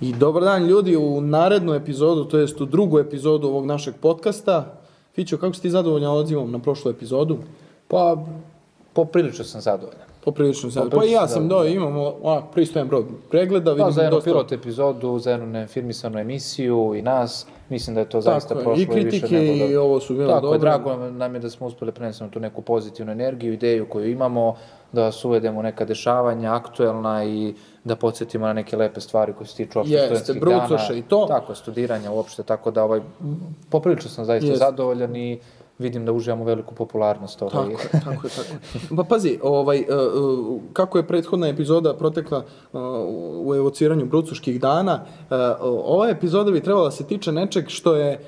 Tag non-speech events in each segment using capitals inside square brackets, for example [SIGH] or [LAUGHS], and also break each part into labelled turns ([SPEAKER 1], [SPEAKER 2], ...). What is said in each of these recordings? [SPEAKER 1] I dobar dan ljudi, u narednu epizodu, to jest u drugu epizodu ovog našeg podcasta. Fićo, kako si ti zadovoljan odzivom na prošlu epizodu?
[SPEAKER 2] Pa, poprilično sam zadovoljan.
[SPEAKER 1] Poprilično sam. Pa Da, i
[SPEAKER 2] Poprilično
[SPEAKER 1] ja sam, da,
[SPEAKER 2] zadovoljan.
[SPEAKER 1] imamo onak pristojan broj pregleda.
[SPEAKER 2] Pa,
[SPEAKER 1] vidim
[SPEAKER 2] za jednu
[SPEAKER 1] dosta-
[SPEAKER 2] pilot epizodu, za jednu nefirmisanu emisiju i nas, mislim da je to zaista
[SPEAKER 1] Tako je,
[SPEAKER 2] prošlo
[SPEAKER 1] i kritike
[SPEAKER 2] više nego
[SPEAKER 1] i ovo su bile
[SPEAKER 2] Tako
[SPEAKER 1] dobre.
[SPEAKER 2] je, drago nam je da smo uspeli prenesemo tu neku pozitivnu energiju, ideju koju imamo, da suvedemo neka dešavanja aktuelna i da podsjetimo na neke lepe stvari koje se tiču opšte
[SPEAKER 1] Jeste,
[SPEAKER 2] studentskih dana.
[SPEAKER 1] brucoše i to.
[SPEAKER 2] Tako, studiranja uopšte, tako da ovaj, m, poprilično sam zaista
[SPEAKER 1] Jeste.
[SPEAKER 2] zadovoljan i vidim da uživamo veliku popularnost ovaj,
[SPEAKER 1] Tako je, [LAUGHS] tako je, tako je. Pa pazi, ovaj, e, e, kako je prethodna epizoda protekla e, u evociranju brucuških dana, e, o- ova epizoda bi trebala da se tiče nečeg što je e,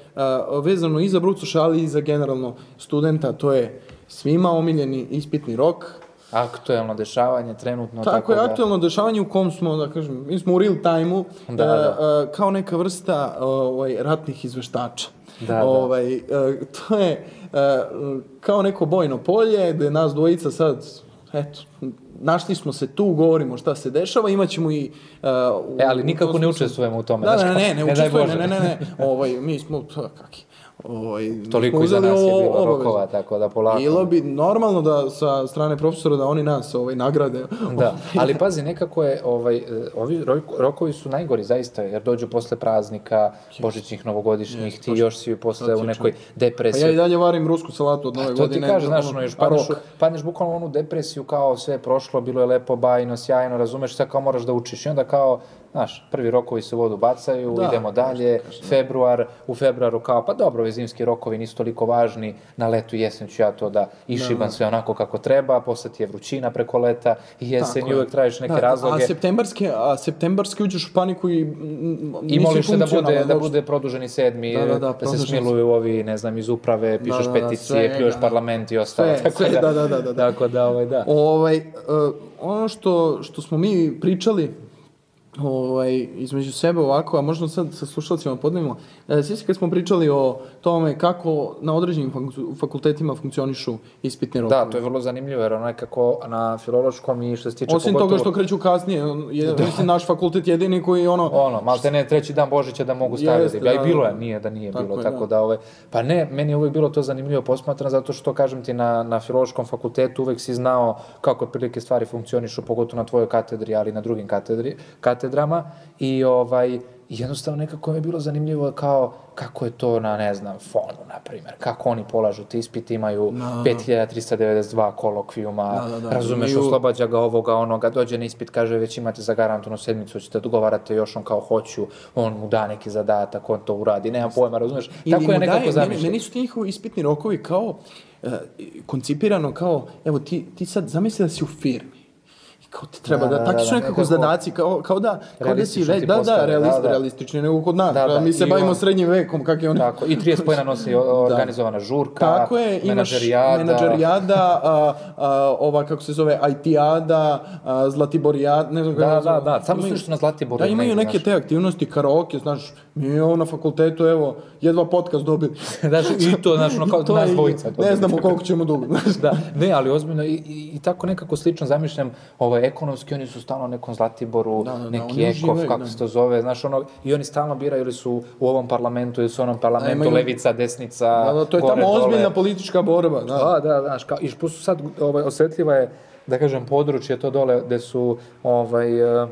[SPEAKER 1] vezano i za brucuša, ali i za generalno studenta, to je svima omiljeni ispitni rok,
[SPEAKER 2] aktuelno dešavanje trenutno.
[SPEAKER 1] Tako, je,
[SPEAKER 2] da-
[SPEAKER 1] aktualno dešavanje u kom smo, da kažem, mi smo u real time-u,
[SPEAKER 2] Da,
[SPEAKER 1] e,
[SPEAKER 2] da.
[SPEAKER 1] e, kao neka vrsta e, ovaj, ratnih izveštača.
[SPEAKER 2] Da, da.
[SPEAKER 1] Ovaj, e, to je e, kao neko bojno polje gde nas dvojica sad, eto, našli smo se tu, govorimo šta se dešava, imaćemo i... e, u-
[SPEAKER 2] E, ali
[SPEAKER 1] u
[SPEAKER 2] nikako
[SPEAKER 1] tom
[SPEAKER 2] ne
[SPEAKER 1] smislu-
[SPEAKER 2] učestvujemo u tome.
[SPEAKER 1] Da,
[SPEAKER 2] znaš
[SPEAKER 1] da,
[SPEAKER 2] kao,
[SPEAKER 1] ne, ne,
[SPEAKER 2] daj
[SPEAKER 1] učestvujemo,
[SPEAKER 2] Bože.
[SPEAKER 1] ne, ne, ne, ovaj, mi smo, pa, kak je, ovaj, mi smo
[SPEAKER 2] Toliko iza
[SPEAKER 1] uzeli
[SPEAKER 2] nas je
[SPEAKER 1] ovo
[SPEAKER 2] bilo
[SPEAKER 1] obavezu.
[SPEAKER 2] rokova, tako da polako.
[SPEAKER 1] Bilo bi normalno da sa strane profesora da oni nas ovaj, nagrade.
[SPEAKER 2] Da, ali pazi, nekako je, ovaj, e, ovi roj- rokovi su najgori zaista, jer dođu posle praznika, božićnih, novogodišnjih, ti još si posle u nekoj
[SPEAKER 1] Pa
[SPEAKER 2] depresiji.
[SPEAKER 1] ja i dalje varim rusku salatu od nove
[SPEAKER 2] Pa to
[SPEAKER 1] godine.
[SPEAKER 2] ti kaže, znaš,
[SPEAKER 1] ono,
[SPEAKER 2] ono, još
[SPEAKER 1] a
[SPEAKER 2] padneš, u,
[SPEAKER 1] rok.
[SPEAKER 2] padneš bukvalno u onu depresiju, kao sve je prošlo, bilo je lepo, bajno, sjajno, razumeš, sad kao moraš da učiš. I onda kao, znaš, prvi rokovi se u vodu bacaju,
[SPEAKER 1] Da,
[SPEAKER 2] idemo dalje, februar, u februaru kao, pa dobro, ove zimski rokovi nisu toliko važni, na letu i jesen ću ja to da išibam sve onako kako treba, posle ti je vrućina preko leta i jesen
[SPEAKER 1] Tako
[SPEAKER 2] i
[SPEAKER 1] je.
[SPEAKER 2] uvek tražiš neke
[SPEAKER 1] Da,
[SPEAKER 2] razloge.
[SPEAKER 1] A septembarske, a septembarske uđeš u paniku i mm,
[SPEAKER 2] I
[SPEAKER 1] nisi
[SPEAKER 2] moliš se da
[SPEAKER 1] funkcionalan
[SPEAKER 2] bude, da
[SPEAKER 1] uopšte.
[SPEAKER 2] bude produženi sedmi,
[SPEAKER 1] Da,
[SPEAKER 2] da,
[SPEAKER 1] da, da,
[SPEAKER 2] se
[SPEAKER 1] produženi
[SPEAKER 2] smiluju ovi, ne znam, iz uprave, pišeš
[SPEAKER 1] da, da,
[SPEAKER 2] peticije,
[SPEAKER 1] sve,
[SPEAKER 2] pljuješ
[SPEAKER 1] da.
[SPEAKER 2] parlament i ostalo. [LAUGHS]
[SPEAKER 1] Sve, sve, da, da, da, da, da.
[SPEAKER 2] Tako da, ovaj, da.
[SPEAKER 1] Ovaj, e, ono što, što smo mi pričali ovaj, između sebe ovako, a možda sad sa slušalcima podnevimo, e, svi se kad smo pričali o tome kako na određenim fak- fakultetima funkcionišu ispitni rokovi.
[SPEAKER 2] Da, to je vrlo zanimljivo, jer ono je kako na filološkom i što se tiče
[SPEAKER 1] Osim
[SPEAKER 2] pogotovo... Da.
[SPEAKER 1] toga što kreću kasnije, on je, mislim, naš fakultet jedini koji ono,
[SPEAKER 2] Ono, malte ne, treći dan Božića da mogu staviti.
[SPEAKER 1] Jeste,
[SPEAKER 2] Jeste, ja,
[SPEAKER 1] da,
[SPEAKER 2] I bilo je,
[SPEAKER 1] da.
[SPEAKER 2] nije da nije
[SPEAKER 1] Tako
[SPEAKER 2] bilo.
[SPEAKER 1] je,
[SPEAKER 2] tako
[SPEAKER 1] da.
[SPEAKER 2] da, ovaj, pa ne, meni je uvek bilo to zanimljivo posmatrano, zato što, kažem ti, na, na filološkom fakultetu uvek si znao kako otprilike stvari funkcionišu, pogotovo na tvojoj katedri, ali i na drugim katedri, katedrama. I ovaj, jednostavno nekako mi je bilo zanimljivo kao kako je to na, ne znam, fonu, na primjer, kako oni polažu te ispite, imaju 5392 kolokvijuma,
[SPEAKER 1] Da, da, da,
[SPEAKER 2] razumeš,
[SPEAKER 1] imaju-
[SPEAKER 2] oslobađa ga ovoga, onoga, dođe na ispit, kaže već imate zagarantovanu sedmicu, ćete dogovarate još on kao hoću, on mu da neki zadatak, on to uradi, nema pojma, razumeš?
[SPEAKER 1] Ili
[SPEAKER 2] Tako je
[SPEAKER 1] mu daje-
[SPEAKER 2] nekako
[SPEAKER 1] meni-
[SPEAKER 2] zamišljeno.
[SPEAKER 1] Meni su ti njihovi ispitni rokovi kao e, koncipirano kao, evo ti, ti sad zamisli da si u firmi. I Kao ti treba da,
[SPEAKER 2] da,
[SPEAKER 1] takvi
[SPEAKER 2] da,
[SPEAKER 1] su
[SPEAKER 2] da,
[SPEAKER 1] nekako
[SPEAKER 2] nekako
[SPEAKER 1] zadaci, kao, kao da, kao da si,
[SPEAKER 2] realistično
[SPEAKER 1] re,
[SPEAKER 2] ti
[SPEAKER 1] da, da,
[SPEAKER 2] postave,
[SPEAKER 1] realist,
[SPEAKER 2] da, da.
[SPEAKER 1] realistični nego kod nas,
[SPEAKER 2] Da, da,
[SPEAKER 1] mi se
[SPEAKER 2] i
[SPEAKER 1] bavimo
[SPEAKER 2] on-
[SPEAKER 1] srednjim vekom, kak je ono.
[SPEAKER 2] Tako, i 30 pojena nosi o- organizovana
[SPEAKER 1] [LAUGHS]
[SPEAKER 2] žurka,
[SPEAKER 1] Da. Tako je, imaš
[SPEAKER 2] menadžerijada.
[SPEAKER 1] menadžerijada, a, a, ova kako se zove, IT-ada, a, Zlatiborijada, ne znam kako
[SPEAKER 2] Da,
[SPEAKER 1] se zove.
[SPEAKER 2] da, da, samo su
[SPEAKER 1] Imaju-
[SPEAKER 2] nešto na Zlatiboru.
[SPEAKER 1] Da, imaju
[SPEAKER 2] negdje,
[SPEAKER 1] neke te aktivnosti, karaoke, znaš, mi ovo na fakultetu, evo, jedva podcast dobili.
[SPEAKER 2] znaš, i to, znaš, ono kao
[SPEAKER 1] I Pa to
[SPEAKER 2] nas
[SPEAKER 1] je-
[SPEAKER 2] dvojica.
[SPEAKER 1] Ne znamo koliko ćemo
[SPEAKER 2] [LAUGHS]
[SPEAKER 1] dugo. znaš.
[SPEAKER 2] da, ne, ali ozbiljno i, i, i tako nekako slično zamišljam ovaj, ekonomski, oni su stalno u nekom Zlatiboru,
[SPEAKER 1] da, da,
[SPEAKER 2] neki
[SPEAKER 1] oni
[SPEAKER 2] Ekov,
[SPEAKER 1] uživaju,
[SPEAKER 2] kako
[SPEAKER 1] da.
[SPEAKER 2] se to zove, znaš, ono, i oni stalno biraju ili su u ovom parlamentu ili su u onom parlamentu,
[SPEAKER 1] imaju-
[SPEAKER 2] levica, desnica,
[SPEAKER 1] Da, da, to je
[SPEAKER 2] gore,
[SPEAKER 1] tamo
[SPEAKER 2] dole.
[SPEAKER 1] ozbiljna politička borba. Da.
[SPEAKER 2] Da, da, znaš, kao, i plus su sad, ovaj, osjetljiva je, da kažem, područje to dole gde su, ovaj, eh,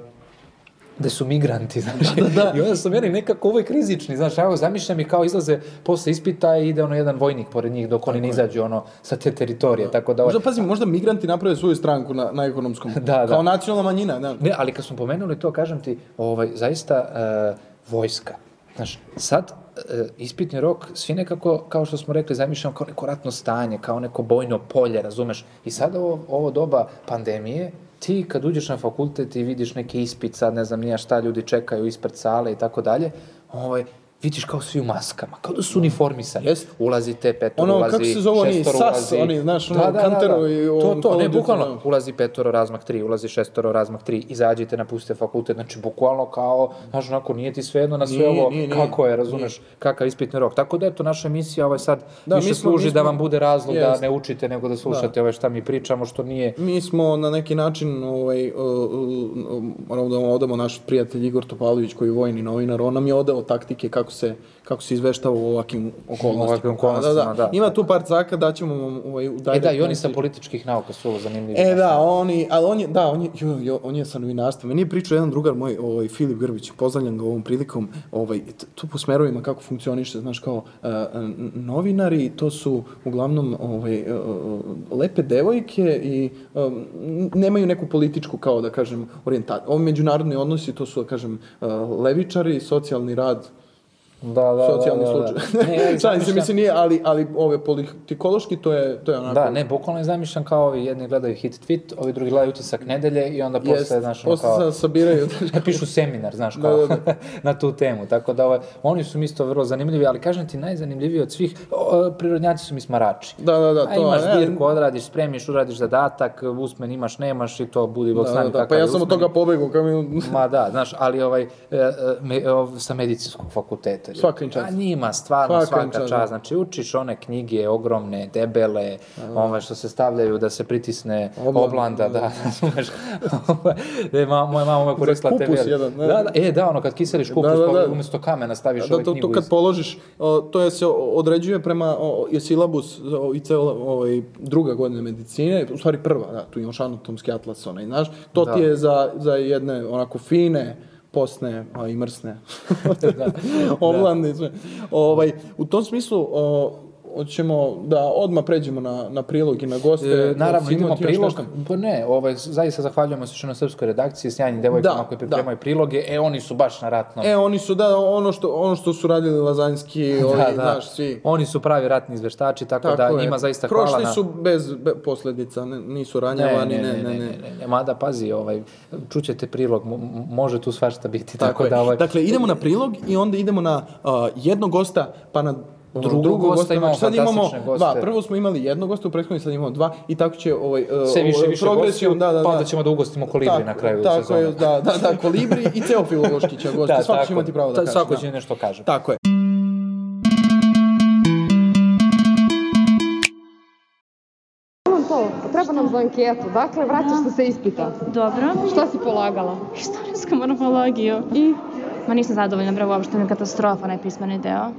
[SPEAKER 2] gde su migranti, znaš.
[SPEAKER 1] da.
[SPEAKER 2] I onda su meni nekako uvek rizični, znaš, evo, zamišljam i kao izlaze posle ispita i ide ono jedan vojnik pored njih dok oni ne izađu ono sa te teritorije, tako da... ovaj-
[SPEAKER 1] Možda, pazi, možda migranti naprave svoju stranku na, na ekonomskom.
[SPEAKER 2] [LAUGHS] Da, da.
[SPEAKER 1] Kao nacionalna manjina, da.
[SPEAKER 2] Ne, ali kad smo pomenuli to, kažem ti, ovaj, zaista e, vojska. Znaš, sad e, ispitni rok, svi nekako, kao što smo rekli, zamišljamo kao neko ratno stanje, kao neko bojno polje, razumeš? I sad ovo, ovo doba pandemije, ti kad uđeš na fakultet i vidiš neki ispit, sad ne znam nija šta, ljudi čekaju ispred sale i tako dalje, ovaj, vidiš kao svi u maskama, kao da su uniformisani.
[SPEAKER 1] Mm. Jest.
[SPEAKER 2] Ulazi te petor,
[SPEAKER 1] Ono,
[SPEAKER 2] ulazi
[SPEAKER 1] kako se zove, oni
[SPEAKER 2] šestoro,
[SPEAKER 1] SAS,
[SPEAKER 2] ulazi... Da,
[SPEAKER 1] oni, znaš, ono, Kanteru i
[SPEAKER 2] To,
[SPEAKER 1] on
[SPEAKER 2] to,
[SPEAKER 1] Call
[SPEAKER 2] ne,
[SPEAKER 1] of Duty,
[SPEAKER 2] bukvalno,
[SPEAKER 1] ono. da
[SPEAKER 2] ulazi petoro, razmak 3, ulazi šestoro, razmak 3, izađite, napustite fakultet, znači, bukvalno kao, znaš, onako, nije ti svejedno na sve
[SPEAKER 1] Nije,
[SPEAKER 2] ovo,
[SPEAKER 1] nije, nije.
[SPEAKER 2] kako je, razumeš, kakav ispitni rok. Tako da, eto, naša emisija ovaj sad
[SPEAKER 1] Da,
[SPEAKER 2] više
[SPEAKER 1] mi smo-
[SPEAKER 2] služi
[SPEAKER 1] mi
[SPEAKER 2] da
[SPEAKER 1] smo-
[SPEAKER 2] vam bude razlog da
[SPEAKER 1] Jest.
[SPEAKER 2] ne učite, nego da slušate ove šta mi pričamo, što nije
[SPEAKER 1] Mi smo na neki način, ovaj, uh, uh, moramo da vam odamo naš prijatelj Igor Topalović koji je vojni novinar, on nam je odao taktike kako se, kako se izveštava u ovakvim okolnostima.
[SPEAKER 2] ovakvim okolnostima, da.
[SPEAKER 1] Ima tu par caka, daćemo vam ovaj, u
[SPEAKER 2] E da,
[SPEAKER 1] direct
[SPEAKER 2] i oni sa
[SPEAKER 1] message.
[SPEAKER 2] političkih nauka su ovo zanimljivi.
[SPEAKER 1] E da, oni, ali on je, da, on je, jo, jo, on je sa novinarstva. Meni je pričao jedan drugar moj, ovaj, Filip Grbić, pozdravljam ga ovom prilikom, ovaj, t- tu po smerovima kako funkcioniše, znaš, kao e, n- novinari, to su uglavnom ovaj, e, lepe devojke i e, n- nemaju neku političku, kao da kažem, orijentaciju. Ovi međunarodni odnosi, to su, da kažem, e, levičari, socijalni rad,
[SPEAKER 2] da, da,
[SPEAKER 1] socijalni
[SPEAKER 2] da, da, da.
[SPEAKER 1] slučaj. [LAUGHS]
[SPEAKER 2] Ne, ja ih
[SPEAKER 1] Šalim se,
[SPEAKER 2] zamišljam-
[SPEAKER 1] mislim, nije, ali, ali ove politikološki, to je, to je onako...
[SPEAKER 2] Da, ne, bukvalno ih zamišljam kao ovi jedni gledaju hit tweet, ovi drugi gledaju utisak nedelje i onda
[SPEAKER 1] Jest,
[SPEAKER 2] posle, znaš, ono
[SPEAKER 1] posle
[SPEAKER 2] kao...
[SPEAKER 1] se
[SPEAKER 2] [LAUGHS]
[SPEAKER 1] sabiraju,
[SPEAKER 2] Napišu Da seminar, znaš, kao,
[SPEAKER 1] da,
[SPEAKER 2] [LAUGHS] na tu temu. Tako da, ovaj, oni su mi isto vrlo zanimljivi, ali kažem ti, najzanimljiviji od svih, o, o, prirodnjaci su mi smarači.
[SPEAKER 1] Da, da, da,
[SPEAKER 2] A
[SPEAKER 1] to
[SPEAKER 2] imaš
[SPEAKER 1] ne,
[SPEAKER 2] zbirku, odradiš, spremiš, uradiš zadatak, usmen imaš, nemaš i to budi bog
[SPEAKER 1] Da,
[SPEAKER 2] sami
[SPEAKER 1] da, da,
[SPEAKER 2] kakav
[SPEAKER 1] pa
[SPEAKER 2] je
[SPEAKER 1] ja sam od
[SPEAKER 2] usmeni.
[SPEAKER 1] toga pobegao kao mi...
[SPEAKER 2] Ma da, znaš, ali ovaj, e, e, me, ov, sa medicinskog fakulteta. ljudi.
[SPEAKER 1] Svaka im čast.
[SPEAKER 2] A njima, stvarno,
[SPEAKER 1] Svaka im
[SPEAKER 2] svaka,
[SPEAKER 1] čast, da.
[SPEAKER 2] čast. Znači, učiš one knjige ogromne, debele, ove što se stavljaju da se pritisne
[SPEAKER 1] Oblanda,
[SPEAKER 2] oblanda,
[SPEAKER 1] [LAUGHS]
[SPEAKER 2] da, razumeš. [LAUGHS] e, ma, moja mama uvek rekla te
[SPEAKER 1] kupus
[SPEAKER 2] veli.
[SPEAKER 1] jedan, ne?
[SPEAKER 2] Da, da, e, da, ono, kad kiseliš kupus,
[SPEAKER 1] Da, da, da.
[SPEAKER 2] pa umjesto kamena staviš
[SPEAKER 1] Da,
[SPEAKER 2] ovaj
[SPEAKER 1] to,
[SPEAKER 2] knjigu
[SPEAKER 1] to kad
[SPEAKER 2] iz-
[SPEAKER 1] položiš, o, to je se određuje prema o, je silabus o, i ceo ovaj, druga godina medicine, u stvari prva, da, tu imaš anatomski atlas, onaj, znaš, to
[SPEAKER 2] Da.
[SPEAKER 1] ti je za, za jedne onako fine, posne a, i
[SPEAKER 2] [LAUGHS]
[SPEAKER 1] mrsne
[SPEAKER 2] Da.
[SPEAKER 1] [LAUGHS] oblande i sve. Ovaj, u tom smislu, o, hoćemo da odmah pređemo na, na prilog i na goste.
[SPEAKER 2] E, naravno,
[SPEAKER 1] Simo,
[SPEAKER 2] idemo
[SPEAKER 1] ti još
[SPEAKER 2] prilog.
[SPEAKER 1] nešto?
[SPEAKER 2] Pa ne, ovaj, zaista zahvaljujemo se što na srpskoj redakciji, sjajnim devojkama
[SPEAKER 1] Da,
[SPEAKER 2] koje pripremaju priloge. E, oni su baš na ratnom.
[SPEAKER 1] E, oni su, da, ono što, ono što su radili Lazanski, ovi,
[SPEAKER 2] Da, da.
[SPEAKER 1] znaš, svi.
[SPEAKER 2] Oni su pravi ratni izveštači, tako, da
[SPEAKER 1] je.
[SPEAKER 2] njima zaista
[SPEAKER 1] Prošli
[SPEAKER 2] hvala na...
[SPEAKER 1] su bez, be, posledica, ne, nisu
[SPEAKER 2] Ne,
[SPEAKER 1] ranjavani,
[SPEAKER 2] ne, ne, ne, ne, ne, ne, mada pazi, ovaj, čućete prilog, mo- mo- može tu svašta biti, tako,
[SPEAKER 1] Tako je.
[SPEAKER 2] da ovaj,
[SPEAKER 1] Dakle, idemo na prilog i onda idemo na a, jednog gosta, pa na drugog,
[SPEAKER 2] Drugog gosta,
[SPEAKER 1] gosta.
[SPEAKER 2] imamo
[SPEAKER 1] Znači, sad imamo
[SPEAKER 2] fantastične goste.
[SPEAKER 1] dva. Prvo smo imali jednog gosta, u prethodnoj sad imamo dva i tako će ovaj, e,
[SPEAKER 2] sve više,
[SPEAKER 1] ovaj,
[SPEAKER 2] više
[SPEAKER 1] progresijom,
[SPEAKER 2] gostiju,
[SPEAKER 1] da, da,
[SPEAKER 2] pa onda
[SPEAKER 1] da.
[SPEAKER 2] ćemo da ugostimo kolibri na kraju
[SPEAKER 1] tako
[SPEAKER 2] sezone.
[SPEAKER 1] Je, da, da, da, kolibri i ceo filološki
[SPEAKER 2] [LAUGHS]
[SPEAKER 1] će gosti.
[SPEAKER 2] Da,
[SPEAKER 1] svako
[SPEAKER 2] tako.
[SPEAKER 1] će imati pravo da
[SPEAKER 2] Ta-
[SPEAKER 1] kaže.
[SPEAKER 2] Svako
[SPEAKER 1] da.
[SPEAKER 2] će nešto kaže.
[SPEAKER 1] Tako je.
[SPEAKER 3] Imam to, treba nam za anketu. Dakle, vraćaš se sa ispita.
[SPEAKER 4] Dobro.
[SPEAKER 3] Šta si polagala?
[SPEAKER 4] Istorijsku morfologiju.
[SPEAKER 3] I
[SPEAKER 4] Ma nisam zadovoljna, bre, uopšte mi je katastrofa, onaj pismeni deo.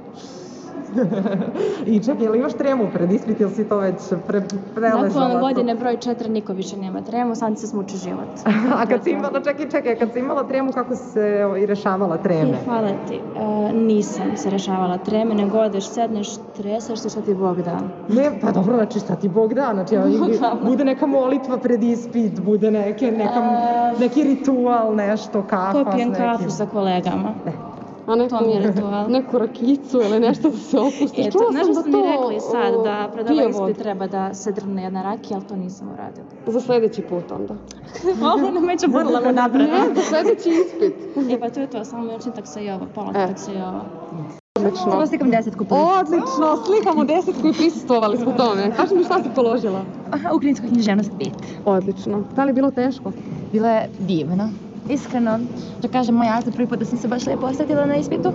[SPEAKER 5] I čekaj, jel imaš tremu pred ispit ili si to već pre, preležala?
[SPEAKER 4] Nakon godine broj 4 niko više nema tremu, sam se smuči život.
[SPEAKER 5] A kad si imala, čekaj, čekaj, a kad si imala tremu, kako si se o, i rešavala treme?
[SPEAKER 4] E, hvala ti. E, nisam se rešavala treme, nego odeš, sedneš, tresaš se šta ti Bog da.
[SPEAKER 5] Ne, pa dobro, znači šta ti Bog da, znači ja, i- bude neka molitva pred ispit, bude neke, neka, neki ritual, nešto, kafa. s
[SPEAKER 4] Popijem
[SPEAKER 5] nekim.
[SPEAKER 4] kafu sa kolegama.
[SPEAKER 3] a neku,
[SPEAKER 4] To mi je ritual.
[SPEAKER 3] neku rakicu ili nešto da se opusti.
[SPEAKER 4] E, to,
[SPEAKER 3] Čula
[SPEAKER 4] znaš
[SPEAKER 3] sam
[SPEAKER 4] što
[SPEAKER 3] da
[SPEAKER 4] su mi
[SPEAKER 3] to,
[SPEAKER 4] rekli sad,
[SPEAKER 3] o,
[SPEAKER 4] da predava
[SPEAKER 3] pije
[SPEAKER 4] ispit
[SPEAKER 3] vodu.
[SPEAKER 4] treba da se drne jedna rakija, ali to nisam uradila.
[SPEAKER 3] Za sledeći put onda.
[SPEAKER 4] Ovo nam već obrla mu napravila.
[SPEAKER 3] Ne, za sledeći ispit.
[SPEAKER 4] E, pa to je to, samo još taksa i ovo, pola
[SPEAKER 3] E.
[SPEAKER 4] taksa i ovo.
[SPEAKER 3] Odlično.
[SPEAKER 4] slikam desetku
[SPEAKER 3] Odlično, slikamo desetku i prisustvovali smo tome. Kaži mi šta si položila.
[SPEAKER 4] Aha, ukrajinsku književnost 5.
[SPEAKER 3] Odlično. Da li je bilo teško?
[SPEAKER 6] Bila je divna. Iskreno, da kažem, moj ja za prvi put da sam se baš lepo osetila na ispitu.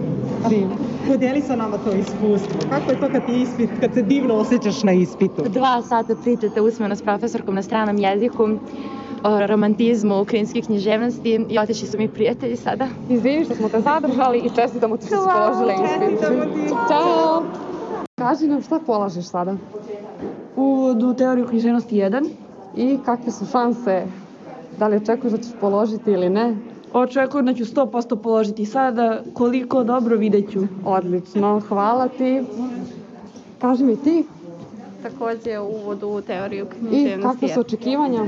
[SPEAKER 5] Divno. Podijeli sa nama to iskustvo. Kako je to kad, ti ispit, kad se divno osjećaš na ispitu?
[SPEAKER 6] Dva sata pričate usmeno s profesorkom na stranom jeziku o romantizmu ukrajinske književnosti i otišli su mi prijatelji sada.
[SPEAKER 3] Izvini što smo te zadržali i čestitamo ti što si
[SPEAKER 6] Hvala,
[SPEAKER 3] položila ispit.
[SPEAKER 5] čestitamo ti.
[SPEAKER 3] Ćao. Kaži nam šta polažeš sada.
[SPEAKER 7] uvodu teoriju književnosti 1.
[SPEAKER 3] I kakve su šanse? Da li očekuješ da ćeš položiti ili ne?
[SPEAKER 7] Očekujem da ću 100% položiti sada, koliko dobro vidjet ću.
[SPEAKER 8] E,
[SPEAKER 3] Odlično, hvala ti. Kaži mi ti,
[SPEAKER 9] takođe uvod u teoriju
[SPEAKER 3] i
[SPEAKER 9] književnosti.
[SPEAKER 3] kakve su očekivanja?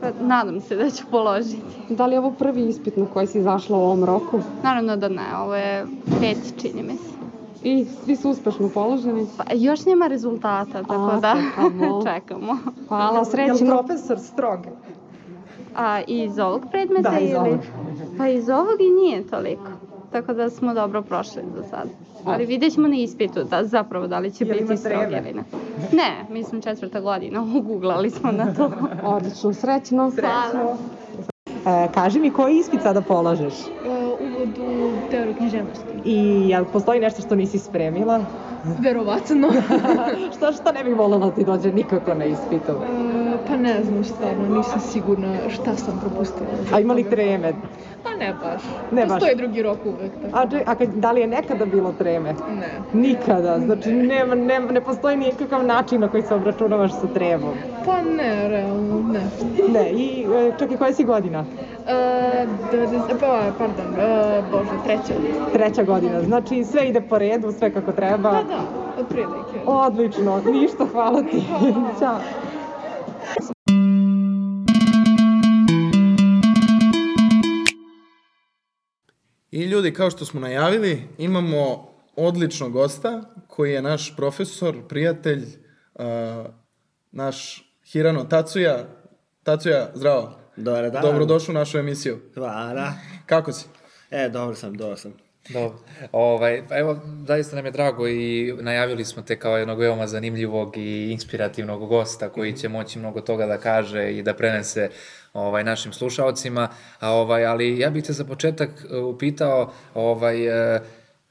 [SPEAKER 9] Pa, Nadam se da ću položiti.
[SPEAKER 3] Da li je ovo prvi ispit na koji si izašla u ovom roku?
[SPEAKER 9] Naravno da ne, ovo je pet, čini mi se.
[SPEAKER 3] I svi su uspešno položeni.
[SPEAKER 9] Pa, još nema rezultata, tako
[SPEAKER 3] A,
[SPEAKER 9] da
[SPEAKER 6] pa
[SPEAKER 9] [LAUGHS]
[SPEAKER 3] čekamo.
[SPEAKER 9] čekamo.
[SPEAKER 3] Hvala,
[SPEAKER 5] Jel
[SPEAKER 3] srećno.
[SPEAKER 5] profesor strog?
[SPEAKER 9] A iz ovog predmeta
[SPEAKER 5] Da, iz
[SPEAKER 9] ili?
[SPEAKER 5] ovog.
[SPEAKER 9] Pa iz ovog i nije toliko. tako da smo dobro prošli do sada. Ali vidjet ćemo na ispitu da, zapravo da li će
[SPEAKER 5] Jel ima
[SPEAKER 9] biti strog
[SPEAKER 5] treme?
[SPEAKER 9] ili ne. Ne, mislim četvrta godina, [LAUGHS] uguglali smo na to.
[SPEAKER 3] Odlično, srećno.
[SPEAKER 9] Hvala.
[SPEAKER 10] E, kaži mi koji ispit sada polažeš
[SPEAKER 8] uvod u teoriju književnosti.
[SPEAKER 10] i jel postoji nešto što nisi spremila? [LAUGHS]
[SPEAKER 7] [LAUGHS]
[SPEAKER 8] Verovatno.
[SPEAKER 10] što, što ne bi voljela da ti dođe nikako na ispitu?
[SPEAKER 8] E, pa ne znam stvarno, nisam sigurna šta sam propustila.
[SPEAKER 10] A ima li treme?
[SPEAKER 8] Pa ne baš.
[SPEAKER 10] Ne baš.
[SPEAKER 8] Postoji drugi rok uvek. Tako. da
[SPEAKER 10] A, če- a kad- da li je nekada bilo treme?
[SPEAKER 8] Ne.
[SPEAKER 10] Nikada, znači ne, ne, ne postoji nikakav način na koji se obračunavaš sa tremom.
[SPEAKER 8] Pa ne, realno, ne.
[SPEAKER 10] Ne, i e, čak i koja si godina?
[SPEAKER 8] E, dvadeset- pa, pardon, e, bože, treća.
[SPEAKER 10] Treća godina, znači sve ide po redu, sve kako treba.
[SPEAKER 8] Pa da, otprilike.
[SPEAKER 10] Odlično, ništa, hvala ti. [LAUGHS] Ćao.
[SPEAKER 1] I ljudi, kao što smo najavili, imamo odličnog gosta koji je naš profesor, prijatelj, uh, naš Hirano Tacuja. Tacuja, zdravo.
[SPEAKER 11] Dobar dan.
[SPEAKER 1] Dobrodošao u našu emisiju.
[SPEAKER 11] Hvala.
[SPEAKER 1] Kako si?
[SPEAKER 11] E, dobro sam, dobro sam.
[SPEAKER 2] Dobro. Ovaj, pa evo, zaista nam je drago i najavili smo te kao jednog veoma zanimljivog i inspirativnog gosta
[SPEAKER 11] Mhm.
[SPEAKER 2] koji će moći mnogo toga da kaže i da prenese ovaj, našim slušaocima. A, ovaj, ali ja bih te za početak e, upitao ovaj, e,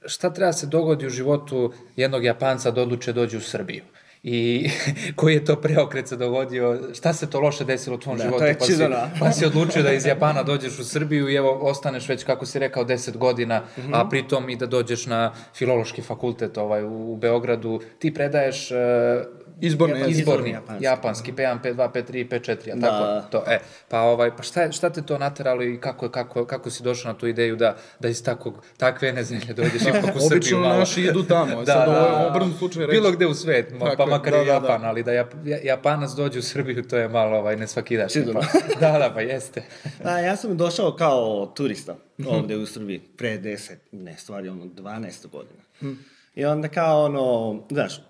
[SPEAKER 2] šta treba se dogodi u životu jednog Japanca da odluče dođe u Srbiju? I [LAUGHS] koji je to preokret se dogodio? Šta se to loše desilo u tvom
[SPEAKER 11] Da,
[SPEAKER 2] životu?
[SPEAKER 11] to je
[SPEAKER 2] pa si-
[SPEAKER 11] Chidora.
[SPEAKER 2] pa si odlučio da iz Japana dođeš u Srbiju i evo ostaneš već, kako si rekao, 10 godina,
[SPEAKER 1] Mhm.
[SPEAKER 2] a pritom i da dođeš na filološki fakultet ovaj, u, u Beogradu. Ti predaješ... e,
[SPEAKER 1] Izborni
[SPEAKER 2] izborni,
[SPEAKER 1] jezik.
[SPEAKER 11] Izborni
[SPEAKER 2] japanski,
[SPEAKER 11] japanski.
[SPEAKER 2] P1, P2, P3, P4, jel
[SPEAKER 11] Da.
[SPEAKER 2] tako? To, e, pa, ovaj, pa šta, je- šta te to nateralo i kako, je- kako, kako si došao na tu ideju da, da iz takvog, takve jedne zemlje E dođeš ipak u Srbiju
[SPEAKER 1] Da, Obično
[SPEAKER 2] malo? Da,
[SPEAKER 1] naši idu tamo, sad ovo je obrnut slučaj, reći.
[SPEAKER 2] Bilo gde u svet, ma- pa
[SPEAKER 1] Tako je,
[SPEAKER 2] makar
[SPEAKER 1] da,
[SPEAKER 2] i
[SPEAKER 1] da, da.
[SPEAKER 2] Japan, ali da Jap- Ja- Japanac dođe u Srbiju, to je malo ovaj, nesvakidaš.
[SPEAKER 11] Sigurno.
[SPEAKER 2] Pa, [LAUGHS] da, da, pa jeste.
[SPEAKER 11] [LAUGHS] A, ja sam došao kao turista ovdje u Srbiji pre 10, ne, stvari ono 12 godina. I onda kao ono, znaš,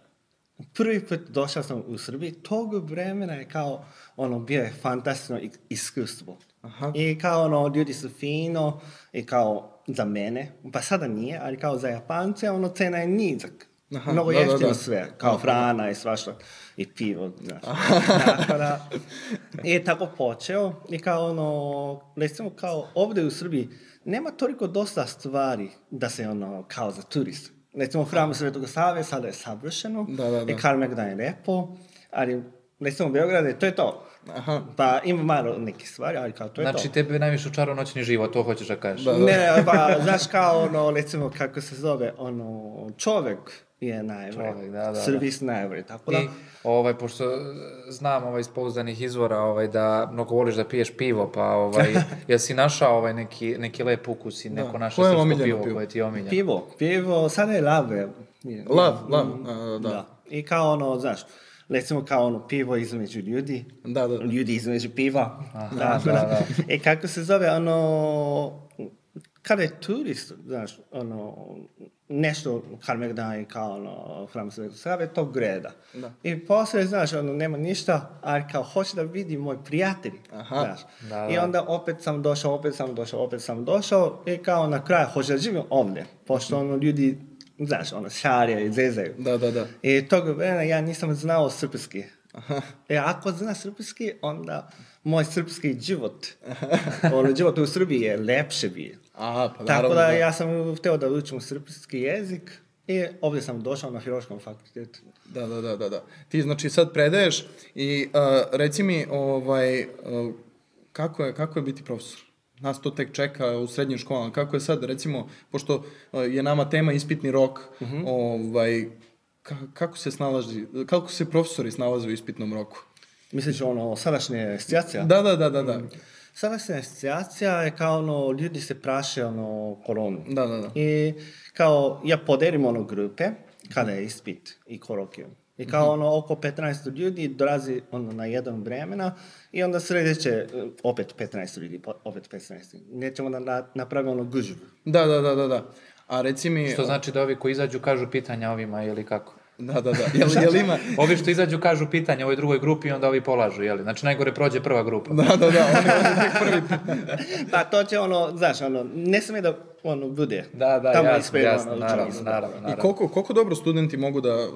[SPEAKER 11] prvi put došao sam u Srbiji, tog vremena je kao ono, bio je fantastično ik- iskustvo.
[SPEAKER 1] Aha.
[SPEAKER 11] I kao ono, ljudi su fino i kao za mene, pa sada nije, ali kao za Japance, ono, cena je nizak.
[SPEAKER 1] Aha,
[SPEAKER 11] Mnogo
[SPEAKER 1] da, da,
[SPEAKER 11] jeftino
[SPEAKER 1] da.
[SPEAKER 11] sve, kao hrana i svašta, i pivo, znaš. tako
[SPEAKER 1] [LAUGHS]
[SPEAKER 11] da, je tako počeo i kao ono, recimo kao ovdje u Srbiji, nema toliko dosta stvari da se ono, kao za turist. Recimo, hram Svetog Save sada je savršeno,
[SPEAKER 1] Da, da, da.
[SPEAKER 11] i Karmegdan je lepo, ali recimo u Beograde, to je to.
[SPEAKER 1] Aha.
[SPEAKER 11] Pa ima malo neke stvari, ali kao to je
[SPEAKER 2] Znači,
[SPEAKER 11] to.
[SPEAKER 2] tebe najviše učarao noćni život, to hoćeš da kažeš.
[SPEAKER 1] Da.
[SPEAKER 11] Ne, pa znaš kao ono, recimo kako se zove, ono, čovjek je najbolji.
[SPEAKER 2] Čovjek, da, da, da.
[SPEAKER 11] Servis najbolji, tako da.
[SPEAKER 2] I, ovaj, pošto e, znam ovaj, iz pouzdanih izvora ovaj, da mnogo voliš da piješ pivo, pa
[SPEAKER 1] [LAUGHS]
[SPEAKER 2] ovaj, jesi našao ovaj, neki, neki lep ukus i neko
[SPEAKER 1] Da.
[SPEAKER 2] naše
[SPEAKER 1] Koje je
[SPEAKER 2] srpsko
[SPEAKER 1] omiljeno
[SPEAKER 2] pivo,
[SPEAKER 1] pivo?
[SPEAKER 2] koje ti je omiljeno?
[SPEAKER 11] Pivo, pivo, sada je lave. je-
[SPEAKER 1] Lav, lav, a,
[SPEAKER 11] Da.
[SPEAKER 1] da.
[SPEAKER 11] I kao ono, znaš, recimo kao ono pivo između ljudi,
[SPEAKER 1] Da, da.
[SPEAKER 11] ljudi između piva.
[SPEAKER 2] Aha, da, da.
[SPEAKER 11] E kako se zove, ono, kada je turist, znaš, ono, nešto Karmegdan i kao ono, Hram Svetog Save, to greda. I poslije, znaš, ono, nema ništa, ali kao hoće da vidi moj prijatelj, znaš.
[SPEAKER 2] Da,
[SPEAKER 11] I
[SPEAKER 2] da.
[SPEAKER 11] onda opet sam došao, opet sam došao, opet sam došao i kao na kraju hoće da živim ovdje, pošto ono, ljudi, znaš, ono, šarje i zezaju.
[SPEAKER 1] Da, da, da.
[SPEAKER 11] I tog vremena ja nisam
[SPEAKER 1] [LAUGHS]
[SPEAKER 11] znao srpski. E, ako zna srpski, onda moj srpski život, [LAUGHS] ono, život u Srbiji je lepše bio.
[SPEAKER 1] Aha, pa
[SPEAKER 11] Tako
[SPEAKER 1] naravno,
[SPEAKER 11] da ja sam htio da učim srpski jezik i ovdje sam došao na filološkom fakultetu.
[SPEAKER 1] Da, da, da, da, da. Ti znači sad predaješ i a, reci mi ovaj, a, kako, je, kako je biti profesor? Nas to tek čeka u srednjim školama. Kako je sad, recimo, pošto a, je nama tema ispitni rok, ovaj, ka- kako se snalazi, kako se profesori snalaze u ispitnom roku?
[SPEAKER 11] Misliš ono, sadašnje situacija?
[SPEAKER 1] Da, da, da, da, da.
[SPEAKER 11] Sadašnja situacija je kao ono, ljudi se praše ono, koronu.
[SPEAKER 1] Da, da, da.
[SPEAKER 11] I kao, ja podelim ono grupe, kada je ispit i kolokvijum. I
[SPEAKER 2] Mhm.
[SPEAKER 11] kao ono, oko 15 ljudi dolazi ono na jedan vremena i onda sljedeće, e, opet 15 ljudi, po- opet 15 ljudi. Nećemo da na, napravimo ono
[SPEAKER 2] [LAUGHS]
[SPEAKER 11] gužvu.
[SPEAKER 1] Da, da, da, da, da. A reci mi...
[SPEAKER 2] Što znači da ovi koji izađu kažu pitanja ovima ili kako?
[SPEAKER 1] Da, da, da. Jel, jel
[SPEAKER 2] [LAUGHS]
[SPEAKER 1] ima...
[SPEAKER 2] Ovi što izađu kažu pitanja ovoj drugoj grupi i onda ovi polažu, jeli? Znači najgore prođe prva grupa.
[SPEAKER 1] Da, da, da. Oni,
[SPEAKER 11] Pa to će ono, znaš, ono, ne smije da ono bude.
[SPEAKER 2] Da, da,
[SPEAKER 11] Tamo
[SPEAKER 2] jasno,
[SPEAKER 11] ispred,
[SPEAKER 2] jasno,
[SPEAKER 11] ono,
[SPEAKER 2] naravno,
[SPEAKER 11] učenje.
[SPEAKER 2] naravno, naravno.
[SPEAKER 1] da. I koliko, koliko dobro studenti mogu da,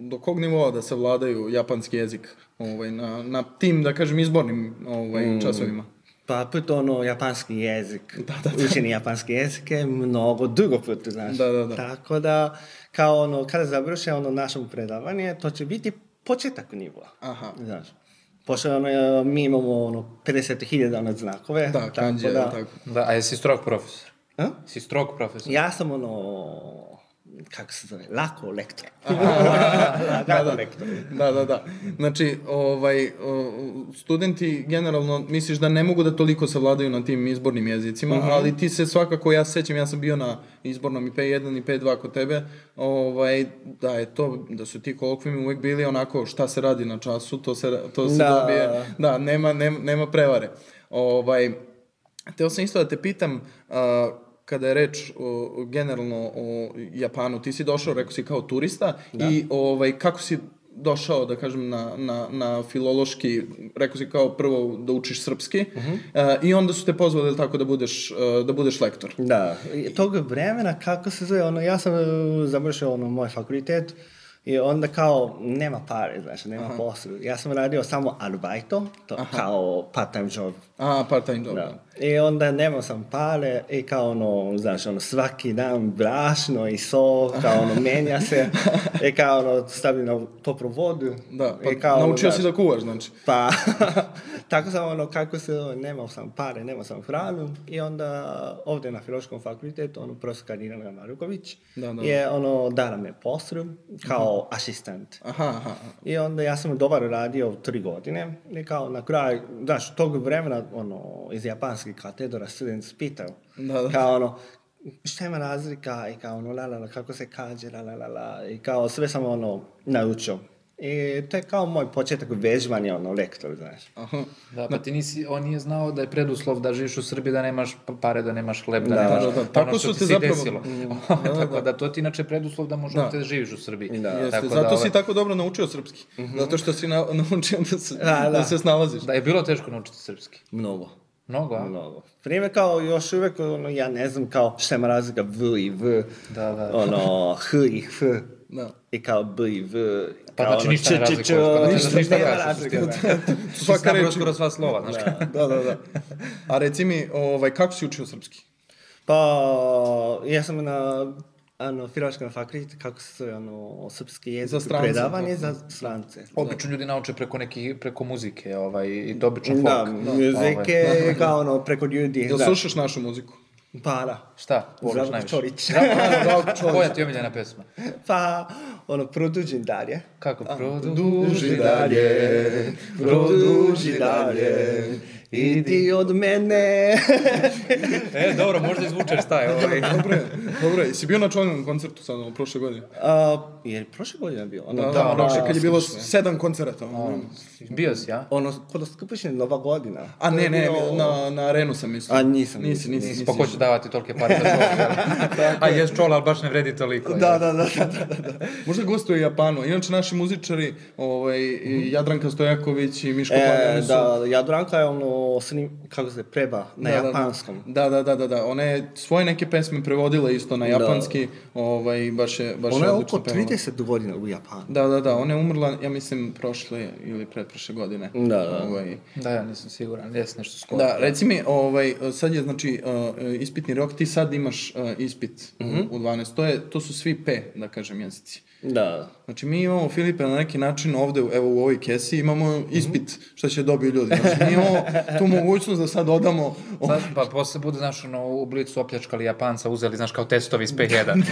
[SPEAKER 1] do kog nivoa da savladaju japanski jezik ovaj, na, na tim, da kažem, izbornim ovaj,
[SPEAKER 11] Mm.
[SPEAKER 1] časovima?
[SPEAKER 11] Pa put ono japanski jezik,
[SPEAKER 1] Da,
[SPEAKER 11] učenje japanski jezik je mnogo dugo put, znaš. Tako da, kao ono, kada završe ono naše predavanje, to će biti početak nivoa.
[SPEAKER 1] Aha.
[SPEAKER 11] Znaš. Pošto ono, e, mi imamo ono 50.000 ono znakove.
[SPEAKER 1] Da, kanđe,
[SPEAKER 11] da.
[SPEAKER 1] tako.
[SPEAKER 2] Da, a jesi strog profesor?
[SPEAKER 11] A?
[SPEAKER 2] Si strog profesor?
[SPEAKER 11] Ja sam ono, kako se zove, lako lektor. [LAUGHS]
[SPEAKER 1] da, da. da, da, da. Znači, ovaj, o, studenti generalno misliš da ne mogu da toliko savladaju na tim izbornim jezicima,
[SPEAKER 11] Mhm.
[SPEAKER 1] ali ti se svakako, ja se sećam, ja sam bio na izbornom i P1 i P2 kod tebe, ovaj, da je to, da su ti kolokvimi uvek bili onako šta se radi na času, to se, to se
[SPEAKER 11] Da.
[SPEAKER 1] dobije, da, nema, nema, nema prevare. Ovaj, Teo sam isto da te pitam, a, kada je reč o, generalno o Japanu, ti si došao, rekao si kao turista,
[SPEAKER 11] Da.
[SPEAKER 1] i ovaj, kako si došao, da kažem, na, na, na filološki, rekao si kao prvo da učiš srpski,
[SPEAKER 11] Mhm.
[SPEAKER 1] a, i onda su te pozvali jel tako da budeš, a, da budeš lektor.
[SPEAKER 11] Da, i tog vremena kako se zove, ono, ja sam e, završio ono, moj fakultet i onda kao nema pare, znači nema
[SPEAKER 1] Aha.
[SPEAKER 11] posla. Ja sam radio samo arbajto, to kao part-time job.
[SPEAKER 1] A, part-time job.
[SPEAKER 11] Da. I onda nemao sam pare i kao ono, znaš, ono, svaki dan brašno i sol, kao ono, menja
[SPEAKER 1] [LAUGHS]
[SPEAKER 11] se. I kao ono, stavim na toplu vodu.
[SPEAKER 1] Da,
[SPEAKER 11] I
[SPEAKER 1] pa
[SPEAKER 11] kao ono,
[SPEAKER 1] naučio si
[SPEAKER 11] znaš,
[SPEAKER 1] da kuvaš, znači.
[SPEAKER 11] pa, [LAUGHS] tako sam ono, kako se, zove, nemao sam pare, nemao sam hranu i onda ovdje na Filološkom fakultetu, ono, profesor Karinana Maruković
[SPEAKER 1] Da, da. Mhm.
[SPEAKER 11] je, ono, dala me poslu kao asistent.
[SPEAKER 1] Aha, aha.
[SPEAKER 11] I onda ja sam dobar radio tri godine i kao na kraju, znaš, tog vremena, ono, iz japanske katedra student pitao,
[SPEAKER 1] Da, da.
[SPEAKER 11] kao ono, šta ima razlika i kao ono, la, la, la, kako se kaže, la, la, la, la, i kao sve sam ono, naučio. I to je kao moj početak vežbanja, ono, lektor, znaš.
[SPEAKER 2] Da, pa ti nisi, on nije znao da je preduslov da živiš u Srbiji, da nemaš pa- pare, da nemaš hleb, da,
[SPEAKER 11] Da,
[SPEAKER 2] nemaš
[SPEAKER 11] da, da.
[SPEAKER 2] ono
[SPEAKER 1] Tako
[SPEAKER 2] što
[SPEAKER 1] su
[SPEAKER 2] ti
[SPEAKER 1] te
[SPEAKER 2] se
[SPEAKER 1] zapravo-
[SPEAKER 2] desilo. [LAUGHS]
[SPEAKER 1] Da, da,
[SPEAKER 2] Tako da, to ti inače preduslov da možeš
[SPEAKER 1] Da.
[SPEAKER 2] da živiš u Srbiji.
[SPEAKER 1] Jeste,
[SPEAKER 2] da, Mhm.
[SPEAKER 1] zato
[SPEAKER 2] ovaj-
[SPEAKER 1] si tako dobro naučio srpski. Zato što si na, [LAUGHS] naučio da se, da, se snalaziš.
[SPEAKER 2] Da, je bilo teško naučiti srpski.
[SPEAKER 11] Mnogo.
[SPEAKER 2] Mnogo,
[SPEAKER 1] Da.
[SPEAKER 2] a?
[SPEAKER 11] Mnogo. Primjer kao još uvijek, ono, ja ne znam kao šta ima razlika v i v,
[SPEAKER 2] Da, da.
[SPEAKER 11] ono, h i f,
[SPEAKER 1] Da.
[SPEAKER 11] i kao b i v.
[SPEAKER 2] Pa
[SPEAKER 11] kao
[SPEAKER 2] znači
[SPEAKER 11] ono,
[SPEAKER 2] ništa
[SPEAKER 11] č,
[SPEAKER 2] ne
[SPEAKER 11] č,
[SPEAKER 2] razlikuješ,
[SPEAKER 11] č,
[SPEAKER 2] pa znači
[SPEAKER 11] ništa
[SPEAKER 2] da ništa
[SPEAKER 11] nema
[SPEAKER 2] ne
[SPEAKER 11] razlike,
[SPEAKER 2] razlikuješ.
[SPEAKER 11] da.
[SPEAKER 1] Svaka
[SPEAKER 2] Svaka
[SPEAKER 1] reč.
[SPEAKER 2] skoro sva slova, znaš.
[SPEAKER 1] Da, da, da. A reci mi, ovaj, kako si učio srpski?
[SPEAKER 11] Pa, ja sam na ano, filološkom fakultetu, kako se zove, ono, srpski jezik,
[SPEAKER 1] Za strance,
[SPEAKER 11] predavanje
[SPEAKER 1] tako.
[SPEAKER 11] za strance.
[SPEAKER 2] Obično ljudi nauče preko nekih, preko muzike, ovaj, i to obično folk.
[SPEAKER 11] Da,
[SPEAKER 2] Ovaj.
[SPEAKER 11] muzike je kao ono, preko ljudi.
[SPEAKER 1] Jel slušaš našu muziku?
[SPEAKER 11] Pa, da.
[SPEAKER 2] Šta? Voliš
[SPEAKER 11] Zdravko
[SPEAKER 2] najviše?
[SPEAKER 11] Čorić.
[SPEAKER 2] Zdravko Čorić.
[SPEAKER 1] [LAUGHS]
[SPEAKER 2] Koja ti je omiljena pesma?
[SPEAKER 11] Pa, ono, produžim dalje.
[SPEAKER 2] Kako?
[SPEAKER 11] Produži dalje, produži dalje, idi od mene.
[SPEAKER 2] E, dobro, možda izvučeš taj ovaj.
[SPEAKER 1] Dobro je, dobro je. Si bio na čovjekom koncertu sad, ono, prošle godine?
[SPEAKER 11] [LAUGHS] A, je li prošle godine bio? Ono,
[SPEAKER 1] Da,
[SPEAKER 2] da,
[SPEAKER 1] da, prošle,
[SPEAKER 2] da,
[SPEAKER 1] kad je bilo
[SPEAKER 2] slično je.
[SPEAKER 1] sedam koncerata. ono.
[SPEAKER 2] Bio si, ja?
[SPEAKER 11] ono, kod skupišnje Nova godina.
[SPEAKER 1] A
[SPEAKER 11] To
[SPEAKER 1] ne,
[SPEAKER 11] je
[SPEAKER 1] ne,
[SPEAKER 11] bio-
[SPEAKER 1] na, na arenu sam mislio.
[SPEAKER 11] A, nisam,
[SPEAKER 1] Nisi, nisi, nisi.
[SPEAKER 2] Nisi, pa ko će davati tolike pare za čola? A jes čola, ali baš ne vredi toliko.
[SPEAKER 11] Da, da, da, da.
[SPEAKER 1] Možda gostuje u Japanu. Inače, naši muzičari, ovaj, i Jadranka Stojaković i Miško
[SPEAKER 11] Mhm. E,
[SPEAKER 1] Pavljani su...
[SPEAKER 11] da, Jadranka je ono, snim, kako se preba, na
[SPEAKER 1] Da, da, da.
[SPEAKER 11] japanskom.
[SPEAKER 1] Da, da, da, da, da. Ona je svoje neke pesme prevodila isto na
[SPEAKER 11] Da.
[SPEAKER 1] japanski, ovaj, baš je, baš
[SPEAKER 11] Ona je
[SPEAKER 1] odlično
[SPEAKER 11] oko
[SPEAKER 1] pevala.
[SPEAKER 11] 30 godina u Japanu.
[SPEAKER 1] Da, da, da, ona je umrla, ja mislim, prošle ili pretprošle godine.
[SPEAKER 11] Da, da.
[SPEAKER 1] Ovaj,
[SPEAKER 2] Da, ja nisam siguran, jes nešto skoro.
[SPEAKER 1] da, reci mi, ovaj, sad je, znači, uh, ispitni rok, ti sad imaš uh, ispit
[SPEAKER 11] Mhm.
[SPEAKER 1] u- u 12, to, je, to su svi P, da kažem, jezici.
[SPEAKER 11] Da.
[SPEAKER 1] Znači, mi imamo, Filipe, na neki način ovde, u- evo u ovoj kesi, imamo
[SPEAKER 11] Mhm.
[SPEAKER 1] ispit što će dobiju ljudi. Znači, mi imamo
[SPEAKER 11] [LAUGHS]
[SPEAKER 1] tu mogućnost da sad odamo...
[SPEAKER 2] Sad, pa posle bude, znaš, ono, u blicu opljačkali Japanca, uzeli, znaš, kao testovi iz P1.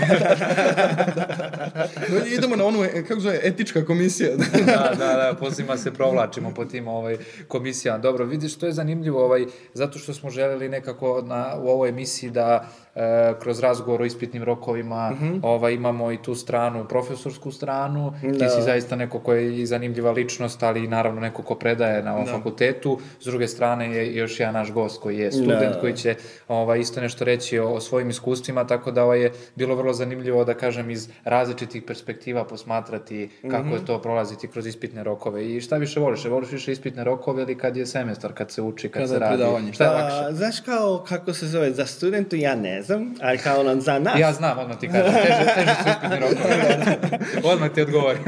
[SPEAKER 1] Idemo na onu, e, kako zove, etička komisija. [LAUGHS]
[SPEAKER 2] da, da, da, posima se provlačimo po tim ovaj, komisijama. Dobro, vidiš, to je zanimljivo, ovaj, zato što smo želeli nekako na, u ovoj emisiji da e, kroz razgovor o ispitnim rokovima ovaj, imamo i tu stranu, profesorsku stranu, ti Da. si zaista neko ko je i zanimljiva ličnost, ali i naravno neko ko predaje na ovom fakultetu, s druge strane strane je još jedan naš gost koji je student
[SPEAKER 11] Da.
[SPEAKER 2] koji će ovaj, isto nešto reći o, o svojim iskustvima, tako da ovaj, je bilo vrlo zanimljivo da kažem iz različitih perspektiva posmatrati kako
[SPEAKER 11] Mhm.
[SPEAKER 2] je to prolaziti kroz ispitne rokove. I šta više voliš? Je Voliš više ispitne rokove ili kad je semestar, kad se uči, kad
[SPEAKER 11] Kada
[SPEAKER 2] se
[SPEAKER 11] je
[SPEAKER 2] radi?
[SPEAKER 11] predavanje.
[SPEAKER 2] Šta je da.
[SPEAKER 11] Pa,
[SPEAKER 2] lakše?
[SPEAKER 11] Znaš kao kako se zove za studentu, ja ne znam, ali kao nam za nas.
[SPEAKER 2] Ja znam, odmah ti kažem, teže, teže su [LAUGHS] ispitni rokovi. Odmah ti odgovorim.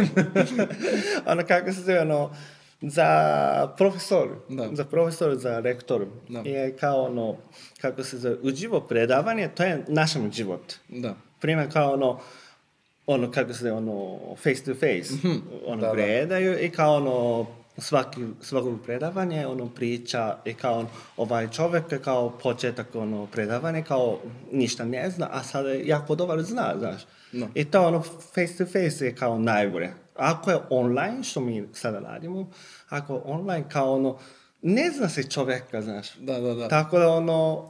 [SPEAKER 11] [LAUGHS] ono kako se zove, ono, za profesor, za profesor, za rektor, je kao ono, kako se zove, uživo predavanje, to je naš život.
[SPEAKER 1] Da.
[SPEAKER 11] Prima kao ono, ono kako se zove, ono, face to face,
[SPEAKER 1] Mhm.
[SPEAKER 11] ono,
[SPEAKER 1] Da, da.
[SPEAKER 11] predaju i kao ono, svaki, svakog predavanje, ono, priča i kao on, ovaj čovjek je kao početak ono predavanje, kao ništa ne zna, a sada je jako dobar zna, znaš.
[SPEAKER 1] No.
[SPEAKER 11] I to ono face to face je kao najbolje. Ako je online, što mi sada radimo, ako je online kao ono, ne zna se čovjeka, znaš.
[SPEAKER 1] Da, da, da.
[SPEAKER 11] Tako da ono,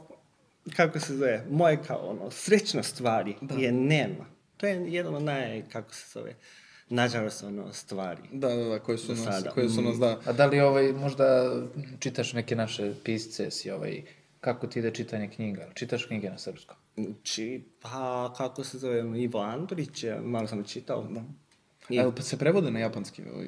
[SPEAKER 11] kako se zove, moje kao ono, srećno stvari
[SPEAKER 1] Da.
[SPEAKER 11] je nema. To je jedno od naj, kako se zove, nažalost ono, stvari.
[SPEAKER 1] Da, da, da, koje su
[SPEAKER 11] Do
[SPEAKER 1] nas-
[SPEAKER 11] sada.
[SPEAKER 1] koje su nas, da.
[SPEAKER 2] A da li ovaj, možda čitaš neke naše pisce, si ovaj, kako ti ide čitanje knjiga? Čitaš knjige na srpskom?
[SPEAKER 11] Či, pa kako se zove, Ivo Andrić, je, malo sam čitao. Da.
[SPEAKER 1] A jel se prevode na japanski? Ovaj?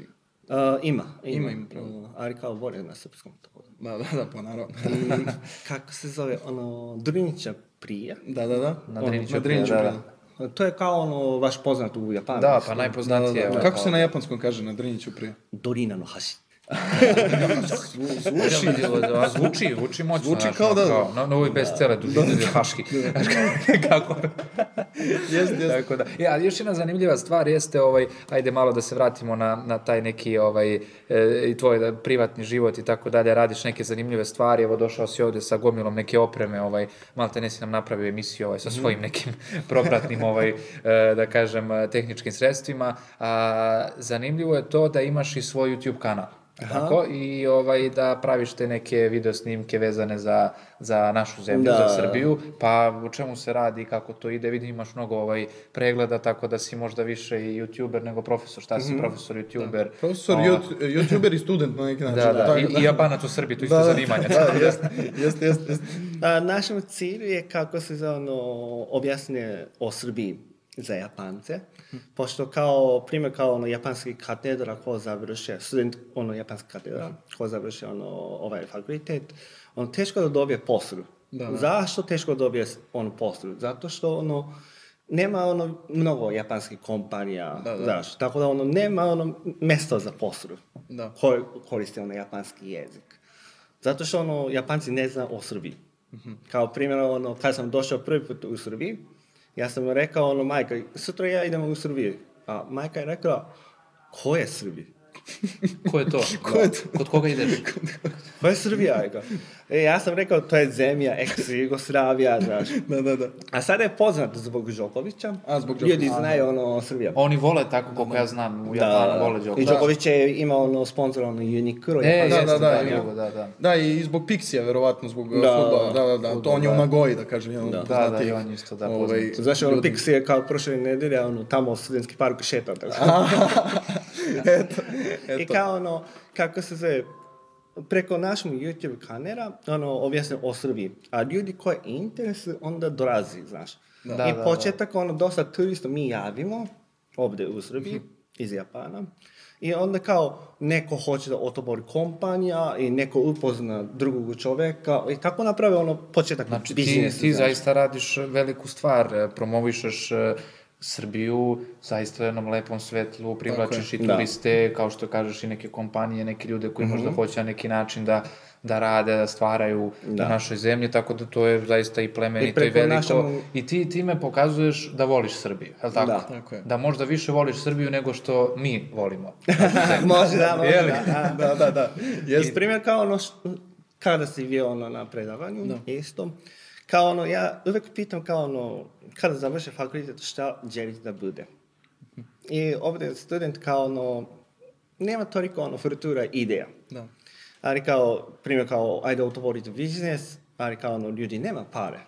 [SPEAKER 11] ima, E,
[SPEAKER 1] Ima,
[SPEAKER 11] ima.
[SPEAKER 1] ima prevod.
[SPEAKER 11] Ali kao vole na srpskom. Tako.
[SPEAKER 1] Da, da, da, pa naravno.
[SPEAKER 11] I kako se zove, ono, Drinića prija.
[SPEAKER 1] Da, da, da.
[SPEAKER 11] Na
[SPEAKER 1] Ono,
[SPEAKER 11] Drinića
[SPEAKER 1] na
[SPEAKER 11] prija,
[SPEAKER 1] Drinića
[SPEAKER 11] da,
[SPEAKER 1] prija.
[SPEAKER 11] To je kao ono, vaš poznat u Japanu.
[SPEAKER 2] Da, pa najpoznatije,
[SPEAKER 11] Da, da, da.
[SPEAKER 2] ono,
[SPEAKER 1] Kako
[SPEAKER 2] kao-
[SPEAKER 1] se na japanskom kaže na Driniću
[SPEAKER 11] [LAUGHS]
[SPEAKER 1] prije?
[SPEAKER 11] Dorina no hashi.
[SPEAKER 2] Zvuči, a zvuči, zvuči moćno.
[SPEAKER 1] Zvuči
[SPEAKER 2] znaš,
[SPEAKER 1] kao
[SPEAKER 2] ono,
[SPEAKER 1] da-
[SPEAKER 2] Kao, no, no, ovaj bez cele dužine, da. haški. [LAUGHS] Kako?
[SPEAKER 1] Jest, jest.
[SPEAKER 2] Tako da. E, ali još jedna zanimljiva stvar jeste, ovaj, ajde malo da se vratimo na, na taj neki ovaj, e, i tvoj da, privatni život i tako dalje, radiš neke zanimljive stvari, evo došao si ovdje sa gomilom neke opreme, ovaj, malo te nesi nam napravio emisiju ovaj, sa
[SPEAKER 11] Mhm.
[SPEAKER 2] svojim nekim [LAUGHS] propratnim, ovaj, e, da kažem, e, tehničkim sredstvima. A, zanimljivo je to da imaš i svoj YouTube kanal.
[SPEAKER 11] Aha.
[SPEAKER 2] Tako, i ovaj, da praviš te neke video snimke vezane za, za našu zemlju,
[SPEAKER 11] Da.
[SPEAKER 2] za Srbiju, pa u čemu se radi, kako to ide, vidim imaš mnogo ovaj, pregleda, tako da si možda više i youtuber nego profesor, šta si
[SPEAKER 1] Mhm.
[SPEAKER 2] profesor, youtuber.
[SPEAKER 1] Profesor,
[SPEAKER 2] Ovaj,
[SPEAKER 1] jut- youtuber i student na neki način. [LAUGHS]
[SPEAKER 2] Da, da,
[SPEAKER 1] Tako
[SPEAKER 2] i, i Japanac u Srbiji, to isto
[SPEAKER 1] Da, da.
[SPEAKER 2] zanimanje.
[SPEAKER 1] Da, jest, jest, jest, jest.
[SPEAKER 11] A, našem cilju je kako se zove ono, objasnije o Srbiji za Japance, pošto kao primjer kao ono japanski katedra ko završe, student ono japanski katedra ko završe ono ovaj fakultet, on teško da dobije poslu.
[SPEAKER 1] Da, da.
[SPEAKER 11] Zašto teško dobije on poslu? Zato što ono nema ono mnogo japanskih kompanija,
[SPEAKER 1] Da, da.
[SPEAKER 11] znaš, tako da ono nema ono mjesto za poslu
[SPEAKER 1] Da.
[SPEAKER 11] koji koriste ono japanski jezik. Zato što ono, Japanci ne zna o Srbiji.
[SPEAKER 1] Mhm.
[SPEAKER 11] Kao primjer, ono, kad sam došao prvi put u Srbiji, ja sam rekao, ono, majka, sutra ja idem u Srbiju. A majka je rekla, ko je Srbija?
[SPEAKER 2] Ko je to?
[SPEAKER 1] [LAUGHS] Ko je to?
[SPEAKER 2] Kod koga ideš?
[SPEAKER 11] Ko je Srbija? je rekao. E, ja sam rekao, to je zemlja, ex-Jugoslavija, znaš.
[SPEAKER 1] [LAUGHS] Da, da, da.
[SPEAKER 11] A sada je poznat zbog Đokovića.
[SPEAKER 1] A, zbog
[SPEAKER 11] Ljudi
[SPEAKER 1] Đokovića.
[SPEAKER 11] znaju, ono, Srbija. Da,
[SPEAKER 2] Oni vole tako, koliko ja znam, u
[SPEAKER 1] Da,
[SPEAKER 2] Japanu vole Đoković.
[SPEAKER 11] I Đoković je imao, ono, sponsor, ono, Uniqlo.
[SPEAKER 2] E,
[SPEAKER 11] japanski
[SPEAKER 1] Da, da, da,
[SPEAKER 11] stan,
[SPEAKER 1] ima.
[SPEAKER 2] Jogo, da, da.
[SPEAKER 1] Da, i zbog Pixija, verovatno, zbog da,
[SPEAKER 11] Da,
[SPEAKER 1] futbola. Da, da, da. to
[SPEAKER 2] fudbal,
[SPEAKER 1] on je u
[SPEAKER 2] da.
[SPEAKER 1] Nagoji, da kažem, jedan
[SPEAKER 11] Da.
[SPEAKER 1] od
[SPEAKER 11] Da,
[SPEAKER 2] Da, da,
[SPEAKER 1] poznatijih,
[SPEAKER 2] i on je isto, da,
[SPEAKER 1] ovaj,
[SPEAKER 2] poznat.
[SPEAKER 11] Znaš, ono,
[SPEAKER 1] ljudi.
[SPEAKER 11] Pixi je kao prošle nedelje, ono, tamo u studentski park šetao. tako.
[SPEAKER 1] [LAUGHS] eto,
[SPEAKER 11] I
[SPEAKER 1] eto.
[SPEAKER 11] kao, ono, kako se zove, preko našeg YouTube kanera, ono, objasnim o Srbiji. A ljudi koji interes, onda dolazi, znaš.
[SPEAKER 1] Da.
[SPEAKER 2] Da,
[SPEAKER 11] I
[SPEAKER 2] da,
[SPEAKER 11] početak, ono, dosta turista mi javimo, ovdje u
[SPEAKER 1] Mhm.
[SPEAKER 11] Srbiji, iz Japana. I onda kao neko hoće da otvori kompanija i neko upozna drugog čovjeka i tako naprave ono početak
[SPEAKER 2] Znači, ti,
[SPEAKER 11] biznisa.
[SPEAKER 2] ti
[SPEAKER 11] znaš.
[SPEAKER 2] zaista radiš veliku stvar, e, promovišeš e, Srbiju zaista u jednom lepom svetlu, privlačiš i
[SPEAKER 11] Da.
[SPEAKER 2] turiste, kao što kažeš i neke kompanije, neke ljude koji možda hoće na neki način da, da rade, da stvaraju u
[SPEAKER 11] Da.
[SPEAKER 2] našoj zemlji, tako da to je zaista i plemenito i,
[SPEAKER 11] preko
[SPEAKER 2] veliko.
[SPEAKER 11] našemu-
[SPEAKER 2] I ti time pokazuješ da voliš Srbiju, je li tako?
[SPEAKER 11] Da.
[SPEAKER 1] Tako je.
[SPEAKER 2] Da možda više voliš Srbiju nego što mi volimo.
[SPEAKER 11] [LAUGHS] može da, može
[SPEAKER 2] Jeli?
[SPEAKER 11] da.
[SPEAKER 1] Da, da, da.
[SPEAKER 11] Jest primjer kao ono š- kada si bio ono na predavanju, isto. Kao ono, ja uvijek pitam kao ono, kada završi fakultet, šta želiš da bude? I ovdje student kao ono, nema toliko ono furtura ideja.
[SPEAKER 1] Da.
[SPEAKER 11] Ali kao, primjer kao, ajde otvoriti biznis, ali kao ono, ljudi nema pare.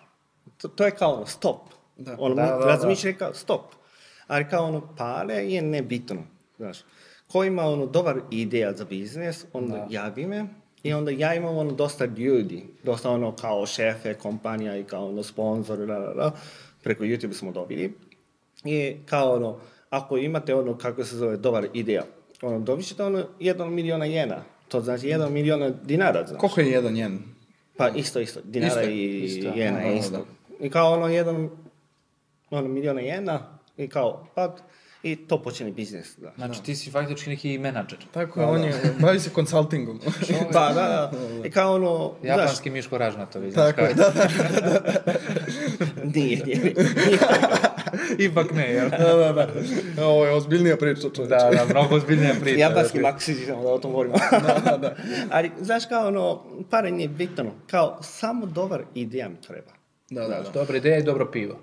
[SPEAKER 11] To, to je kao ono, stop.
[SPEAKER 1] Da.
[SPEAKER 11] Ono,
[SPEAKER 2] Da, da, da.
[SPEAKER 11] razmišljaj kao, stop. Ali kao ono, pare je
[SPEAKER 2] Da.
[SPEAKER 11] nebitno. Znaš, ko ima ono, dobar ideja za biznis, onda javi me, I onda ja imam ono dosta ljudi, dosta ono kao šefe, kompanija i kao ono sponsor, da, da, da. preko YouTube smo dobili. I kao ono, ako imate ono, kako se zove, dobar ideja, ono, dobit ćete ono jedan miliona jena. To znači jedan miliona dinara, znaš.
[SPEAKER 1] Koliko je jedan jen?
[SPEAKER 11] Pa isto, isto. Dinara
[SPEAKER 1] Isto je,
[SPEAKER 11] i
[SPEAKER 1] isto je.
[SPEAKER 11] jena,
[SPEAKER 1] Da, da,
[SPEAKER 11] isto. I kao ono jedan, ono miliona jena, i kao, pa, i to počinje biznis,
[SPEAKER 2] [LAUGHS]
[SPEAKER 11] da.
[SPEAKER 2] Znači ti si faktički neki menadžer.
[SPEAKER 1] Tako je, on je, da. [LAUGHS] bavi se konsultingom.
[SPEAKER 11] Pa, da, da. I kao ono, znaš-
[SPEAKER 2] Japanski Miško Ražnatović.
[SPEAKER 1] Tako je, da, da,
[SPEAKER 11] [LAUGHS] Nije, nije.
[SPEAKER 2] Ipak ne, jel?
[SPEAKER 1] da, da, da. Ovo je ozbiljnija priča, čovječe.
[SPEAKER 2] Da, da, mnogo ozbiljnija priča.
[SPEAKER 11] Japanski maksizam, da o tom govorimo. Ali, znaš, kao ono, pare nije bitno. Kao, samo dobar ideja mi treba.
[SPEAKER 1] Da, da.
[SPEAKER 2] Znači, Dobra ideja i dobro pivo.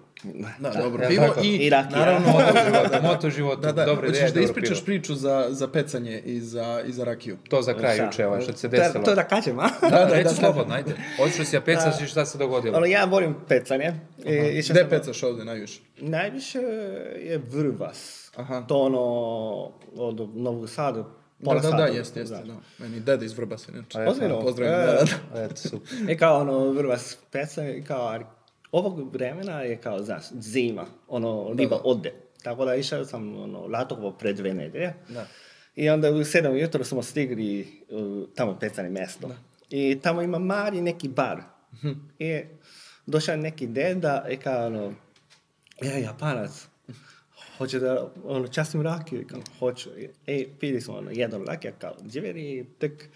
[SPEAKER 1] Da, dobro
[SPEAKER 2] jel
[SPEAKER 1] pivo
[SPEAKER 2] tako?
[SPEAKER 1] i, da.
[SPEAKER 11] I rakija.
[SPEAKER 1] naravno
[SPEAKER 2] Moto života, moto života,
[SPEAKER 1] [LAUGHS] Da, da,
[SPEAKER 2] dobra ideja i
[SPEAKER 1] hoćeš da
[SPEAKER 2] dobro
[SPEAKER 1] ispričaš priču za, za pecanje i za, i za rakiju.
[SPEAKER 2] To za kraj
[SPEAKER 11] Šta?
[SPEAKER 2] juče, ovaj, što se
[SPEAKER 11] Da,
[SPEAKER 2] desilo.
[SPEAKER 11] to da kažem, a?
[SPEAKER 2] Da,
[SPEAKER 1] Da, da,
[SPEAKER 2] da, reci
[SPEAKER 1] da,
[SPEAKER 2] slobodno, ajde. Otišao si ja pecaš i šta se dogodilo?
[SPEAKER 11] [LAUGHS] Ono, ja volim pecanje. I, išao
[SPEAKER 1] Gde
[SPEAKER 11] sam-
[SPEAKER 1] pecaš ovde najviše?
[SPEAKER 11] Najviše je Vrvas. To ono, od Novog Sada, pola
[SPEAKER 1] da, da, da,
[SPEAKER 11] sata.
[SPEAKER 1] jeste, jeste. Da. Meni deda iz Vrbasa, inače.
[SPEAKER 11] Eto. Ozbiljno?
[SPEAKER 1] Pozdravim,
[SPEAKER 11] E.
[SPEAKER 1] da, da,
[SPEAKER 2] Eto, super.
[SPEAKER 11] I kao ono, Vrvas pecanje, i kao, ali ovog vremena je kao, znaš, zima. Ono,
[SPEAKER 1] Da,
[SPEAKER 11] riba ode. Tako da išao sam, ono, Latovo pred dve nedelje.
[SPEAKER 1] da.
[SPEAKER 11] I onda u sedam ujutro smo stigli u tamo pecane
[SPEAKER 1] Da.
[SPEAKER 11] mjesto. I tamo ima mali neki bar.
[SPEAKER 1] Mhm.
[SPEAKER 11] I došao je neki deda i kao ono, ja japanac, hoće da, ono, častim rakiju, I kao, hoću. I, e, pili smo ono, jedan rakija kao dživeri, tek.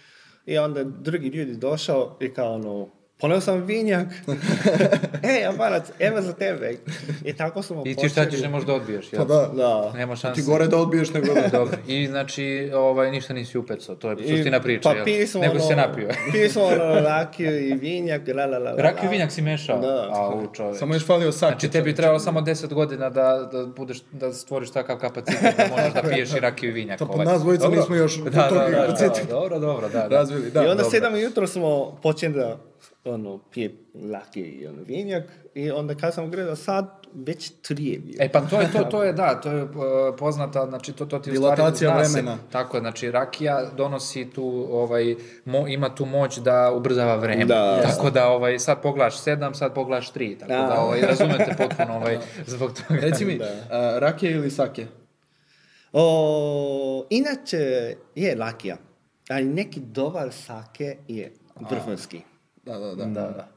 [SPEAKER 11] I onda drugi ljudi došao i kao ono, poneo sam
[SPEAKER 2] [LAUGHS]
[SPEAKER 11] vinjak. e, japanac, evo za tebe. I tako smo
[SPEAKER 2] I ti šta ćeš, ne možeš da odbiješ, jel?
[SPEAKER 1] Pa da.
[SPEAKER 11] Da.
[SPEAKER 2] Nema šanse.
[SPEAKER 1] Ti gore da odbiješ [LAUGHS] nego da.
[SPEAKER 2] Dobro, i znači, ovaj, ništa nisi upecao, to je
[SPEAKER 11] I-
[SPEAKER 2] suština priče,
[SPEAKER 11] pa
[SPEAKER 2] jel?
[SPEAKER 11] pili smo
[SPEAKER 2] Nego
[SPEAKER 11] ono,
[SPEAKER 2] si se napio.
[SPEAKER 11] [LAUGHS]
[SPEAKER 1] da.
[SPEAKER 2] [LAUGHS]
[SPEAKER 11] pili smo ono rakiju i vinjak, la la la la.
[SPEAKER 2] Rakiju
[SPEAKER 11] la.
[SPEAKER 2] i vinjak si mešao?
[SPEAKER 11] Da.
[SPEAKER 2] Au, čoveč.
[SPEAKER 1] Samo još falio sak.
[SPEAKER 2] Znači tebi je trebalo samo 10 godina da, da, budeš, da stvoriš takav kapacitet da možeš da piješ i rakiju i vinjak.
[SPEAKER 1] To pod
[SPEAKER 2] ovaj.
[SPEAKER 1] nas dvojica
[SPEAKER 2] Dobro.
[SPEAKER 1] nismo još do
[SPEAKER 2] da, da,
[SPEAKER 1] tog
[SPEAKER 2] da,
[SPEAKER 1] kapaciteta.
[SPEAKER 2] da, dobro, dobro, da. da.
[SPEAKER 1] Razvili, da.
[SPEAKER 11] I onda
[SPEAKER 2] dobro.
[SPEAKER 11] sedam ujutro smo počeli da ono, pije rakiju i ono, vinjak. I onda kad sam gledao sad, već tri je bio.
[SPEAKER 2] E pa to je to
[SPEAKER 1] [LAUGHS]
[SPEAKER 2] to je da, to je uh, poznata, znači to to ti u stvari
[SPEAKER 1] Dilatacija
[SPEAKER 2] zna se.
[SPEAKER 1] vremena.
[SPEAKER 2] Tako je, znači rakija donosi tu ovaj mo, ima tu moć da ubrzava vreme.
[SPEAKER 11] Da.
[SPEAKER 2] Tako da ovaj sad poglaš 7, sad poglaš 3, tako da,
[SPEAKER 11] Da.
[SPEAKER 2] ovaj
[SPEAKER 1] [LAUGHS]
[SPEAKER 2] razumete potpuno ovaj zbog toga.
[SPEAKER 1] Reci mi, a, rakije ili sake?
[SPEAKER 11] O, inače je rakija, ali neki dobar sake je vrhunski.
[SPEAKER 1] Da, da, da.
[SPEAKER 2] da, da.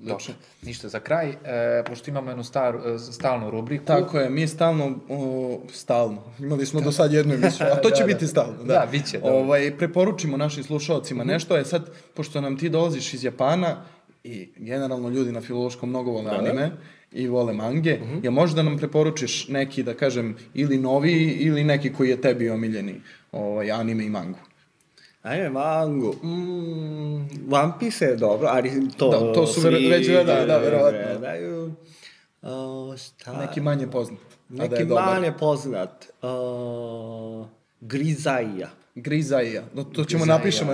[SPEAKER 2] Dobro. Ništa za kraj, e, pošto imamo jednu staru, e, stalnu rubriku.
[SPEAKER 1] Tako je, mi stalno, o, stalno, imali smo do sad jednu emisiju, a to će biti stalno. Da,
[SPEAKER 2] Da, bit će, dobro.
[SPEAKER 1] Ovaj, preporučimo našim slušalcima nešto, je sad, pošto nam ti dolaziš iz Japana i generalno ljudi na filološkom mnogo vole anime i vole mange, je možda nam preporučiš neki, da kažem, ili novi ili neki koji je tebi omiljeni ovaj, anime i mangu.
[SPEAKER 11] Ajme, mango. Mm, One Piece je dobro, ali to...
[SPEAKER 1] Da, to su ver-
[SPEAKER 11] svi
[SPEAKER 1] već gledali, da,
[SPEAKER 11] gledaju,
[SPEAKER 1] verovatno.
[SPEAKER 11] gledaju. O, šta?
[SPEAKER 1] Neki manje poznat. a da je
[SPEAKER 11] Neki
[SPEAKER 1] dobar.
[SPEAKER 11] manje poznat. O, Grizaija.
[SPEAKER 1] Grizaija. No, to ćemo
[SPEAKER 2] Grizaija.
[SPEAKER 1] napišemo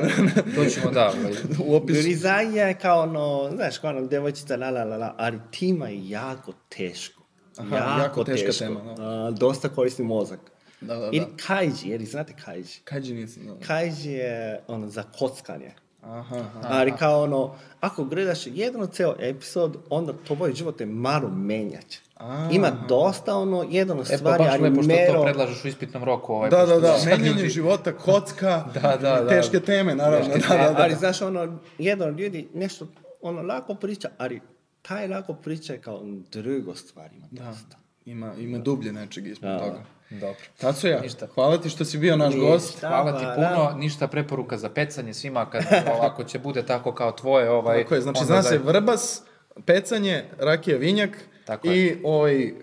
[SPEAKER 2] To ćemo da, ovaj,
[SPEAKER 1] [LAUGHS] u opisu.
[SPEAKER 11] Grizaija je kao ono, znaš, kao ono, devojčica, la la la la, ali tima je jako teško.
[SPEAKER 1] Aha, jako teška tema, da.
[SPEAKER 11] A, dosta koristi mozak.
[SPEAKER 1] Da, da, da.
[SPEAKER 11] Ili kaiđi, jer znate kaiđi.
[SPEAKER 1] Kađi nisam. da.
[SPEAKER 11] Kaiđi je ono za kockanje.
[SPEAKER 1] Aha, aha.
[SPEAKER 11] Ali kao ono, ako gledaš jedan ceo epizod, onda tvoj život je malo menjač.
[SPEAKER 1] A.
[SPEAKER 11] Ima dosta ono, jedno
[SPEAKER 2] E, pa
[SPEAKER 11] stvari,
[SPEAKER 2] baš
[SPEAKER 11] ali
[SPEAKER 2] lepo što to
[SPEAKER 11] mero...
[SPEAKER 2] predlažeš u ispitnom roku. Ovaj,
[SPEAKER 1] Da,
[SPEAKER 2] pošto
[SPEAKER 1] da, da,
[SPEAKER 2] sad
[SPEAKER 1] menjanje
[SPEAKER 2] ljudi-
[SPEAKER 1] života, kocka,
[SPEAKER 2] Da, da, da.
[SPEAKER 1] teške teme, naravno. Da, da, da.
[SPEAKER 11] Ali znaš, ono, jedan ljudi nešto ono lako priča, ali taj lako priča je kao drugo stvar ima dosta.
[SPEAKER 1] da. Ima, ima dublje nečeg ispod toga.
[SPEAKER 2] Dobro.
[SPEAKER 1] Tacuja, hvala ti što si bio naš gost.
[SPEAKER 2] Hvala ti puno, ništa preporuka za pecanje
[SPEAKER 1] [LAUGHS]
[SPEAKER 2] svima kad ovako će bude tako kao tvoje ovaj.
[SPEAKER 1] Tako je, znači
[SPEAKER 2] onda
[SPEAKER 1] zna se
[SPEAKER 2] daj-
[SPEAKER 1] vrbas, pecanje, rakija vinjak
[SPEAKER 2] Tako je.
[SPEAKER 1] i ovaj, uh,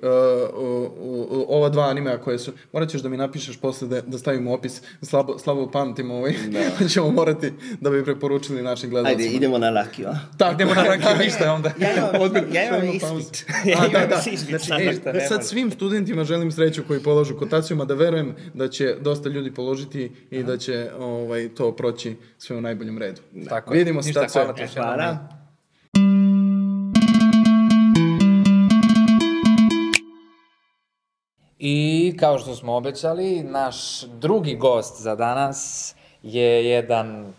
[SPEAKER 1] uh, uh, ova dva animea koje su... Morat ćeš da mi napišeš posle da, da stavimo opis, slabo, slabo pamtim ovaj, [LAUGHS] da. ćemo morati da bi preporučili našim gledalcima.
[SPEAKER 11] Ajde, idemo na lakiju. a?
[SPEAKER 1] Tako, idemo na
[SPEAKER 2] Tako, ništa
[SPEAKER 1] [LAUGHS]
[SPEAKER 2] onda.
[SPEAKER 11] Ja imam,
[SPEAKER 1] Odbili,
[SPEAKER 11] ja imam
[SPEAKER 1] stavimo pauzu.
[SPEAKER 11] ispit. Ja
[SPEAKER 1] A, da,
[SPEAKER 11] imam
[SPEAKER 1] da.
[SPEAKER 11] ispit.
[SPEAKER 1] Znači, e,
[SPEAKER 2] ništa,
[SPEAKER 1] e,
[SPEAKER 2] ne
[SPEAKER 1] sad
[SPEAKER 2] može.
[SPEAKER 1] svim studentima želim sreću koji polažu kotaciju, da verujem da će dosta ljudi položiti i da će ovaj, to proći sve u najboljem redu.
[SPEAKER 2] Tako je.
[SPEAKER 1] Vidimo se, E,
[SPEAKER 2] Ništa,
[SPEAKER 1] Tacuja.
[SPEAKER 2] hvala ti još jednom.
[SPEAKER 11] Hvala.
[SPEAKER 2] I kao što smo obećali, naš drugi gost za danas je jedan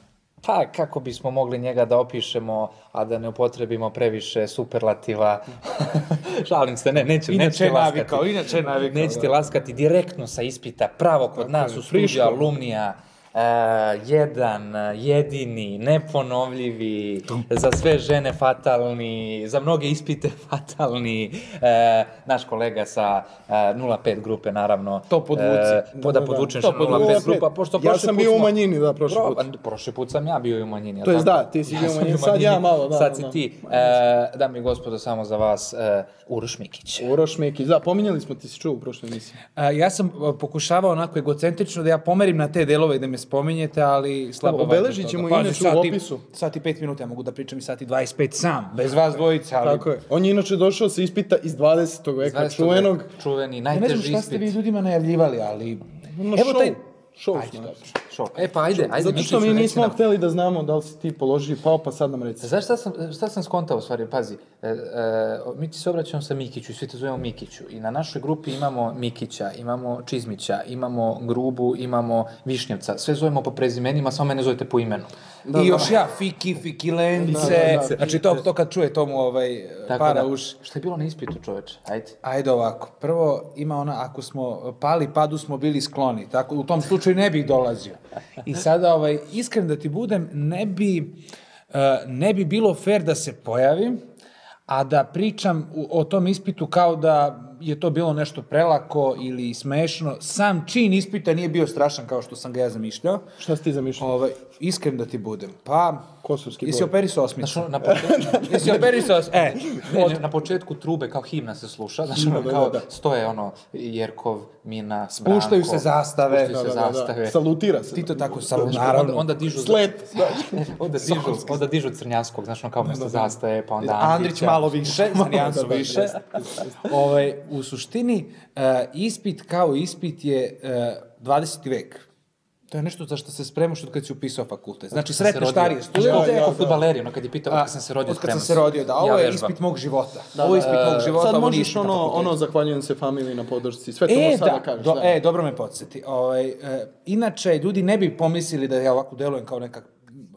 [SPEAKER 2] pa kako bismo mogli njega da opišemo, a da ne upotrebimo previše superlativa. [LAUGHS] Šalim se, ne, neće,
[SPEAKER 12] Inače
[SPEAKER 2] nećete
[SPEAKER 12] je
[SPEAKER 2] laskati.
[SPEAKER 12] navikao, inače je navikao,
[SPEAKER 2] Nećete
[SPEAKER 12] da.
[SPEAKER 2] laskati direktno sa ispita, pravo kod nas u studiju
[SPEAKER 12] friško.
[SPEAKER 2] alumnija. e, jedan, e, jedini, neponovljivi, za sve žene fatalni, za mnoge ispite [LAUGHS] fatalni, e, naš kolega sa e, 05 grupe, naravno. To
[SPEAKER 1] podvuci. Da, da,
[SPEAKER 2] da,
[SPEAKER 1] da.
[SPEAKER 2] podvučeš
[SPEAKER 1] To
[SPEAKER 2] 05
[SPEAKER 1] podvuci.
[SPEAKER 2] grupa, pošto
[SPEAKER 1] Ja
[SPEAKER 2] prošli
[SPEAKER 1] sam
[SPEAKER 2] put
[SPEAKER 1] bio u
[SPEAKER 2] smo-
[SPEAKER 1] manjini, da, prošli
[SPEAKER 2] Pro-
[SPEAKER 1] put.
[SPEAKER 2] a, Prošli put sam ja bio i u manjini. jel
[SPEAKER 1] To jest
[SPEAKER 2] tako?
[SPEAKER 1] da, ti si
[SPEAKER 2] Ja
[SPEAKER 1] bio u
[SPEAKER 2] sam
[SPEAKER 1] manjini, sad ja malo, da,
[SPEAKER 2] Sad
[SPEAKER 1] da,
[SPEAKER 2] si
[SPEAKER 1] da.
[SPEAKER 2] ti. E, dame i gospodo, samo za vas, e, Uroš Mikić.
[SPEAKER 1] Uroš Mikić, da, pominjali smo, ti si čuo u prošloj emisiji.
[SPEAKER 12] A, ja sam a, pokušavao onako egocentrično da ja pomerim na te delove i da me spominjete, ali slabo...
[SPEAKER 1] Da, obeležit ćemo inače u opisu.
[SPEAKER 12] Sati pet minuta ja mogu da pričam i sati 25 sam.
[SPEAKER 2] Bez vas dvojica,
[SPEAKER 12] ali...
[SPEAKER 1] Tako je. On je inače došao sa ispita iz 20. veka,
[SPEAKER 12] 20.
[SPEAKER 1] čuvenog.
[SPEAKER 2] Čuveni,
[SPEAKER 12] Ja ne znam šta ste vi ljudima najavljivali, ali...
[SPEAKER 1] Ono
[SPEAKER 12] Evo taj...
[SPEAKER 1] Šou,
[SPEAKER 12] Ajde,
[SPEAKER 1] znaš.
[SPEAKER 12] dobro.
[SPEAKER 2] E pa ajde, ajde.
[SPEAKER 1] Zato što
[SPEAKER 2] Mikiću,
[SPEAKER 1] mi
[SPEAKER 2] reci
[SPEAKER 1] nismo
[SPEAKER 2] nam.
[SPEAKER 1] hteli da znamo da li si ti položio pao, pa sad nam reci.
[SPEAKER 2] Znaš šta sam, šta sam skontao u stvari, pazi, e, e, mi ti se obraćamo sa Mikiću i svi te zovemo Mikiću i na našoj grupi imamo Mikića, imamo Čizmića, imamo Grubu, imamo Višnjevca, sve zovemo po prezimenima, samo mene zovete po imenu.
[SPEAKER 12] I još ja, fiki, fikilence,
[SPEAKER 2] Da, da, da.
[SPEAKER 12] znači to, to kad čuje tomu ovaj,
[SPEAKER 2] Tako
[SPEAKER 12] para
[SPEAKER 2] da,
[SPEAKER 12] uši.
[SPEAKER 2] Šta je bilo na ispitu čoveče? Ajde.
[SPEAKER 12] Ajde ovako, prvo ima ona, ako smo pali, padu smo bili skloni, tako u tom slučaju ne bih dolazio. I sada, ovaj, iskren da ti budem, ne bi, eh, ne bi bilo fair da se pojavim, a da pričam u- o tom ispitu kao da je to bilo nešto prelako ili smešno. Sam čin ispita nije bio strašan kao što sam ga ja zamišljao.
[SPEAKER 1] Šta si ti zamišljao?
[SPEAKER 12] Ovaj, iskren da ti budem. Pa,
[SPEAKER 1] Kosovski
[SPEAKER 12] jesi
[SPEAKER 1] boj.
[SPEAKER 12] operisao osmicu?
[SPEAKER 2] Znaš, ono, na
[SPEAKER 12] [LAUGHS]
[SPEAKER 2] početku,
[SPEAKER 12] Jesi operisao osmicu? E,
[SPEAKER 2] Ne, ne, na početku trube kao himna se sluša, znaš, ono,
[SPEAKER 12] Da, da,
[SPEAKER 2] kao
[SPEAKER 12] da.
[SPEAKER 2] stoje ono Jerkov, Mina, Branko.
[SPEAKER 12] Puštaju se zastave.
[SPEAKER 2] Puštaju se
[SPEAKER 12] Da, da, da, da.
[SPEAKER 2] zastave.
[SPEAKER 12] Salutira se. Ti to tako,
[SPEAKER 2] Znaš,
[SPEAKER 12] salu-
[SPEAKER 2] onda-
[SPEAKER 12] naravno.
[SPEAKER 2] Onda, dižu...
[SPEAKER 12] Slep,
[SPEAKER 2] onda, dižu, onda dižu Crnjanskog, znaš, ono kao
[SPEAKER 12] Da,
[SPEAKER 2] mesto zastave, pa onda Andrića.
[SPEAKER 12] Andrić Da, [LAUGHS] malo da, više, Marijancu
[SPEAKER 2] Crnjansko
[SPEAKER 12] više. Ovaj, u suštini, e, ispit kao ispit je e, 20. vek. To je nešto za što se spremaš od kad si upisao fakultet. Znači, sretne starije
[SPEAKER 2] Kao
[SPEAKER 12] studente.
[SPEAKER 2] da, futbaleri, ono kad je pitao,
[SPEAKER 12] A,
[SPEAKER 2] od kad sam se rodio,
[SPEAKER 12] od kad
[SPEAKER 2] spremam
[SPEAKER 12] sam se rodio, da,
[SPEAKER 2] Ja
[SPEAKER 12] ovo je
[SPEAKER 2] vežbam.
[SPEAKER 12] ispit mog života.
[SPEAKER 1] Da,
[SPEAKER 12] ovo je
[SPEAKER 1] da,
[SPEAKER 12] ispit mog
[SPEAKER 1] e,
[SPEAKER 12] života,
[SPEAKER 1] Sad
[SPEAKER 12] ovo nije
[SPEAKER 1] možeš
[SPEAKER 12] ispit
[SPEAKER 1] ono,
[SPEAKER 12] na fakultetu.
[SPEAKER 1] ono, zahvaljujem se familiji na podršci. Sve to
[SPEAKER 12] E,
[SPEAKER 1] možeš sad
[SPEAKER 12] da,
[SPEAKER 1] da kažeš.
[SPEAKER 12] do-
[SPEAKER 1] da.
[SPEAKER 12] e, dobro me podsjeti. Ovaj, e, inače, ljudi ne bi pomislili da ja ovako delujem kao neka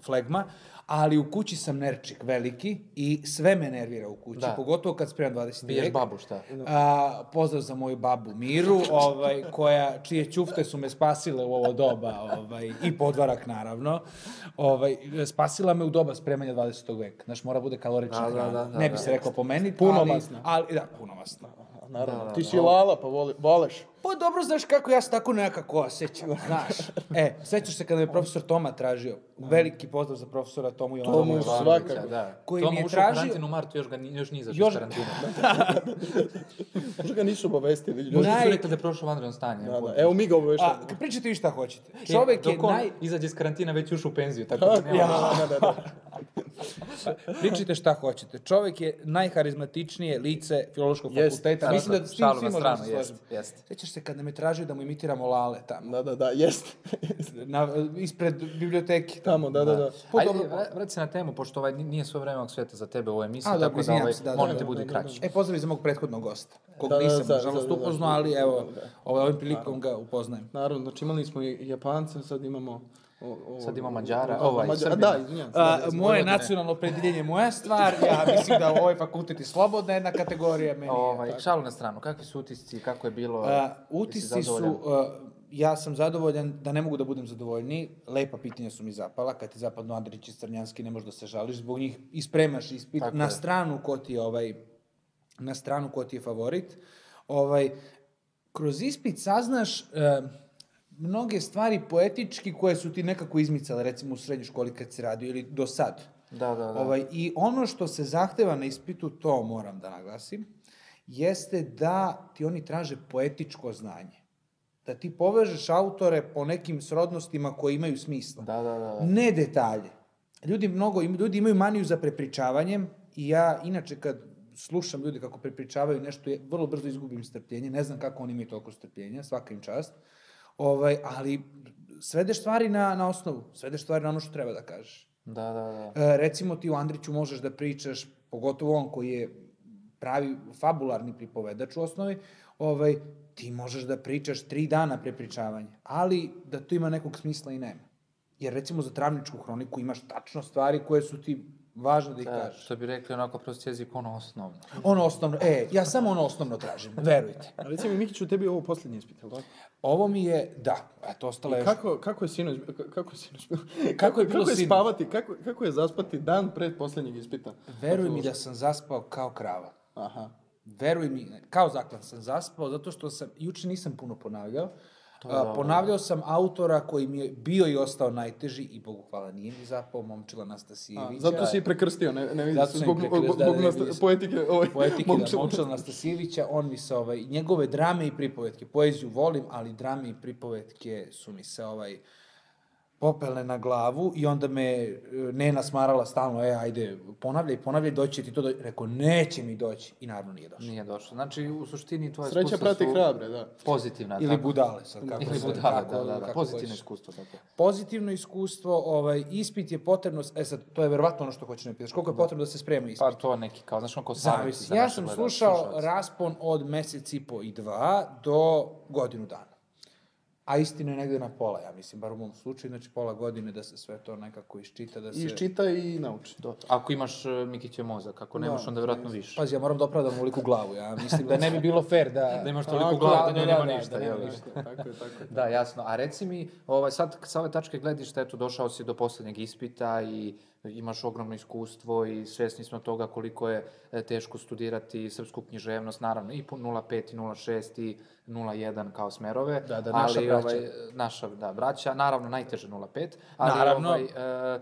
[SPEAKER 12] flegma, ali u kući sam nerčik veliki i sve me nervira u kući,
[SPEAKER 2] Da.
[SPEAKER 12] pogotovo kad spremam 20
[SPEAKER 2] Biješ
[SPEAKER 12] vijek.
[SPEAKER 2] babu, šta?
[SPEAKER 12] A, pozdrav za moju babu
[SPEAKER 1] [LAUGHS]
[SPEAKER 12] Miru, ovaj, koja, čije ćufte su me spasile u ovo doba, ovaj, i podvarak naravno. Ovaj, spasila me u doba spremanja 20. veka. Znaš, mora bude kalorična
[SPEAKER 1] Da, da,
[SPEAKER 12] hrana.
[SPEAKER 1] da, da,
[SPEAKER 12] ne bi
[SPEAKER 1] da.
[SPEAKER 12] se rekao po meni,
[SPEAKER 1] Puno
[SPEAKER 12] ali,
[SPEAKER 1] masna.
[SPEAKER 12] ali, da, puno masna.
[SPEAKER 1] Naravno,
[SPEAKER 12] Da, da,
[SPEAKER 1] ti
[SPEAKER 12] da.
[SPEAKER 1] si lala, pa voli, voleš.
[SPEAKER 12] Pa dobro, znaš kako ja se tako nekako osjećam, znaš. E, sećaš se kada me je profesor Toma tražio, veliki pozdrav za profesora Tomu Pa Jovanovića.
[SPEAKER 2] Tomu svakako. Da.
[SPEAKER 12] Koji
[SPEAKER 2] Toma
[SPEAKER 12] mi je
[SPEAKER 2] ušao u
[SPEAKER 12] tražio...
[SPEAKER 2] karantinu u martu, još, ga, ni- još nije izašao
[SPEAKER 12] Još-
[SPEAKER 2] iz karantina.
[SPEAKER 1] Možda ga nisu obavestili. ljudi.
[SPEAKER 2] Možda su rekli da je prošao vanredno stanje.
[SPEAKER 1] Da, da. Evo mi ga
[SPEAKER 12] A,
[SPEAKER 1] obaveštamo.
[SPEAKER 12] Pa, pričajte vi šta hoćete.
[SPEAKER 2] E,
[SPEAKER 12] Čovek je
[SPEAKER 2] dok on
[SPEAKER 12] naj...
[SPEAKER 2] izađe iz karantina već je ušao u penziju, tako da nema.
[SPEAKER 12] Ja. Pričajte šta hoćete. Čovek je najharizmatičnije lice filološkog
[SPEAKER 2] Jest,
[SPEAKER 12] fakulteta.
[SPEAKER 2] naravno,
[SPEAKER 12] Mislim da s tim
[SPEAKER 2] šalu
[SPEAKER 12] svi
[SPEAKER 2] na
[SPEAKER 12] možemo se
[SPEAKER 2] stranu, jest,
[SPEAKER 12] složiti.
[SPEAKER 2] jest.
[SPEAKER 12] Sećaš se kada me tražio da mu imitiramo lale tamo?
[SPEAKER 1] Da, da, da, jest. [LAUGHS]
[SPEAKER 12] Na, ispred biblioteki.
[SPEAKER 1] Tamo, da, da, da.
[SPEAKER 12] Pa
[SPEAKER 2] Ajde,
[SPEAKER 12] dobro,
[SPEAKER 2] vra- vrati se na temu, pošto ovaj ni- nije sve vreme ovog sveta za tebe u ovoj emisiji,
[SPEAKER 12] A, da,
[SPEAKER 2] tako da, ovaj,
[SPEAKER 12] da, da,
[SPEAKER 2] molim
[SPEAKER 12] da,
[SPEAKER 2] te
[SPEAKER 12] da,
[SPEAKER 2] bude
[SPEAKER 12] da, da,
[SPEAKER 2] kraći.
[SPEAKER 12] da. E, pozdrav i za mog prethodnog gosta, kog
[SPEAKER 1] Da, da,
[SPEAKER 12] nisam,
[SPEAKER 1] da,
[SPEAKER 12] nažalost,
[SPEAKER 1] da, da, da.
[SPEAKER 12] upoznao, ali evo, ovaj, ovim prilikom ga upoznajem.
[SPEAKER 1] Naravno, znači imali smo i Japanca, sad imamo... O, o,
[SPEAKER 2] Sad imamo Mađara,
[SPEAKER 1] o-
[SPEAKER 2] ovaj,
[SPEAKER 1] Mađa-
[SPEAKER 2] Srbina.
[SPEAKER 1] Da, izvinjam se.
[SPEAKER 12] A,
[SPEAKER 1] da, da,
[SPEAKER 12] moje
[SPEAKER 1] Vojvodine.
[SPEAKER 12] nacionalno opredeljenje je moja stvar, ja mislim da ovaj fakultet je slobodna jedna kategorija meni. je
[SPEAKER 2] Ovaj,
[SPEAKER 12] da, tako.
[SPEAKER 2] šalu na stranu, kakvi su utisci, kako je bilo?
[SPEAKER 12] A,
[SPEAKER 2] jesi
[SPEAKER 12] utisci su,
[SPEAKER 2] zadovoljan?
[SPEAKER 12] a, uh, ja sam zadovoljan, da ne mogu da budem zadovoljniji, lepa pitanja su mi zapala, kad ti zapadno Andrić i Crnjanski, ne možeš da se žališ, zbog njih ispremaš ispit,
[SPEAKER 2] Tako
[SPEAKER 12] na
[SPEAKER 2] je.
[SPEAKER 12] stranu ko ti je ovaj, na stranu ko ti je favorit. Ovaj, kroz ispit saznaš e, mnoge stvari poetički koje su ti nekako izmicale, recimo u srednjoj školi kad si radio ili do sad.
[SPEAKER 2] Da, da, da.
[SPEAKER 12] Ovaj, I ono što se zahteva na ispitu, to moram da naglasim, jeste da ti oni traže poetičko znanje. Da ti povežeš autore po nekim srodnostima koje imaju smisla.
[SPEAKER 2] Da, da, da.
[SPEAKER 12] Ne detalje. Ljudi, mnogo, im- ljudi imaju maniju za prepričavanjem i ja inače kad slušam ljudi kako prepričavaju nešto, je, vrlo brzo izgubim strpljenje, ne znam kako oni imaju toliko strpljenja, svaka im čast. Ovaj, ali svedeš stvari na, na osnovu, svedeš stvari na ono što treba da kažeš.
[SPEAKER 2] Da, da, da.
[SPEAKER 12] E, recimo ti u Andriću možeš da pričaš, pogotovo on koji je pravi fabularni pripovedač u osnovi, ovaj, ti možeš da pričaš tri dana prepričavanja, ali da tu ima nekog smisla i nema. Jer recimo za travničku hroniku imaš tačno stvari koje su ti važne da ih
[SPEAKER 2] Da,
[SPEAKER 12] kažeš.
[SPEAKER 2] što bi rekli onako prost jezik, ono osnovno.
[SPEAKER 12] Ono osnovno, e, ja samo ono osnovno tražim, verujte.
[SPEAKER 1] A recimo, Mikiću, tebi je ovo posljednji ispit, jel' tako?
[SPEAKER 12] Ovo mi je, da, eto, ostala je...
[SPEAKER 1] I kako, kako je sinoć, kako je sinoć,
[SPEAKER 12] Kako je bilo
[SPEAKER 1] kako je
[SPEAKER 12] sinoć?
[SPEAKER 1] spavati, kako, kako je zaspati dan pred posljednjeg ispita?
[SPEAKER 12] Veruj mi da sam zaspao kao krava.
[SPEAKER 1] Aha.
[SPEAKER 12] Veruj mi, kao zaklan sam zaspao, zato što sam, juče nisam puno ponavljao,
[SPEAKER 2] To je
[SPEAKER 12] A,
[SPEAKER 2] dobro.
[SPEAKER 12] ponavljao sam autora koji mi je bio i ostao najteži i Bogu hvala nije mi zapao momčila
[SPEAKER 1] A,
[SPEAKER 12] Nastasijevića.
[SPEAKER 1] zato si i prekrstio, ne, ne vidim,
[SPEAKER 12] Zato sam
[SPEAKER 1] zbog,
[SPEAKER 12] im
[SPEAKER 1] zbog,
[SPEAKER 12] prekrstio, da, da, ne
[SPEAKER 1] nasta-
[SPEAKER 12] vidim se.
[SPEAKER 1] poetike, ovaj,
[SPEAKER 12] Poetike, da,
[SPEAKER 1] momčila.
[SPEAKER 12] Momčila Nastasijevića, on mi se, ovaj, njegove drame i pripovetke, poeziju volim, ali drame i pripovetke su mi se, ovaj, popele na glavu i onda me e, Nena smarala stalno, e, ajde, ponavljaj, ponavljaj, doći će ti to, do... rekao, neće mi doći i naravno nije došlo.
[SPEAKER 2] Nije došlo. Znači, u suštini
[SPEAKER 12] ovaj,
[SPEAKER 2] tvoje
[SPEAKER 1] Sreća
[SPEAKER 2] iskustva
[SPEAKER 1] prati
[SPEAKER 2] su
[SPEAKER 1] hrabre, da.
[SPEAKER 2] Pozitivna.
[SPEAKER 12] Ili
[SPEAKER 2] tako.
[SPEAKER 12] budale, sad kako
[SPEAKER 2] Ili
[SPEAKER 12] se-
[SPEAKER 2] budale,
[SPEAKER 12] kako-
[SPEAKER 2] da, da, da.
[SPEAKER 12] kako
[SPEAKER 2] Pozitivno
[SPEAKER 12] hoćeš.
[SPEAKER 2] iskustvo, tako.
[SPEAKER 12] Pozitivno iskustvo, ovaj, ispit je potrebno, e sad, to je verovatno ono što hoću ne pitaš, koliko je potrebno da se sprema ispit?
[SPEAKER 2] Pa to neki, kao, znaš, ono kao savjeti
[SPEAKER 12] Zavisi.
[SPEAKER 2] za
[SPEAKER 12] Ja
[SPEAKER 2] naše
[SPEAKER 12] sam
[SPEAKER 2] gledaoce,
[SPEAKER 12] slušao
[SPEAKER 2] slušaoce.
[SPEAKER 12] raspon od mesec i po i dva do godinu dana. A istina je negde na pola, ja mislim, bar u mom slučaju, znači pola godine da se sve to nekako iščita, da se...
[SPEAKER 1] I iščita i nauči.
[SPEAKER 2] Ako imaš uh, Mikićev mozak, ako nemaš,
[SPEAKER 12] Da,
[SPEAKER 2] onda vjerojatno više.
[SPEAKER 12] Pazi, ja moram da opravdam oliku glavu, ja
[SPEAKER 2] [LAUGHS]
[SPEAKER 12] mislim da ne bi bilo fair da...
[SPEAKER 2] Da imaš toliko
[SPEAKER 12] Onako,
[SPEAKER 2] glava da
[SPEAKER 12] da,
[SPEAKER 2] nju
[SPEAKER 12] da,
[SPEAKER 2] nema
[SPEAKER 12] da,
[SPEAKER 2] ništa.
[SPEAKER 12] da nema
[SPEAKER 2] jel?
[SPEAKER 12] ništa.
[SPEAKER 1] Tako je, tako je.
[SPEAKER 2] Da, jasno. A reci mi, ovaj, sad sa ove tačke gledišta, eto, došao si do poslednjeg ispita i imaš ogromno iskustvo i svesni smo toga koliko je e, teško studirati srpsku književnost, naravno i po 0,5 i 0,6 i 0,1 kao smerove.
[SPEAKER 12] Da, da, naša braća.
[SPEAKER 2] Ovaj, naša, da, braća. Naravno, najteže 0,5. Ali,
[SPEAKER 12] Naravno. Da,
[SPEAKER 2] Ovaj, e,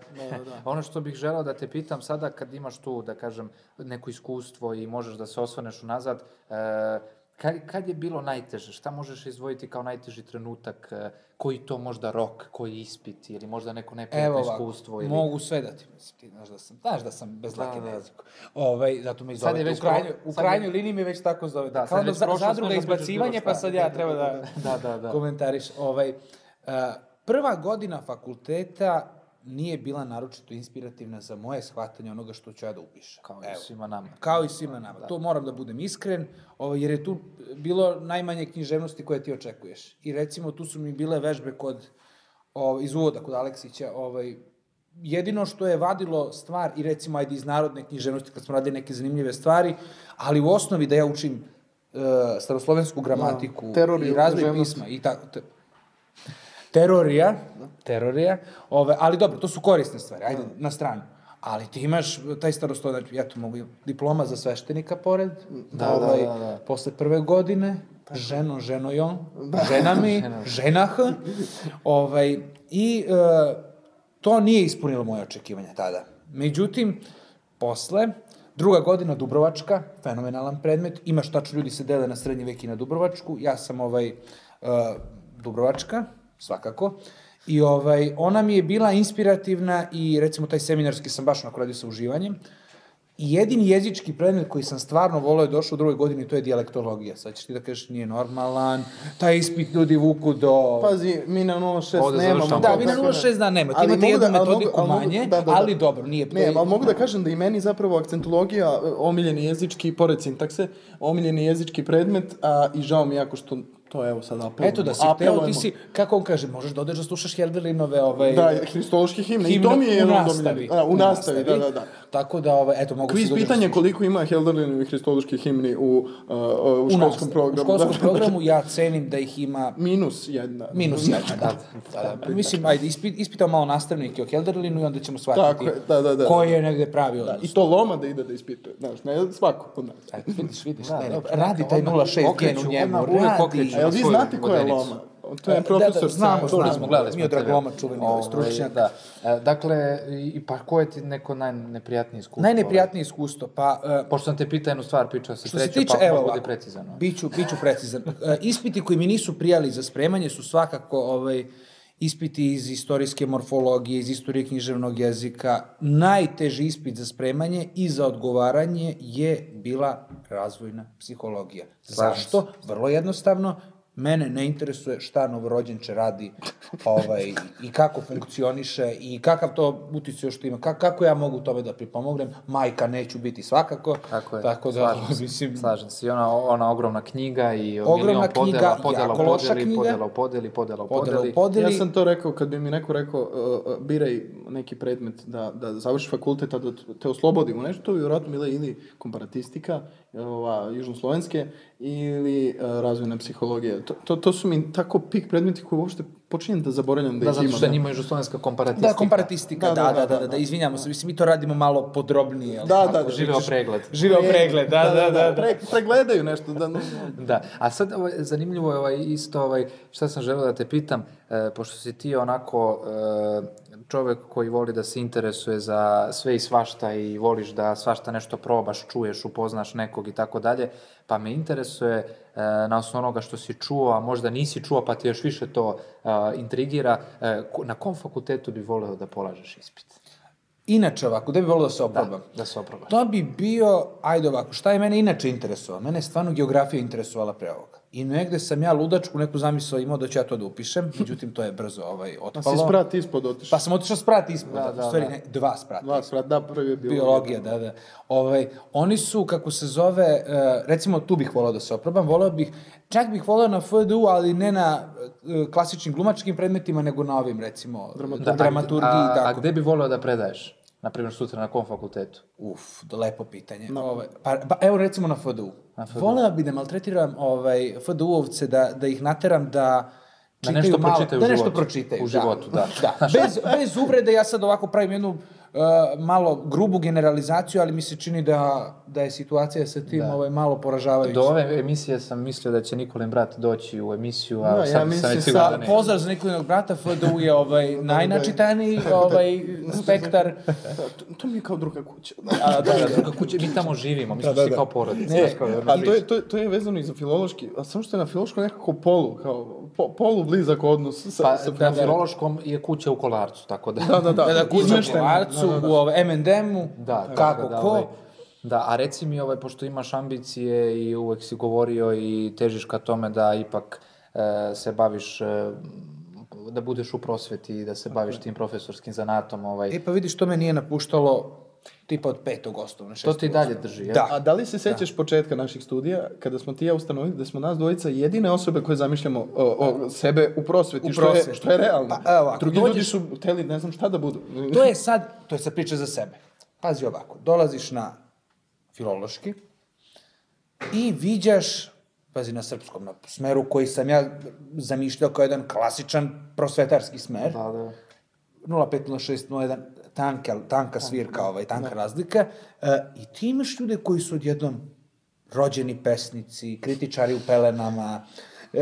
[SPEAKER 2] ono što bih želeo da te pitam sada kad imaš tu, da kažem, neko iskustvo i možeš da se osvaneš unazad, e, kad, kad je bilo najteže? Šta možeš izdvojiti kao najteži trenutak? e, koji to možda rok, koji ispit ili možda neko neprijatno
[SPEAKER 12] Evo ovako,
[SPEAKER 2] iskustvo? Ili...
[SPEAKER 12] mogu sve da ti mislim, ti znaš da sam, znaš da sam bez
[SPEAKER 2] Da,
[SPEAKER 12] lake
[SPEAKER 2] da.
[SPEAKER 12] na jeziku. Ovaj, zato me i
[SPEAKER 2] Sad je
[SPEAKER 12] zovete,
[SPEAKER 2] već
[SPEAKER 12] u krajnjoj,
[SPEAKER 2] pro-
[SPEAKER 12] u
[SPEAKER 2] sad je-
[SPEAKER 12] krajnjoj liniji me već tako zovete.
[SPEAKER 2] Da, sad
[SPEAKER 12] Kao
[SPEAKER 2] je
[SPEAKER 12] da
[SPEAKER 2] već
[SPEAKER 12] za,
[SPEAKER 2] prošlost,
[SPEAKER 12] zadruga
[SPEAKER 2] možda pričaš
[SPEAKER 12] izbacivanje,
[SPEAKER 2] bilo
[SPEAKER 12] pa
[SPEAKER 2] šta.
[SPEAKER 12] sad ja treba da,
[SPEAKER 2] Da, da, da.
[SPEAKER 12] komentariš. Ovaj, a, prva godina fakulteta nije bila naročito inspirativna za moje shvatanje onoga što ću ja da upišem.
[SPEAKER 2] Kao i
[SPEAKER 12] Evo.
[SPEAKER 2] svima nama.
[SPEAKER 12] Kao i svima nama.
[SPEAKER 2] Da.
[SPEAKER 12] To moram da budem iskren, ovaj, jer je tu bilo najmanje književnosti koje ti očekuješ. I recimo tu su mi bile vežbe kod, ovaj, iz uvoda kod Aleksića, ovaj, jedino što je vadilo stvar i recimo ajde iz narodne književnosti kad smo radili neke zanimljive stvari, ali u osnovi da ja učim e, staroslovensku gramatiku
[SPEAKER 1] Da, teror
[SPEAKER 12] i
[SPEAKER 1] je
[SPEAKER 12] razvoj
[SPEAKER 1] književnost.
[SPEAKER 12] pisma i tako. Te, terorija,
[SPEAKER 2] Da.
[SPEAKER 12] terorija, ove, ali dobro, to su korisne stvari, ajde, na stranu. Ali ti imaš taj starostoj, znači, ja tu mogu, imam diploma za sveštenika pored,
[SPEAKER 2] da,
[SPEAKER 12] ovaj,
[SPEAKER 2] da, da.
[SPEAKER 12] posle prve godine, ženo, ženo i on, žena mi,
[SPEAKER 2] [LAUGHS] Žena.
[SPEAKER 12] ženah, ovaj, i e, to nije ispunilo moje očekivanja tada. Međutim, posle, druga godina Dubrovačka, fenomenalan predmet, imaš tačno ljudi se dele na srednji vek i na Dubrovačku, ja sam ovaj e, Dubrovačka, svakako, i ovaj, ona mi je bila inspirativna i recimo taj seminarski sam baš onako radio sa uživanjem, I jedini jezički predmet koji sam stvarno volao je došao u drugoj godini, to je dijalektologija. Sad ćeš ti da kažeš nije normalan, taj ispit ljudi vuku do...
[SPEAKER 1] Pazi, mi na 06
[SPEAKER 2] Ovde
[SPEAKER 1] nemamo.
[SPEAKER 2] završavamo.
[SPEAKER 1] to,
[SPEAKER 12] Da, vi na
[SPEAKER 1] tako
[SPEAKER 12] 06 dana nemate,
[SPEAKER 1] Ali
[SPEAKER 12] imate
[SPEAKER 1] mogu
[SPEAKER 12] jednu
[SPEAKER 1] da- ali
[SPEAKER 12] metodiku
[SPEAKER 1] mogu- ali mogu-
[SPEAKER 12] manje,
[SPEAKER 1] da, da, da.
[SPEAKER 12] ali dobro, nije- to
[SPEAKER 1] Ne,
[SPEAKER 12] je-
[SPEAKER 1] ali mogu da kažem da i meni zapravo akcentologija, e, omiljeni jezički, pored sintakse, omiljeni jezički predmet, a i žao mi je jako što to evo sad apelujemo.
[SPEAKER 12] Eto da si hteo, ti si, kako on kaže, možeš da odeš da slušaš Herdelinove ovaj...
[SPEAKER 1] Da, hristološki himne. I to mi je
[SPEAKER 12] u
[SPEAKER 1] jedan od
[SPEAKER 12] nastavi.
[SPEAKER 1] omiljenih. A, u nastavi, da, da, da.
[SPEAKER 12] Tako da, ovaj, eto, mogu
[SPEAKER 1] Kviz
[SPEAKER 12] da odeš da
[SPEAKER 1] pitanje koliko ima Helderlinovih hristoloških himni u, uh, uh, u
[SPEAKER 12] U
[SPEAKER 1] školskom
[SPEAKER 12] nastavi.
[SPEAKER 1] programu.
[SPEAKER 12] U školskom
[SPEAKER 1] [LAUGHS] Da.
[SPEAKER 12] programu ja cenim da ih ima
[SPEAKER 1] Minus jedna.
[SPEAKER 12] minus jedna, da. da, da. Mislim, ajde, ispit, ispitao malo nastavnike o Helderlinu i onda ćemo shvatiti
[SPEAKER 1] Tako je, da, da, da.
[SPEAKER 12] ko je negde pravi odnos.
[SPEAKER 1] I to loma da ide da ispituje. Znaš, ne svako kod nas.
[SPEAKER 12] Eto, vidiš, vidiš,
[SPEAKER 2] Da,
[SPEAKER 12] ne, ne,
[SPEAKER 2] dobro,
[SPEAKER 12] radi
[SPEAKER 2] neka,
[SPEAKER 12] taj
[SPEAKER 2] odmah
[SPEAKER 12] 06 gen
[SPEAKER 2] okreću,
[SPEAKER 12] u njemu,
[SPEAKER 2] odmah uvek
[SPEAKER 12] radi.
[SPEAKER 2] okreću.
[SPEAKER 1] A jel vi
[SPEAKER 2] Svoju
[SPEAKER 1] znate ko je
[SPEAKER 2] vodenicu.
[SPEAKER 1] loma? To je profesor.
[SPEAKER 12] Da, da, znamo,
[SPEAKER 1] Sandor.
[SPEAKER 12] znamo.
[SPEAKER 2] Čuli smo, gledali smo.
[SPEAKER 12] Miodrag
[SPEAKER 2] tebe.
[SPEAKER 12] Loma, čuveni ovaj stručnjak.
[SPEAKER 2] Da. E, dakle, i, i pa ko je ti neko najneprijatnije iskustvo?
[SPEAKER 12] Najneprijatnije iskustvo, pa e,
[SPEAKER 2] Pošto sam te pitao jednu stvar, pričao si
[SPEAKER 12] Što se
[SPEAKER 2] treću,
[SPEAKER 12] tiče,
[SPEAKER 2] pa
[SPEAKER 12] evo
[SPEAKER 2] evo, budi
[SPEAKER 12] ovako,
[SPEAKER 2] precizan. ono.
[SPEAKER 12] Biću, biću precizan. E, Ispiti koji mi nisu prijali za spremanje su svakako ovaj, ispiti iz istorijske morfologije, iz istorije književnog jezika. Najteži ispit za spremanje i za odgovaranje je bila razvojna psihologija.
[SPEAKER 2] Slažem se.
[SPEAKER 12] Zašto? Vrlo jednostavno, mene ne interesuje šta novorođenče radi ovaj, i kako funkcioniše i kakav to utic još to ima, ka- kako ja mogu tome da pripomognem, majka neću biti svakako,
[SPEAKER 2] tako, je,
[SPEAKER 12] tako da,
[SPEAKER 2] slažem, se, slažem se. I ona, ona ogromna knjiga i
[SPEAKER 12] Ogromna
[SPEAKER 2] milion podela,
[SPEAKER 12] knjiga,
[SPEAKER 2] podela,
[SPEAKER 12] jako
[SPEAKER 2] u
[SPEAKER 12] loša
[SPEAKER 2] podeli,
[SPEAKER 12] knjiga.
[SPEAKER 2] podela, u podeli, podela, u
[SPEAKER 12] Podela u
[SPEAKER 2] podeli.
[SPEAKER 12] podeli.
[SPEAKER 1] Ja sam to rekao, kad bi mi neko rekao, uh, uh, biraj neki predmet da, da završiš fakultet, a da te oslobodimo nešto, to bi vjerojatno bila ili komparatistika, e, ova, južnoslovenske, ili uh, razvojna psihologija. To, to, to su mi tako pik predmeti koji uopšte počinjem da zaboravljam da,
[SPEAKER 2] Da,
[SPEAKER 1] ih
[SPEAKER 2] zato
[SPEAKER 1] ima.
[SPEAKER 2] što njima je južnoslovenska komparatistika.
[SPEAKER 12] Da, komparatistika, da, da, da, da, da, izvinjamo se, mislim, mi to radimo malo podrobnije. ali
[SPEAKER 1] Da,
[SPEAKER 12] tako,
[SPEAKER 1] da, da.
[SPEAKER 12] živeo
[SPEAKER 2] pregled.
[SPEAKER 12] Živeo pregled, da, da, da. da.
[SPEAKER 1] Pre- pregledaju nešto. Da, no,
[SPEAKER 2] Da, a sad ovaj, zanimljivo je ovaj, isto, ovaj, šta sam želeo da te pitam, e, pošto si ti onako e, čovek koji voli da se interesuje za sve i svašta i voliš da svašta nešto probaš, čuješ, upoznaš nekog i tako dalje, pa me interesuje e, na osnovu onoga što si čuo, a možda nisi čuo pa te još više to e, intrigira, e, ko- na kom fakultetu bi voleo da polažeš ispit?
[SPEAKER 12] Inače ovako, gde bi volio da se oprobam?
[SPEAKER 2] Da se oprobaš.
[SPEAKER 12] To bi bio, ajde ovako, šta je mene inače interesovalo? Mene je stvarno geografija interesovala pre ovoga. I negde sam ja ludačku neku zamisao imao da ću ja to da upišem, međutim to je brzo ovaj,
[SPEAKER 1] Pa
[SPEAKER 12] otpalo.
[SPEAKER 1] si sprat ispod otišao.
[SPEAKER 12] Pa sam otišao sprat ispod,
[SPEAKER 1] Da,
[SPEAKER 12] da,
[SPEAKER 1] da,
[SPEAKER 12] u stvari
[SPEAKER 1] da.
[SPEAKER 12] ne, dva sprata.
[SPEAKER 1] Dva sprat, da, prvi je bio.
[SPEAKER 12] Biologija, da, da. Ovaj, oni su, kako se zove, e, recimo tu bih volao da se oprobam, volao bih, čak bih volao na FDU, ali ne na e, klasičnim glumačkim predmetima, nego na ovim, recimo,
[SPEAKER 2] Da,
[SPEAKER 12] dramaturgiji
[SPEAKER 2] a-
[SPEAKER 12] i
[SPEAKER 2] a,
[SPEAKER 12] tako.
[SPEAKER 2] a gde bi voleo da predaješ? Na primjer, sutra na kom fakultetu?
[SPEAKER 12] Uf, da lepo pitanje. Ovaj, pa, pa, evo recimo na FDU.
[SPEAKER 2] Na FDU.
[SPEAKER 12] Voleo bi da maltretiram ovaj, FDU-ovce, da, da ih nateram da
[SPEAKER 2] Da
[SPEAKER 12] čitaju
[SPEAKER 2] nešto
[SPEAKER 12] malo,
[SPEAKER 2] pročitaju u
[SPEAKER 12] da nešto
[SPEAKER 2] životu.
[SPEAKER 12] pročitaju.
[SPEAKER 2] U životu, [LAUGHS] da.
[SPEAKER 12] Bez, bez uvrede, ja sad ovako pravim jednu uh, malo grubu generalizaciju, ali mi se čini da, da je situacija sa tim
[SPEAKER 2] Da.
[SPEAKER 12] ovaj, malo poražavajuća.
[SPEAKER 2] Do ove emisije sam mislio da će Nikolin brat doći u emisiju, a
[SPEAKER 12] Da, ja
[SPEAKER 2] sad sam
[SPEAKER 12] mislim
[SPEAKER 2] već
[SPEAKER 12] sa-
[SPEAKER 2] siguran da neće.
[SPEAKER 12] Pozdrav za Nikolinog brata, FDU je ovaj, najnačitaniji
[SPEAKER 2] [LAUGHS]
[SPEAKER 12] ovaj, spektar.
[SPEAKER 1] [LAUGHS] To, to mi je kao druga kuća.
[SPEAKER 2] A, da, da, druga kuća, mi tamo živimo, mi smo svi kao porodica.
[SPEAKER 1] Ne,
[SPEAKER 2] znaš, kao jedna
[SPEAKER 1] a to
[SPEAKER 2] priča.
[SPEAKER 1] je, to, je, to je vezano i za filološki, a samo što je na filološkom nekako polu, kao po, polu blizak odnos sa,
[SPEAKER 2] Pa,
[SPEAKER 1] sa
[SPEAKER 2] na filološkom je kuća u kolarcu, tako da...
[SPEAKER 1] Da, da, da.
[SPEAKER 12] Da, kuća u
[SPEAKER 1] Izmeštena.
[SPEAKER 12] Kolarcu,
[SPEAKER 1] Da, da, da.
[SPEAKER 12] u ovaj, M&M-u,
[SPEAKER 2] Da,
[SPEAKER 12] kako,
[SPEAKER 2] tako da,
[SPEAKER 12] ko.
[SPEAKER 2] ovaj, da, a reci mi, ovaj, pošto imaš ambicije i uvek si govorio i težiš ka tome da ipak e, se baviš, e, da budeš u prosveti i da se baviš tim profesorskim zanatom, ovaj,
[SPEAKER 12] E pa vidiš, to me nije napuštalo tipa od petog osnovne,
[SPEAKER 2] to
[SPEAKER 12] šestog
[SPEAKER 2] ti dalje drži, jel?
[SPEAKER 12] Da.
[SPEAKER 1] A da li se sećaš početka naših studija, kada smo ti i ja ustanovili da smo nas dvojica jedine osobe koje zamišljamo o, o, sebe u prosveti,
[SPEAKER 12] U
[SPEAKER 1] Što, je,
[SPEAKER 12] prosveti.
[SPEAKER 1] što je realno.
[SPEAKER 12] Pa, evo ovako,
[SPEAKER 1] Drugi ljudi
[SPEAKER 12] dođeš-
[SPEAKER 1] su hteli ne znam šta da budu.
[SPEAKER 12] To je sad, to je sad priča za sebe. Pazi ovako, dolaziš na filološki i viđaš, pazi na srpskom, na smeru koji sam ja zamišljao kao jedan klasičan prosvetarski smer.
[SPEAKER 2] Da, da.
[SPEAKER 12] 0,506,01, tanka, tanka svirka, ovaj, tanka razlika. E, I ti imaš ljude koji su odjednom rođeni pesnici, kritičari u pelenama, e,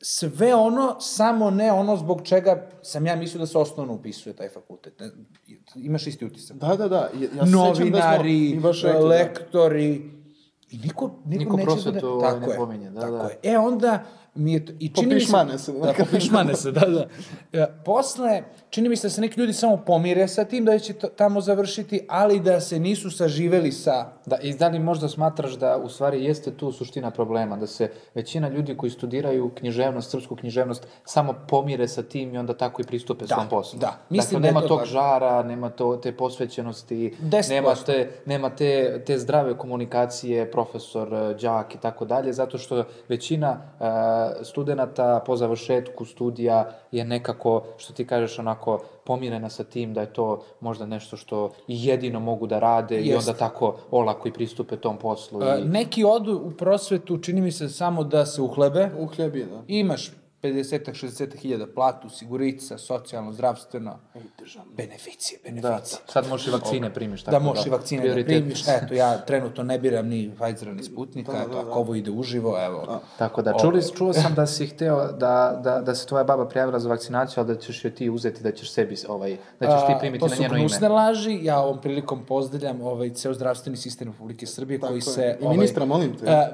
[SPEAKER 12] sve ono, samo ne ono zbog čega sam ja mislio da se osnovno upisuje taj fakultet. Ne, Imaš isti utisak.
[SPEAKER 1] Da, da, da. Ja, ja se sećam da smo
[SPEAKER 12] Novinari,
[SPEAKER 1] i baš rekli, da.
[SPEAKER 12] lektori, i niko, niko,
[SPEAKER 2] Niko
[SPEAKER 12] neće
[SPEAKER 2] prosvetu,
[SPEAKER 12] da...
[SPEAKER 2] ovaj,
[SPEAKER 12] Tako
[SPEAKER 2] ne
[SPEAKER 12] je,
[SPEAKER 2] pominje, da,
[SPEAKER 12] tako
[SPEAKER 2] da.
[SPEAKER 12] je. E onda mi je to, i čini mi se...
[SPEAKER 1] Popišmane se,
[SPEAKER 12] Da, popišmane se, da,
[SPEAKER 1] [LAUGHS]
[SPEAKER 12] da. E, Posle, čini mi se da se neki ljudi samo pomire sa tim da će to- tamo završiti, ali da se nisu saživeli sa...
[SPEAKER 2] Da, i da li možda smatraš da u stvari jeste tu suština problema, da se većina ljudi koji studiraju književnost, srpsku književnost, samo pomire sa tim i onda tako i pristupe svom poslu.
[SPEAKER 12] da. Mislim
[SPEAKER 2] dakle,
[SPEAKER 12] da je
[SPEAKER 2] nema
[SPEAKER 12] to
[SPEAKER 2] tog
[SPEAKER 12] važno.
[SPEAKER 2] žara, nema to, te posvećenosti,
[SPEAKER 12] 10%.
[SPEAKER 2] nema, te, nema te, te zdrave komunikacije, profesor, eh, đak i tako dalje, zato što većina uh, studenta po završetku studija je nekako, što ti kažeš, onako pomirena sa tim da je to možda nešto što i jedino mogu da rade i
[SPEAKER 12] Jeste.
[SPEAKER 2] onda tako olako i pristupe tom poslu.
[SPEAKER 12] E,
[SPEAKER 2] I...
[SPEAKER 12] Neki odu u prosvetu, čini mi se samo da se uhlebe.
[SPEAKER 1] U hljebi, da.
[SPEAKER 12] Imaš 50-60 hiljada platu, sigurica, socijalno, zdravstveno. Beneficije,
[SPEAKER 2] Da,
[SPEAKER 12] beneficije.
[SPEAKER 2] sad možeš i vakcine primiš.
[SPEAKER 12] da možeš i vakcine da primiš. Eto, ja trenutno ne biram ni Pfizera ni Sputnika,
[SPEAKER 1] Da,
[SPEAKER 12] eto,
[SPEAKER 1] da, da.
[SPEAKER 12] ako ovo ide uživo, evo.
[SPEAKER 2] Tako da,
[SPEAKER 12] Ovaj.
[SPEAKER 2] čuli, čuo sam da si hteo da, da, da se tvoja baba prijavila za vakcinaciju, ali da ćeš joj ti uzeti, da ćeš sebi, ovaj, da ćeš ti
[SPEAKER 12] A,
[SPEAKER 2] primiti
[SPEAKER 12] to
[SPEAKER 2] na
[SPEAKER 12] su
[SPEAKER 2] njeno
[SPEAKER 12] gnusne
[SPEAKER 2] ime.
[SPEAKER 12] laži, ja ovom prilikom pozdravljam ovaj ceo zdravstveni sistem Republike Srbije
[SPEAKER 1] Tako
[SPEAKER 12] koji
[SPEAKER 1] je.
[SPEAKER 12] se...
[SPEAKER 1] I ministra, molim te.
[SPEAKER 12] a,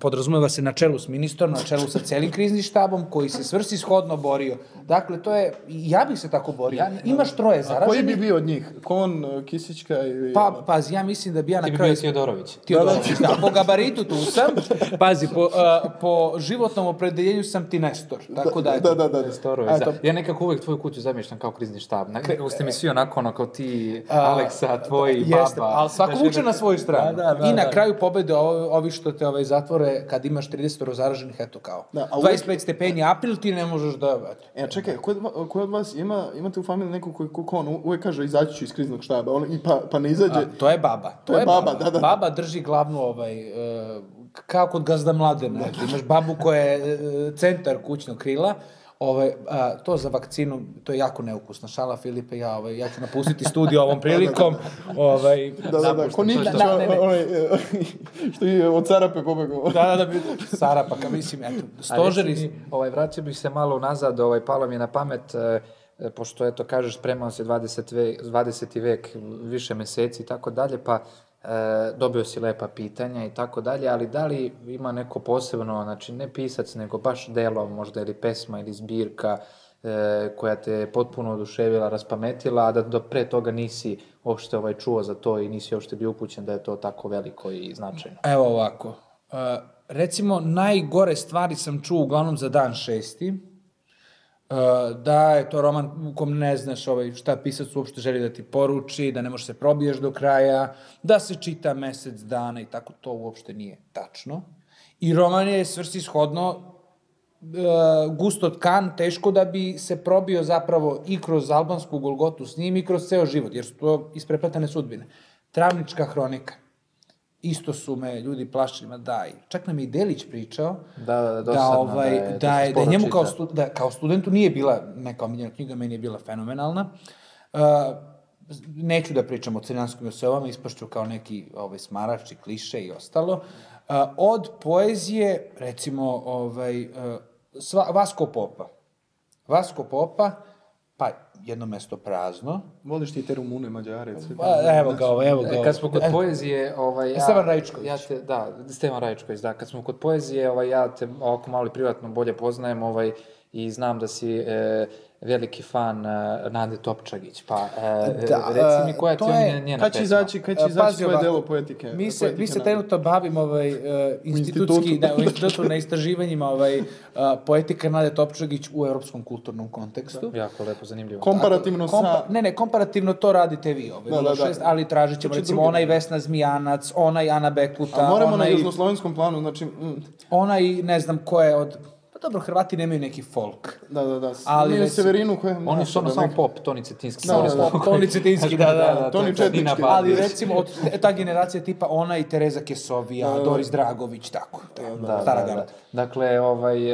[SPEAKER 12] podrazumeva se na čelu s ministrom, na čelu sa celim kriznim štabom, koji se svrsishodno borio. Dakle, to je, i ja bih se tako borio. Imaš troje
[SPEAKER 1] A koji bi
[SPEAKER 12] zaraženih,
[SPEAKER 1] bio od njih? Kon, Kisićka ili...
[SPEAKER 12] pa, pazi, ja mislim da bi ja na
[SPEAKER 1] Ti bi
[SPEAKER 12] kraju...
[SPEAKER 1] bio Tiodorović.
[SPEAKER 12] Tiodorović,
[SPEAKER 1] Da, da.
[SPEAKER 12] da. Po gabaritu tu sam. Pazi, po, a, po životnom opredeljenju sam ti Nestor. Tako da, eto.
[SPEAKER 2] Nestorović,
[SPEAKER 12] A,
[SPEAKER 2] da.
[SPEAKER 12] to-
[SPEAKER 2] Ja nekako uvek tvoju kuću zamišljam kao krizni štab. Na- Nekako ste mi svi onako, ono, kao ti,
[SPEAKER 12] A,
[SPEAKER 2] Aleksa, tvoji,
[SPEAKER 12] da, Jeste,
[SPEAKER 2] baba.
[SPEAKER 12] ali svako
[SPEAKER 2] Znaš,
[SPEAKER 12] vuče na svoju stranu.
[SPEAKER 2] Da, da, da,
[SPEAKER 12] I na
[SPEAKER 2] da.
[SPEAKER 12] kraju pobede ovo- ovi što te ovaj, zatvore kad imaš 30 zaraženih, eto kao.
[SPEAKER 1] Da, a uvek-
[SPEAKER 12] 25 stepeni april ti ne možeš da... Eto.
[SPEAKER 1] E, čekaj, ko, od va- ko od vas ima, imate u familiji nekog koji ko, ko on u- uvek kaže izaći ću iz kriznog štaba, on, i pa, pa ne izađe.
[SPEAKER 12] A, to je baba.
[SPEAKER 1] To je baba, da, da.
[SPEAKER 12] Baba drži glavnu ovaj, e, kao kod gazda mladena. eto, Imaš babu koja je e, centar kućnog krila, Ovaj, a, to za vakcinu, to je jako neukusna šala, Filipe, ja, ovaj, ja ću napustiti
[SPEAKER 1] [LAUGHS]
[SPEAKER 12] studio ovom prilikom. Ovaj,
[SPEAKER 1] Da, da, da, ko Nikšić,
[SPEAKER 12] Da, ne, ne.
[SPEAKER 1] on- onaj, e, [LAUGHS] što je od Sarape pobegao.
[SPEAKER 12] Da, da, da, bi- Sarapaka, mislim, eto,
[SPEAKER 2] A
[SPEAKER 12] stožeri...
[SPEAKER 2] reci mi, ovaj, vraćao bih se malo unazad, ovaj, palo mi je na pamet, e, e, pošto, eto, kažeš, spremao se 20 ve, 20. vek, više meseci i tako dalje, pa e, dobio si lepa pitanja i tako dalje, ali da li ima neko posebno, znači ne pisac, nego baš delo možda ili pesma ili zbirka e, koja te je potpuno oduševila, raspametila, a da do pre toga nisi uopšte ovaj, čuo za to i nisi uopšte bio upućen da je to tako veliko i značajno.
[SPEAKER 12] Evo ovako. Uh, recimo, najgore stvari sam čuo uglavnom za dan šesti. Uh, da je to roman u kom ne znaš ovaj, šta pisac uopšte želi da ti poruči, da ne možeš se probiješ do kraja, da se čita mesec dana i tako, to uopšte nije tačno. I roman je svrsishodno e, gusto tkan, teško da bi se probio zapravo i kroz albansku Golgotu s njim i kroz ceo život, jer su to isprepletane sudbine. Travnička hronika. Isto su me ljudi plašili, ma daj. Čak nam je i Delić pričao
[SPEAKER 2] Da, da, da,
[SPEAKER 12] da,
[SPEAKER 2] dosadno,
[SPEAKER 12] ovaj, da, je,
[SPEAKER 2] to
[SPEAKER 12] da,
[SPEAKER 2] se
[SPEAKER 12] je,
[SPEAKER 2] sporo
[SPEAKER 12] njemu kao,
[SPEAKER 2] čita.
[SPEAKER 12] stu, da, kao studentu nije bila neka omiljena knjiga, meni je bila fenomenalna. Uh, neću da pričam o crnanskim osobama, ispašću kao neki ovaj, smarač i kliše i ostalo. Uh, od poezije, recimo, ovaj, uh, sva, Vasko Popa. Vasko Popa, pa jedno mesto prazno.
[SPEAKER 1] Voliš ti te Rumune, Mađare, sve.
[SPEAKER 12] Pa, evo ga ovo, evo ga
[SPEAKER 2] E,
[SPEAKER 12] ovo.
[SPEAKER 2] Kad smo kod
[SPEAKER 12] E,
[SPEAKER 2] poezije, ovaj, ja...
[SPEAKER 12] Stevan Rajičković.
[SPEAKER 2] Ja te, da, Stevan Rajičković, da. Kad smo kod poezije, ovaj, ja te ovako malo i privatno bolje poznajem, ovaj, i znam da si e, veliki fan e, Nade Topčagić, pa e,
[SPEAKER 12] Da,
[SPEAKER 2] reci mi koja
[SPEAKER 12] e,
[SPEAKER 2] ti
[SPEAKER 12] to
[SPEAKER 2] je
[SPEAKER 12] je-
[SPEAKER 2] njena, njena
[SPEAKER 1] Kad će
[SPEAKER 2] pesma?
[SPEAKER 1] izaći, kad će
[SPEAKER 12] E,
[SPEAKER 1] izaći
[SPEAKER 12] pazi
[SPEAKER 1] svoje
[SPEAKER 12] ovako,
[SPEAKER 1] delo poetike?
[SPEAKER 12] Mi se,
[SPEAKER 1] poetike
[SPEAKER 12] mi se
[SPEAKER 1] nade?
[SPEAKER 12] trenutno bavimo ovaj, e, institutski,
[SPEAKER 1] institutu.
[SPEAKER 12] da, u institutu na istraživanjima ovaj, e, poetika Nade Topčagić u evropskom kulturnom kontekstu.
[SPEAKER 2] Jako lepo, zanimljivo.
[SPEAKER 1] Da. Komparativno
[SPEAKER 12] Tako, kompa-
[SPEAKER 1] sa...
[SPEAKER 12] Ne, ne, komparativno to radite vi, ovaj,
[SPEAKER 1] Da, da,
[SPEAKER 12] da,
[SPEAKER 1] da.
[SPEAKER 12] Šest, ali tražit ćemo,
[SPEAKER 1] To će
[SPEAKER 12] recimo,
[SPEAKER 1] drugi.
[SPEAKER 12] onaj Vesna Zmijanac, onaj Ana Bekuta,
[SPEAKER 1] A moramo na
[SPEAKER 12] onaj,
[SPEAKER 1] južnoslovenskom planu, znači... mm,
[SPEAKER 12] onaj, ne znam ko je od... Pa dobro, Hrvati nemaju neki folk.
[SPEAKER 1] Da, da, da.
[SPEAKER 12] Ali,
[SPEAKER 1] Ali Nije
[SPEAKER 12] recimo-
[SPEAKER 1] Severinu koja...
[SPEAKER 2] Oni su ono
[SPEAKER 1] da,
[SPEAKER 2] samo
[SPEAKER 1] neka-
[SPEAKER 2] pop, Toni Cetinski.
[SPEAKER 1] Da,
[SPEAKER 2] samo
[SPEAKER 1] da,
[SPEAKER 2] su
[SPEAKER 1] da.
[SPEAKER 2] ono koji-
[SPEAKER 12] Toni
[SPEAKER 2] [LAUGHS]
[SPEAKER 12] Cetinski, da, da, da.
[SPEAKER 1] Toni
[SPEAKER 2] to je Nina
[SPEAKER 1] Četnički.
[SPEAKER 2] Babić.
[SPEAKER 12] Ali recimo, od, te- ta generacija tipa ona i Tereza Kesovija, Doris Dragović, tako. Da,
[SPEAKER 2] Da,
[SPEAKER 12] stara
[SPEAKER 2] da, da.
[SPEAKER 12] garda.
[SPEAKER 2] Dakle, ovaj...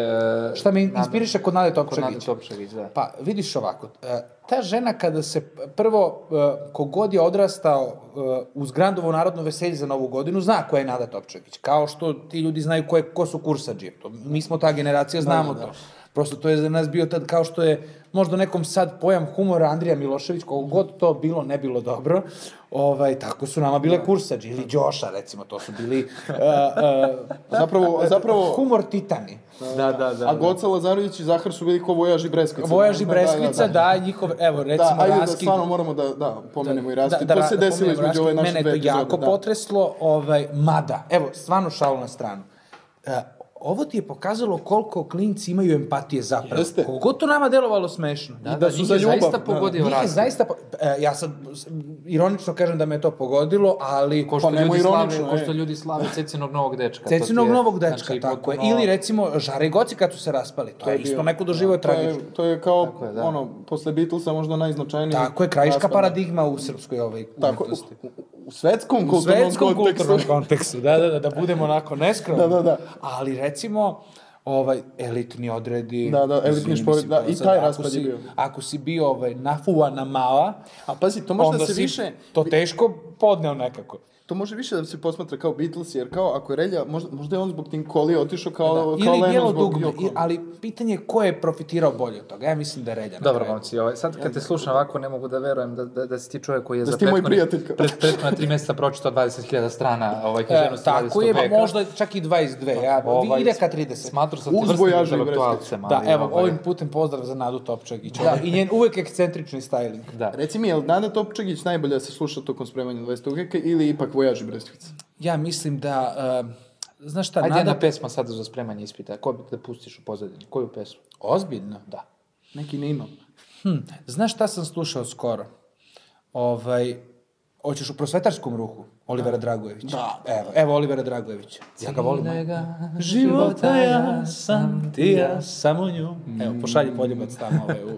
[SPEAKER 2] e,
[SPEAKER 12] Šta me
[SPEAKER 2] Nada-
[SPEAKER 12] inspiriše kod Nade
[SPEAKER 2] Kod Nade
[SPEAKER 12] Topčagić?
[SPEAKER 2] Topčagić, da.
[SPEAKER 12] Pa, vidiš ovako, e, ta žena kada se, p- prvo, e, kogod je odrastao e, uz Grandovo narodno veselje za Novu godinu, zna ko je Nada Topčagić. Kao što ti ljudi znaju ko, je, ko su kursađe. To, mi smo ta
[SPEAKER 1] Da,
[SPEAKER 12] generacija, znamo to. Prosto to je za nas bio tad kao što je možda nekom sad pojam humora Andrija Milošević, koliko god to bilo, ne bilo dobro, ovaj, tako su nama
[SPEAKER 1] Da.
[SPEAKER 12] bile kursađe ili Đoša, recimo, to su
[SPEAKER 1] [LAUGHS]
[SPEAKER 12] bili e, e,
[SPEAKER 1] Zapravo, zapravo...
[SPEAKER 12] humor titani.
[SPEAKER 2] Da, da, da.
[SPEAKER 1] A Goca Lazarević i Zahar su bili ko Vojaž i Breskvica.
[SPEAKER 12] Vojaž i Breskvica, da, njihov, evo, recimo,
[SPEAKER 1] da, ajde da
[SPEAKER 12] Raskid-
[SPEAKER 1] stvarno moramo da, da, pomenemo i raskid.
[SPEAKER 12] da,
[SPEAKER 1] to se
[SPEAKER 12] da
[SPEAKER 1] desilo
[SPEAKER 12] pomenem
[SPEAKER 1] između ove
[SPEAKER 12] Raške.
[SPEAKER 1] naše dve
[SPEAKER 12] Mene je to
[SPEAKER 1] epizode,
[SPEAKER 12] jako
[SPEAKER 1] da.
[SPEAKER 12] potreslo, ovaj, mada, evo, stvarno šalu na stranu. E, ovo ti je pokazalo koliko klinci imaju empatije zapravo.
[SPEAKER 1] Jeste.
[SPEAKER 12] Koliko to nama delovalo smešno.
[SPEAKER 2] Da,
[SPEAKER 1] da
[SPEAKER 2] da,
[SPEAKER 1] su
[SPEAKER 2] njih
[SPEAKER 1] za
[SPEAKER 2] je
[SPEAKER 1] ljubav,
[SPEAKER 2] zaista
[SPEAKER 1] da.
[SPEAKER 2] pogodio
[SPEAKER 12] Nije
[SPEAKER 2] rast.
[SPEAKER 12] zaista, po- e, ja sad s- ironično kažem da me je to pogodilo, ali
[SPEAKER 2] Ko što,
[SPEAKER 1] Pa nemoj
[SPEAKER 2] ljudi slave,
[SPEAKER 1] ironično,
[SPEAKER 2] ko
[SPEAKER 1] e.
[SPEAKER 2] što ljudi slave Cecinog novog dečka. to ti je,
[SPEAKER 12] Cecinog novog dečka,
[SPEAKER 2] znači,
[SPEAKER 12] tako je.
[SPEAKER 2] potpuno-
[SPEAKER 12] Ili recimo Žare i Goci kad su se raspali. To, je
[SPEAKER 1] bio- da,
[SPEAKER 12] isto neko doživio
[SPEAKER 1] To je,
[SPEAKER 12] tragično.
[SPEAKER 1] to je kao,
[SPEAKER 2] je, da.
[SPEAKER 1] ono, posle Beatlesa možda najznačajniji...
[SPEAKER 12] Tako je, krajiška
[SPEAKER 1] raspad.
[SPEAKER 12] paradigma u srpskoj ovaj
[SPEAKER 1] Tako,
[SPEAKER 12] umetnosti.
[SPEAKER 1] u, u svetskom
[SPEAKER 12] U
[SPEAKER 1] kulturnom
[SPEAKER 12] svetskom
[SPEAKER 1] kontekstu.
[SPEAKER 12] kulturnom kontekstu, da, da, da, da budemo onako neskromni.
[SPEAKER 1] Da, da, da.
[SPEAKER 12] Ali recimo, ovaj, elitni odredi...
[SPEAKER 1] Da, da, elitni
[SPEAKER 12] mislim, mislim,
[SPEAKER 1] šport, da,
[SPEAKER 12] to
[SPEAKER 1] i
[SPEAKER 12] sad,
[SPEAKER 1] taj
[SPEAKER 12] ako
[SPEAKER 1] raspad je
[SPEAKER 12] si-
[SPEAKER 1] bio.
[SPEAKER 12] Ako si bio ovaj, nafuana mala,
[SPEAKER 1] A pazi, to možda
[SPEAKER 12] onda
[SPEAKER 1] se
[SPEAKER 12] si
[SPEAKER 1] više...
[SPEAKER 12] to teško podneo nekako.
[SPEAKER 1] To može više da se posmatra kao Beatles, jer kao ako je Relja, možda, možda je on zbog Tim Koli otišao kao, kao
[SPEAKER 12] Da. Ili
[SPEAKER 1] Lennon
[SPEAKER 12] bijelo
[SPEAKER 1] zbog
[SPEAKER 12] dugme,
[SPEAKER 1] Yoko.
[SPEAKER 12] i- ali pitanje je ko je profitirao bolje od toga. Ja mislim da je Relja. na
[SPEAKER 2] Dobro,
[SPEAKER 12] kraju.
[SPEAKER 2] momci, ovaj, sad kad te slušam ovako, ne mogu da verujem da, da, da si ti čovjek koji je
[SPEAKER 12] Da
[SPEAKER 2] za
[SPEAKER 12] si ti moj
[SPEAKER 2] prethodne-
[SPEAKER 12] prijatelj.
[SPEAKER 2] pred- prethodna tri mjeseca pročitao 20.000 strana ovaj,
[SPEAKER 12] E,
[SPEAKER 2] književnosti
[SPEAKER 12] tako
[SPEAKER 2] 20.
[SPEAKER 12] je,
[SPEAKER 2] veka.
[SPEAKER 12] možda čak i 22. Ja,
[SPEAKER 2] Ovaj,
[SPEAKER 12] ide ka 30. Smatru
[SPEAKER 2] sam te Uz vrsnim vojažu i intelektualcem,
[SPEAKER 12] Da,
[SPEAKER 2] ali,
[SPEAKER 12] evo,
[SPEAKER 2] ovaj-
[SPEAKER 12] ovim putem pozdrav za Nadu Topčagić. Da, I njen uvek ekscentrični styling.
[SPEAKER 2] Da.
[SPEAKER 1] Reci mi, je li Nada Topčagić najbolje da se sluša tokom spremanja 20. veka ili ipak Vojaži Brestvica?
[SPEAKER 12] Ja mislim da... e, znaš šta,
[SPEAKER 2] Ajde jedna
[SPEAKER 12] Nada...
[SPEAKER 2] pesma sada za spremanje ispita. Ko bi da pustiš u pozadini? Koju pesmu?
[SPEAKER 12] Ozbiljno?
[SPEAKER 2] Da.
[SPEAKER 1] Neki ne imam.
[SPEAKER 12] Hm, znaš šta sam slušao skoro? Ovaj, hoćeš u prosvetarskom ruhu Olivera Dragojevića. Da. Evo, evo Olivera Dragojevića. Ja ga volim. Života ja sam, ti ja samo nju. Evo, pošalji poljubac tamo [LAUGHS] ovaj, u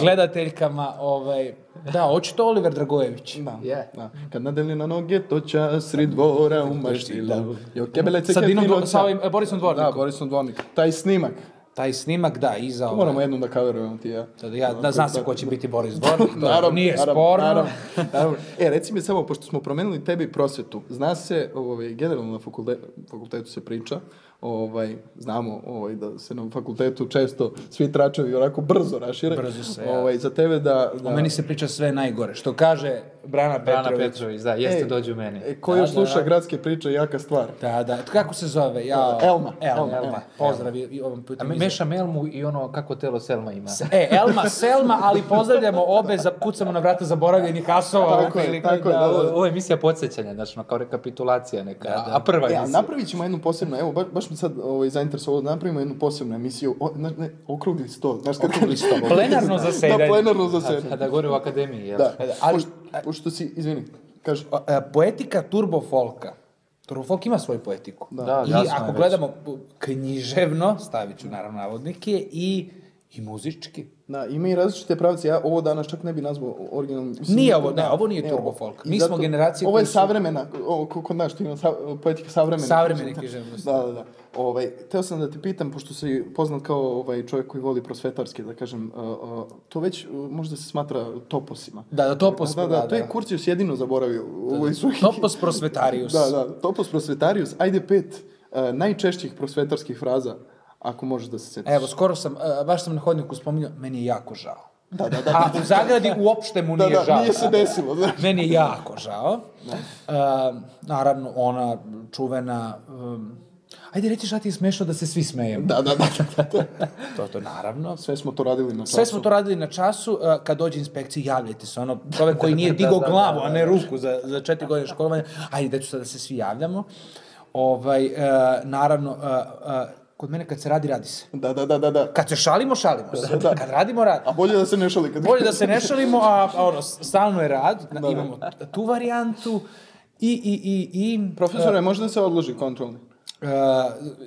[SPEAKER 12] gledateljkama. Ovaj, da, očito Oliver Dragojević. Da.
[SPEAKER 1] Da. Kad nadeli na noge, to ča sri dvora u maštilu. Jo, kebele
[SPEAKER 12] Da. Sa Dinom Dvo- sa ovim,
[SPEAKER 1] e, Borisom Dvornikom. Da, Borisom Dvornikom. Taj snimak.
[SPEAKER 12] Taj snimak, da, iza
[SPEAKER 1] ovo. Moramo jednom da kaverujemo ti i ja.
[SPEAKER 12] Sad ja, da, zna se ko će biti
[SPEAKER 1] [LAUGHS]
[SPEAKER 12] Boris Dvornik, to
[SPEAKER 1] naravno,
[SPEAKER 12] nije
[SPEAKER 1] naravno,
[SPEAKER 12] sporno.
[SPEAKER 1] Naravno, naravno. Da, E, reci mi samo, pošto smo promenili tebi i prosvetu, zna se, ovaj, generalno na fakulte- fakultetu se priča, ovaj, znamo ovaj, da se na fakultetu često svi tračevi onako brzo rašire.
[SPEAKER 12] Brzo se, ja.
[SPEAKER 1] ovaj, Za tebe da... da...
[SPEAKER 12] O meni se priča sve najgore. Što kaže Brana Petrović.
[SPEAKER 2] Brana Petrović, da, jeste dođu meni.
[SPEAKER 1] E, ko
[SPEAKER 12] Da,
[SPEAKER 1] još
[SPEAKER 12] da,
[SPEAKER 1] sluša
[SPEAKER 12] da.
[SPEAKER 1] gradske priče, jaka stvar.
[SPEAKER 12] Da, da. Kako se zove? Ja...
[SPEAKER 1] Elma.
[SPEAKER 12] Elma,
[SPEAKER 1] Elma,
[SPEAKER 12] Elma.
[SPEAKER 1] Elma.
[SPEAKER 12] Pozdrav i- i ovom
[SPEAKER 2] A
[SPEAKER 12] putem.
[SPEAKER 2] me-
[SPEAKER 12] iza.
[SPEAKER 2] mešam Elmu i ono kako telo Selma ima.
[SPEAKER 12] E, Elma, Selma, ali pozdravljamo obe, za, kucamo na vrata zaboravljenih asova.
[SPEAKER 2] Tako je, tako je, da, da. Ovo je emisija podsjećanja, znači, ono, kao rekapitulacija neka, a prva
[SPEAKER 1] E, a
[SPEAKER 2] emisija.
[SPEAKER 1] napravit ćemo jednu posebnu, evo, baš, baš mi sad ovaj, zainteresovalo da napravimo jednu posebnu emisiju, o, ne, ne, okrugli sto, znaš kad [LAUGHS] okrugli sto.
[SPEAKER 2] Plenarno zasedanje.
[SPEAKER 1] Da, plenarno zasedanje.
[SPEAKER 2] Da, da govori u akademiji, jel?
[SPEAKER 1] Da,
[SPEAKER 12] ali-
[SPEAKER 1] pošto, pošto si, izvini, kaži.
[SPEAKER 12] Poetika turbo folka. Turbo folk ima svoju poetiku.
[SPEAKER 2] Da,
[SPEAKER 12] I
[SPEAKER 2] jasno je
[SPEAKER 12] ako
[SPEAKER 2] već.
[SPEAKER 12] gledamo p- književno, stavit ću naravno navodnike, i, i
[SPEAKER 1] [LAUGHS]
[SPEAKER 12] muzički.
[SPEAKER 1] Da, ima i različite pravce, ja ovo danas čak ne bi nazvao originalno.
[SPEAKER 12] Nije ovo,
[SPEAKER 1] da.
[SPEAKER 12] ne, ovo nije turbo folk. Mi smo generacija
[SPEAKER 1] Ovo je
[SPEAKER 12] koji su-
[SPEAKER 1] savremena, ovo, ko- kod nas što ima sa, poetika savremena.
[SPEAKER 12] Savremene književnosti.
[SPEAKER 1] Da, da, da. Ovaj, teo sam da te pitam, pošto si poznat kao ovaj čovjek koji voli prosvetarski, da kažem, a, a, to već a, možda se smatra toposima.
[SPEAKER 12] Da, da, topos.
[SPEAKER 1] Da, da, to je Kurcius jedino zaboravio u ovoj svoj-
[SPEAKER 12] Topos prosvetarius.
[SPEAKER 1] Da, da, topos prosvetarius. Ajde pet e, najčešćih prosvetarskih fraza, ako možeš da se sjetiš.
[SPEAKER 12] Evo, skoro sam, e, baš sam na hodniku spominjao, meni je jako žao.
[SPEAKER 1] Da, da, da.
[SPEAKER 12] A u zagradi uopšte mu
[SPEAKER 1] Da,
[SPEAKER 12] nije
[SPEAKER 1] da,
[SPEAKER 12] žao. da.
[SPEAKER 1] nije se desilo, znaš. Da.
[SPEAKER 12] Meni je jako žao. E, naravno, ona čuvena... um, ajde, reći šta ti je smešno da se svi smejemo.
[SPEAKER 1] Da, da, da.
[SPEAKER 12] to, to naravno.
[SPEAKER 1] Sve smo to radili na
[SPEAKER 12] Sve smo to radili na času, e, kad dođe inspekcija, javljajte se, ono,
[SPEAKER 2] [LAUGHS]
[SPEAKER 12] čovek koji nije
[SPEAKER 2] Da,
[SPEAKER 12] digao
[SPEAKER 2] da, da,
[SPEAKER 12] glavu,
[SPEAKER 2] da,
[SPEAKER 12] a ne ruku za, za četiri godine školovanja, ajde, deću sad da se svi javljamo. Ovaj, e, naravno, e, e, kod mene kad se radi, radi se.
[SPEAKER 1] Da, da, da, da, da.
[SPEAKER 12] Kad se šalimo, šalimo se.
[SPEAKER 2] [LAUGHS]
[SPEAKER 1] Da, da.
[SPEAKER 12] Kad radimo, radimo.
[SPEAKER 1] A bolje da se ne šali. Kad...
[SPEAKER 12] Bolje da se ne šalimo, a a ono, stalno je rad,
[SPEAKER 2] Da,
[SPEAKER 12] Na- imamo tu varijantu i, i, i, i...
[SPEAKER 1] Profesore, može da se odloži kontrolni?
[SPEAKER 12] E,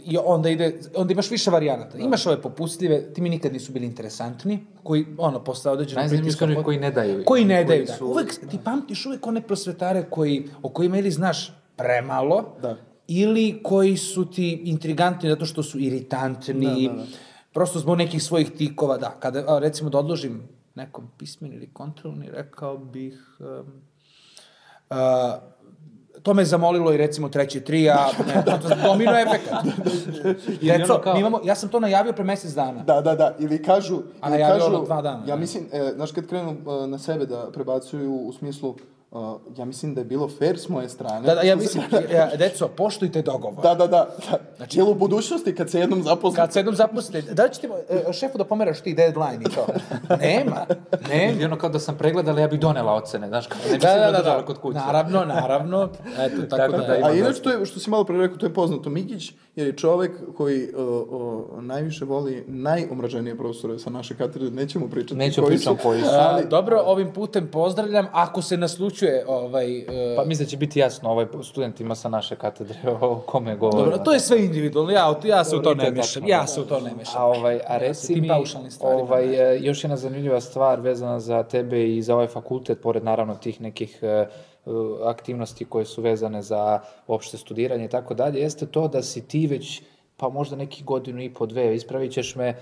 [SPEAKER 12] i onda, ide, onda imaš više varijanata. Imaš ove popustljive, ti mi nikad nisu bili interesantni, koji, ono, posle određenog
[SPEAKER 2] Najzanimljiviji
[SPEAKER 12] pritiska-
[SPEAKER 2] su oni koji ne daju.
[SPEAKER 12] Koji ne daju, da.
[SPEAKER 2] su-
[SPEAKER 12] Uvek, ti pamtiš uvek one prosvetare koji, o kojima ili znaš premalo,
[SPEAKER 1] Da.
[SPEAKER 12] ili koji su ti intrigantni zato što su iritantni,
[SPEAKER 1] Da, da, da.
[SPEAKER 12] prosto zbog nekih svojih tikova, da. Kada, a, recimo, da odložim nekom pismeni ili kontrolni, rekao bih... em, a, to me zamolilo i recimo treći
[SPEAKER 1] [LAUGHS]
[SPEAKER 12] trija, ne, to je domino efekat.
[SPEAKER 1] Da, Ili
[SPEAKER 12] Deco,
[SPEAKER 1] ono kao-
[SPEAKER 12] mi imamo, ja sam to najavio pre mjesec dana.
[SPEAKER 1] Da, da, da. Ili kažu...
[SPEAKER 12] A
[SPEAKER 1] ili
[SPEAKER 12] najavio
[SPEAKER 1] kažu,
[SPEAKER 12] ono dva dana,
[SPEAKER 1] Ja
[SPEAKER 12] ne?
[SPEAKER 1] mislim, e, znaš, kad krenu e, na sebe da prebacuju u smislu, e, ja mislim da je bilo fair s moje strane.
[SPEAKER 12] Da, da,
[SPEAKER 1] [LAUGHS]
[SPEAKER 12] ja mislim, ja, deco, poštujte dogovor.
[SPEAKER 1] Da, da, da. da. Znači, Jel u budućnosti kad se jednom zaposli?
[SPEAKER 12] Kad se jednom zaposlite, da li ćete e, šefu da pomeraš ti deadline [LAUGHS] i to? Nema, nema.
[SPEAKER 2] Ili ono kao da sam pregledala, ja bi donela ocene, znaš, kao ne bi
[SPEAKER 12] Da,
[SPEAKER 2] se
[SPEAKER 12] da, da,
[SPEAKER 2] zadržala
[SPEAKER 12] da.
[SPEAKER 2] kod kuće.
[SPEAKER 12] Naravno, naravno. Eto, tako, da,
[SPEAKER 1] A inače, to je, što si malo pre rekao, to je poznato. Mikić je čovek koji e, o, najviše voli najomraženije profesore sa naše katedre. Nećemo pričati
[SPEAKER 2] Neću
[SPEAKER 1] koji
[SPEAKER 2] pričam
[SPEAKER 1] su,
[SPEAKER 2] koji su.
[SPEAKER 1] [LAUGHS] ali-
[SPEAKER 12] A, dobro, ovim putem pozdravljam, ako se naslučuje ovaj... e,
[SPEAKER 2] Pa mislim da će biti jasno ovaj studentima sa naše katedre [LAUGHS] o kome govorimo.
[SPEAKER 12] Dobro, to je sve individualno, ja, u- ja se u Pa, to
[SPEAKER 2] Dobro, i
[SPEAKER 12] ne
[SPEAKER 2] to je
[SPEAKER 12] mešam,
[SPEAKER 2] tačno,
[SPEAKER 12] ja
[SPEAKER 2] da.
[SPEAKER 12] se u to ne mešam.
[SPEAKER 2] A, ovaj, a reci
[SPEAKER 12] tim
[SPEAKER 2] mi,
[SPEAKER 12] paušalnim stvarima,
[SPEAKER 2] ovaj, e, još jedna zanimljiva stvar vezana za tebe i za ovaj fakultet, pored naravno tih nekih e, e, aktivnosti koje su vezane za opšte studiranje i tako dalje, jeste to da si ti već pa možda neki godinu i po dve, ispravit ćeš me, e,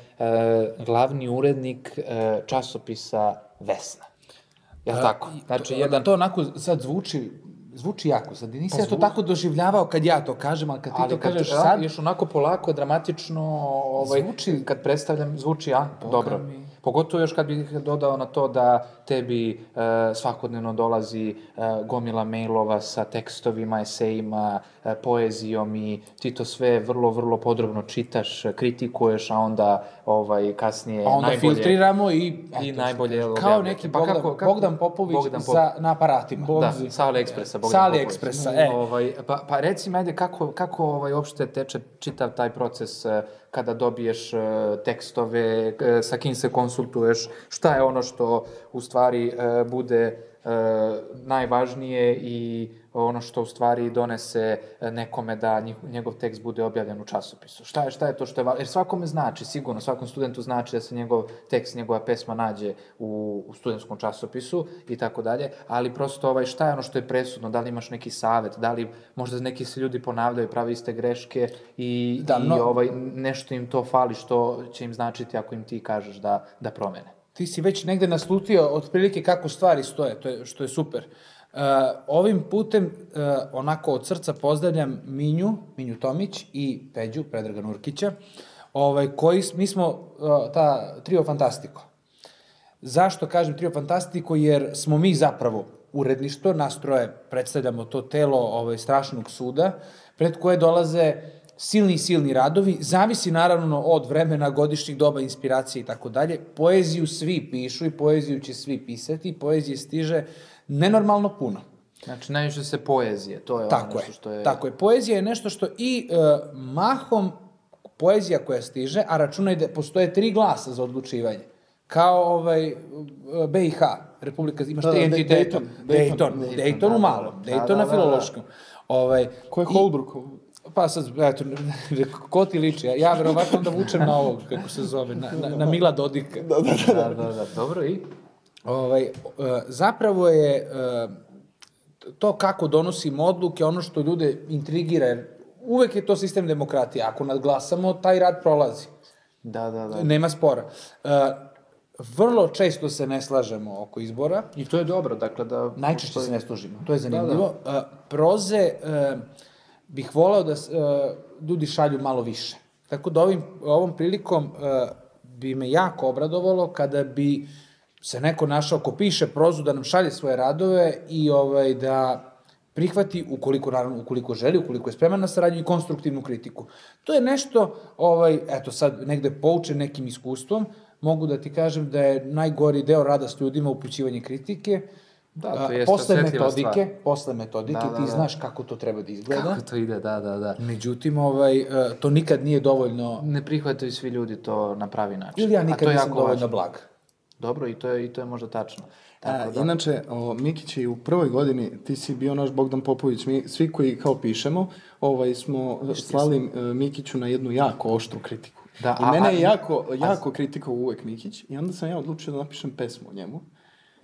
[SPEAKER 2] glavni urednik e, časopisa Vesna. Jel
[SPEAKER 12] A,
[SPEAKER 2] tako?
[SPEAKER 12] Pa, i to-
[SPEAKER 2] Znači, jedan
[SPEAKER 12] To onako sad zvuči zvuči jako, sad nisam
[SPEAKER 2] Pa
[SPEAKER 12] ja to
[SPEAKER 2] zvu-
[SPEAKER 12] tako doživljavao kad ja to kažem, ali kad ti to
[SPEAKER 2] Ali kad
[SPEAKER 12] kažeš
[SPEAKER 2] ra-
[SPEAKER 12] sad,
[SPEAKER 2] još onako polako, dramatično, ovaj, zvuči, kad predstavljam, zvuči a, dobro. Pogotovo još kad bih dodao na to da tebi e, svakodnevno dolazi e, gomila mailova sa tekstovima, esejima, e, poezijom i ti to sve vrlo, vrlo podrobno čitaš, e, kritikuješ, a onda ovaj, kasnije
[SPEAKER 12] pa onda
[SPEAKER 2] najbolje-
[SPEAKER 12] filtriramo i...
[SPEAKER 2] i
[SPEAKER 12] eto,
[SPEAKER 2] najbolje
[SPEAKER 12] Kao
[SPEAKER 2] objavljate.
[SPEAKER 12] neki
[SPEAKER 2] Pa
[SPEAKER 12] Bogdan,
[SPEAKER 2] kako- kako-
[SPEAKER 12] Bogdan Popović
[SPEAKER 2] Bogdan Pop-
[SPEAKER 12] sa, na aparatima.
[SPEAKER 2] Da, sa AliExpressa. Bogdan
[SPEAKER 12] Sa
[SPEAKER 2] Popović.
[SPEAKER 12] AliExpressa, e.
[SPEAKER 2] Ovaj, pa, pa reci mi, ajde, kako, kako ovaj, uopšte teče čitav taj proces eh, kada dobiješ eh, tekstove, eh, sa kim se konsultuješ, šta je ono što u stvari eh, bude eh, najvažnije i ono što u stvari donese eh, nekome da njiho- njegov tekst bude objavljen u časopisu. Šta je, šta je to što je važno? Jer svakome znači, sigurno, svakom studentu znači da se njegov tekst, njegova pesma nađe u, u studentskom časopisu i tako dalje, ali prosto ovaj, šta je ono što je presudno, da li imaš neki savet, da li možda neki se ljudi ponavljaju, prave iste greške i,
[SPEAKER 12] Da,
[SPEAKER 2] i
[SPEAKER 12] mno-
[SPEAKER 2] ovaj, nešto im to fali što će im značiti ako im ti kažeš da, da promene.
[SPEAKER 12] ti si već negde naslutio otprilike kako stvari stoje, to je, što je super. Uh, ovim putem uh, onako od srca pozdravljam Minju, Minju Tomić i Peđu, Predraga Nurkića, ovaj, koji, s- mi smo uh, ta trio Fantastiko. Zašto kažem trio Fantastiko? Jer smo mi zapravo uredništvo, nas troje predstavljamo to telo ovaj, strašnog suda, pred koje dolaze silni, silni radovi, zavisi naravno od vremena, godišnjih doba, inspiracije i tako dalje. Poeziju svi pišu i poeziju će svi pisati, poezije stiže nenormalno puno.
[SPEAKER 2] Znači, najviše se poezije, to je ono
[SPEAKER 12] Tako
[SPEAKER 2] nešto
[SPEAKER 12] je,
[SPEAKER 2] što je...
[SPEAKER 12] tako je. Poezija je nešto što i e, mahom poezija koja stiže, a računaj da postoje tri glasa za odlučivanje. Kao ovaj, e, BiH, Republika, imaš
[SPEAKER 1] Da,
[SPEAKER 12] tri
[SPEAKER 1] da,
[SPEAKER 12] entiteta.
[SPEAKER 1] Dayton, Dayton,
[SPEAKER 12] Dayton,
[SPEAKER 1] Dayton,
[SPEAKER 12] Dayton u malom,
[SPEAKER 1] da, da,
[SPEAKER 12] Dayton
[SPEAKER 1] da,
[SPEAKER 12] na
[SPEAKER 1] da.
[SPEAKER 12] filološkom. Ovaj,
[SPEAKER 1] Ko je
[SPEAKER 12] i-
[SPEAKER 1] Holbrook?
[SPEAKER 12] Pa sad, eto, [LAUGHS] ko ti liči? Ja, ja verovatno onda vučem na ovog, kako se zove, na, na, na Mila Dodika. Da,
[SPEAKER 2] da, da. da, da. Dobro, i?
[SPEAKER 12] Ovaj, e, zapravo je e, to kako donosimo odluke, ono što ljude intrigira, jer uvek je to sistem demokratije. Ako nadglasamo, taj rad prolazi.
[SPEAKER 2] Da, da, da.
[SPEAKER 12] Nema spora. E, vrlo često se ne slažemo oko izbora.
[SPEAKER 2] I to je dobro, dakle da...
[SPEAKER 12] Najčešće se ne služimo, to je
[SPEAKER 2] Da, da.
[SPEAKER 12] zanimljivo. E, proze e, bih volao da s- e, ljudi šalju malo više. Tako da ovim, ovom prilikom e, bi me jako obradovalo kada bi se neko našao ko piše prozu da nam šalje svoje radove i ovaj, da prihvati ukoliko naravno ukoliko želi, ukoliko je spreman na saradnju i konstruktivnu kritiku. To je nešto ovaj eto sad negde poučen nekim iskustvom, mogu da ti kažem da je najgori deo rada s ljudima upućivanje kritike.
[SPEAKER 2] Da,
[SPEAKER 12] A,
[SPEAKER 2] to jeste
[SPEAKER 12] posle
[SPEAKER 2] osetljiva
[SPEAKER 12] metodike,
[SPEAKER 2] stvar.
[SPEAKER 12] posle metodike
[SPEAKER 2] Da, da,
[SPEAKER 12] ti
[SPEAKER 2] da.
[SPEAKER 12] znaš kako to treba da izgleda.
[SPEAKER 2] Kako to ide, da, da, da.
[SPEAKER 12] Međutim, ovaj, e, to nikad nije dovoljno...
[SPEAKER 2] Ne prihvataju svi ljudi to na pravi način.
[SPEAKER 12] Ili ja
[SPEAKER 2] A to
[SPEAKER 12] nikad
[SPEAKER 2] je
[SPEAKER 12] nisam
[SPEAKER 2] jako
[SPEAKER 12] dovoljno
[SPEAKER 2] važno.
[SPEAKER 12] blag.
[SPEAKER 2] Dobro, i to je, i to je možda tačno.
[SPEAKER 1] A,
[SPEAKER 2] Tako da.
[SPEAKER 1] Inače, o, Mikić i u prvoj godini ti si bio naš Bogdan Popović, mi svi koji kao pišemo, ovaj smo e, slali e, Mikiću na jednu jako oštru kritiku.
[SPEAKER 2] Da,
[SPEAKER 1] I
[SPEAKER 2] a-
[SPEAKER 1] mene
[SPEAKER 2] a-
[SPEAKER 1] je jako,
[SPEAKER 2] a-
[SPEAKER 1] jako kritikao uvek Mikić i onda sam ja odlučio da napišem pesmu o njemu.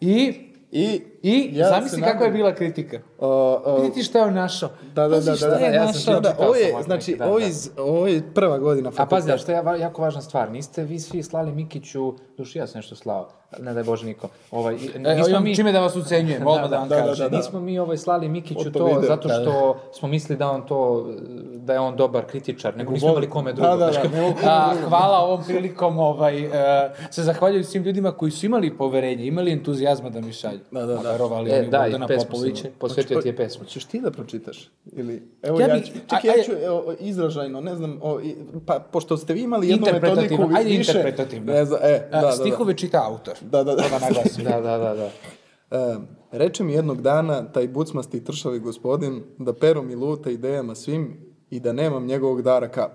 [SPEAKER 12] I,
[SPEAKER 1] I,
[SPEAKER 12] i
[SPEAKER 1] ja se
[SPEAKER 12] zamisli
[SPEAKER 1] nadam-
[SPEAKER 12] kako je bila kritika.
[SPEAKER 2] E,
[SPEAKER 1] O, o,
[SPEAKER 12] Vidi ti šta je on našao.
[SPEAKER 1] E, Da, da,
[SPEAKER 12] Pazi
[SPEAKER 1] da, da,
[SPEAKER 12] šta
[SPEAKER 1] da,
[SPEAKER 12] je
[SPEAKER 1] ja sam
[SPEAKER 12] našao.
[SPEAKER 1] čitao da, ovo je,
[SPEAKER 2] ovako
[SPEAKER 1] znači,
[SPEAKER 2] neki dan,
[SPEAKER 1] ovo
[SPEAKER 2] da.
[SPEAKER 1] je, iz- ovo je prva godina
[SPEAKER 2] A
[SPEAKER 1] fakulteta.
[SPEAKER 2] pazi, a što je va- jako važna stvar, niste vi svi slali Mikiću, duši ja sam nešto slao, ne daj Bože nikom. Ovaj, i-
[SPEAKER 12] E,
[SPEAKER 2] nismo
[SPEAKER 12] imam čime da vas ucenjujem, odmah da vam kažem.
[SPEAKER 2] Nismo mi ovaj slali Mikiću
[SPEAKER 12] Oto
[SPEAKER 2] to
[SPEAKER 12] video,
[SPEAKER 2] zato
[SPEAKER 12] da,
[SPEAKER 2] što smo mislili da on to, da je on dobar kritičar, nego nismo imali kome drugom.
[SPEAKER 12] Da, da, da, A, hvala ovom prilikom ovaj, e, se zahvaljujem svim ljudima koji su imali poverenje, imali entuzijazma da mi šalju. Da, da, da. Verovali
[SPEAKER 2] E,
[SPEAKER 12] oni u
[SPEAKER 2] da, i
[SPEAKER 12] Bogdana
[SPEAKER 2] pesmu sam-
[SPEAKER 12] Popovića.
[SPEAKER 2] posvetio
[SPEAKER 12] Znači,
[SPEAKER 2] ti je pesmu.
[SPEAKER 1] Znači, Hoćeš ti da pročitaš? Ili, evo
[SPEAKER 12] Ja
[SPEAKER 1] ja,
[SPEAKER 12] bi-
[SPEAKER 1] ću- čekaj,
[SPEAKER 12] a-
[SPEAKER 1] ja
[SPEAKER 12] ajde.
[SPEAKER 1] ću evo, izražajno, ne znam, o, i- pa pošto ste vi imali jednu
[SPEAKER 12] Interpretativno,
[SPEAKER 1] metodiku vi-
[SPEAKER 12] ajde
[SPEAKER 1] više,
[SPEAKER 12] interpretativno.
[SPEAKER 1] Ne znam, e,
[SPEAKER 12] A,
[SPEAKER 1] da, da, da.
[SPEAKER 12] stihove čita [LAUGHS] autor.
[SPEAKER 1] Da, da, da.
[SPEAKER 12] To da naglasim.
[SPEAKER 2] da, da, da, da.
[SPEAKER 1] E, reče mi jednog dana taj bucmasti i tršavi gospodin da perom i luta idejama svim i da nemam njegovog dara kap.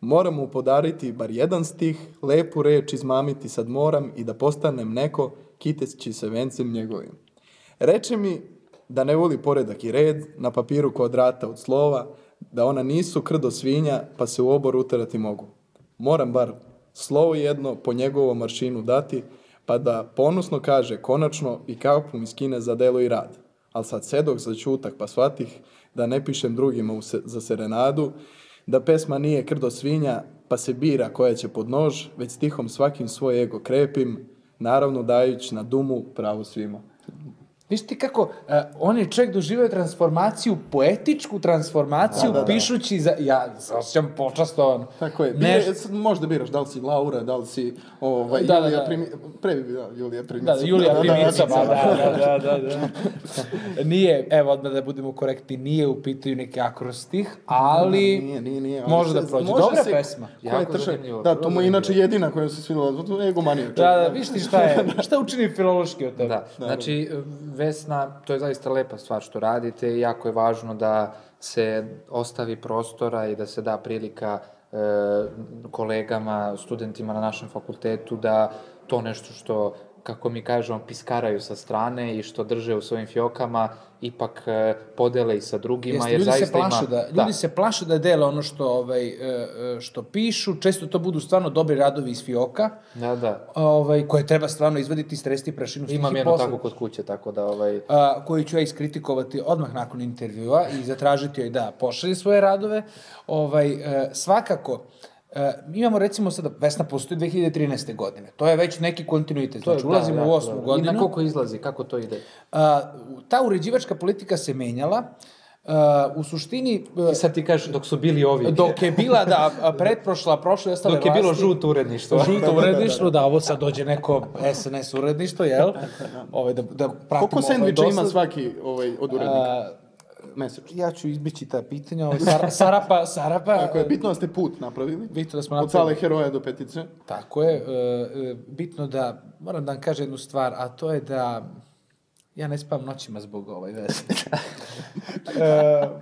[SPEAKER 1] Moram mu podariti bar jedan stih, lepu reč izmamiti sad moram i da postanem neko kiteći se vencem njegovim. Reče mi da ne voli poredak i red, na papiru kvadrata od slova, da ona nisu krdo svinja pa se u obor uterati mogu. Moram bar slovo jedno po njegovom maršinu dati, pa da ponosno kaže konačno i kapu mi skine za delo i rad. Al sad sedoh za čutak pa shvatih da ne pišem drugima u se- za serenadu, da pesma nije krdo svinja pa se bira koja će pod nož, već stihom svakim svoj ego krepim, naravno dajući na dumu pravo svima.
[SPEAKER 12] Viš ti kako, e, on je čovjek doživio transformaciju, poetičku transformaciju,
[SPEAKER 1] Da, da, da.
[SPEAKER 12] pišući za... Ja se osjećam počastovan.
[SPEAKER 1] Tako je.
[SPEAKER 12] Ne-
[SPEAKER 1] Bira- sad možda biraš da li si Laura, da li si ovaj,
[SPEAKER 12] Da, da,
[SPEAKER 1] Julija
[SPEAKER 12] da.
[SPEAKER 1] Primi... Pre bi bila Julija Primica.
[SPEAKER 12] Da, da, Julija Primica,
[SPEAKER 1] da,
[SPEAKER 12] ba, da, da, da, da. Nije, evo odmah da budemo korektni, nije u pitanju neki akrostih, ali
[SPEAKER 1] Da, Nije, nije, nije. ali
[SPEAKER 12] može
[SPEAKER 1] se-
[SPEAKER 12] da prođe.
[SPEAKER 1] može
[SPEAKER 12] Dobra
[SPEAKER 1] se-
[SPEAKER 12] pesma.
[SPEAKER 1] Koja je
[SPEAKER 12] Jako
[SPEAKER 1] trša-
[SPEAKER 12] zanimljivo,
[SPEAKER 1] Da, to
[SPEAKER 12] vrlo
[SPEAKER 1] mu je inače jedina koja se svidjela. To je egomanija.
[SPEAKER 12] Da, da, viš ti šta je, šta učini filološki od tebe.
[SPEAKER 2] Da. Znači, Vesna, to je zaista lepa stvar što radite i jako je važno da se ostavi prostora i da se da prilika e, kolegama, studentima na našem fakultetu da to nešto što kako mi kažemo, piskaraju sa strane i što drže u svojim fiokama, ipak e, podele i sa drugima,
[SPEAKER 12] Jeste,
[SPEAKER 2] jer
[SPEAKER 12] ljudi
[SPEAKER 2] zaista
[SPEAKER 12] se plaše
[SPEAKER 2] ima...
[SPEAKER 12] da, ljudi se plaše da dele ono što ovaj e, e, što pišu, često to budu stvarno dobri radovi iz fioka.
[SPEAKER 2] Da, da.
[SPEAKER 12] Ovaj koje treba stvarno izvaditi, stresti prašinu stih
[SPEAKER 2] Imam
[SPEAKER 12] i
[SPEAKER 2] jedno
[SPEAKER 12] poslat.
[SPEAKER 2] tako kod kuće, tako da ovaj...
[SPEAKER 12] a, koju ću ja iskritikovati odmah nakon intervjua i zatražiti joj da pošalje svoje radove. Ovaj, e, svakako, e, mi imamo recimo sada, Vesna postoji 2013. godine, to je već neki kontinuitet,
[SPEAKER 2] To je-
[SPEAKER 12] znači ulazimo
[SPEAKER 2] da,
[SPEAKER 12] u
[SPEAKER 2] jako
[SPEAKER 12] osmu
[SPEAKER 2] dobro.
[SPEAKER 12] godinu.
[SPEAKER 2] I na koliko izlazi, kako to ide?
[SPEAKER 12] A, u- ta uređivačka politika se menjala, a, u suštini... e,
[SPEAKER 2] I sad ti kažeš dok su bili ovi.
[SPEAKER 12] Dok je bila, da, a, pretprošla, prošla i ostale
[SPEAKER 2] Dok je bilo
[SPEAKER 12] vlasti-
[SPEAKER 2] žuto uredništvo.
[SPEAKER 12] Žuto uredništvo, da, ovo sad dođe neko SNS uredništvo, jel? Ovaj, da, da pratimo
[SPEAKER 1] [LAUGHS] Koliko
[SPEAKER 12] ovaj
[SPEAKER 1] sendviča ima
[SPEAKER 12] dosad.
[SPEAKER 1] svaki ovaj, od urednika? Mesečno.
[SPEAKER 12] Ja ću izbići ta pitanja. Ovaj, sar, sarapa, sarapa.
[SPEAKER 1] Tako je, bitno da ste put napravili.
[SPEAKER 12] Bitno da smo
[SPEAKER 1] Od sale
[SPEAKER 12] napravili.
[SPEAKER 1] heroja do petice.
[SPEAKER 12] Tako je. e, e, bitno da, moram da vam kažem jednu stvar, a to je da ja ne spavam noćima zbog ovaj
[SPEAKER 1] [LAUGHS]
[SPEAKER 12] veze. E,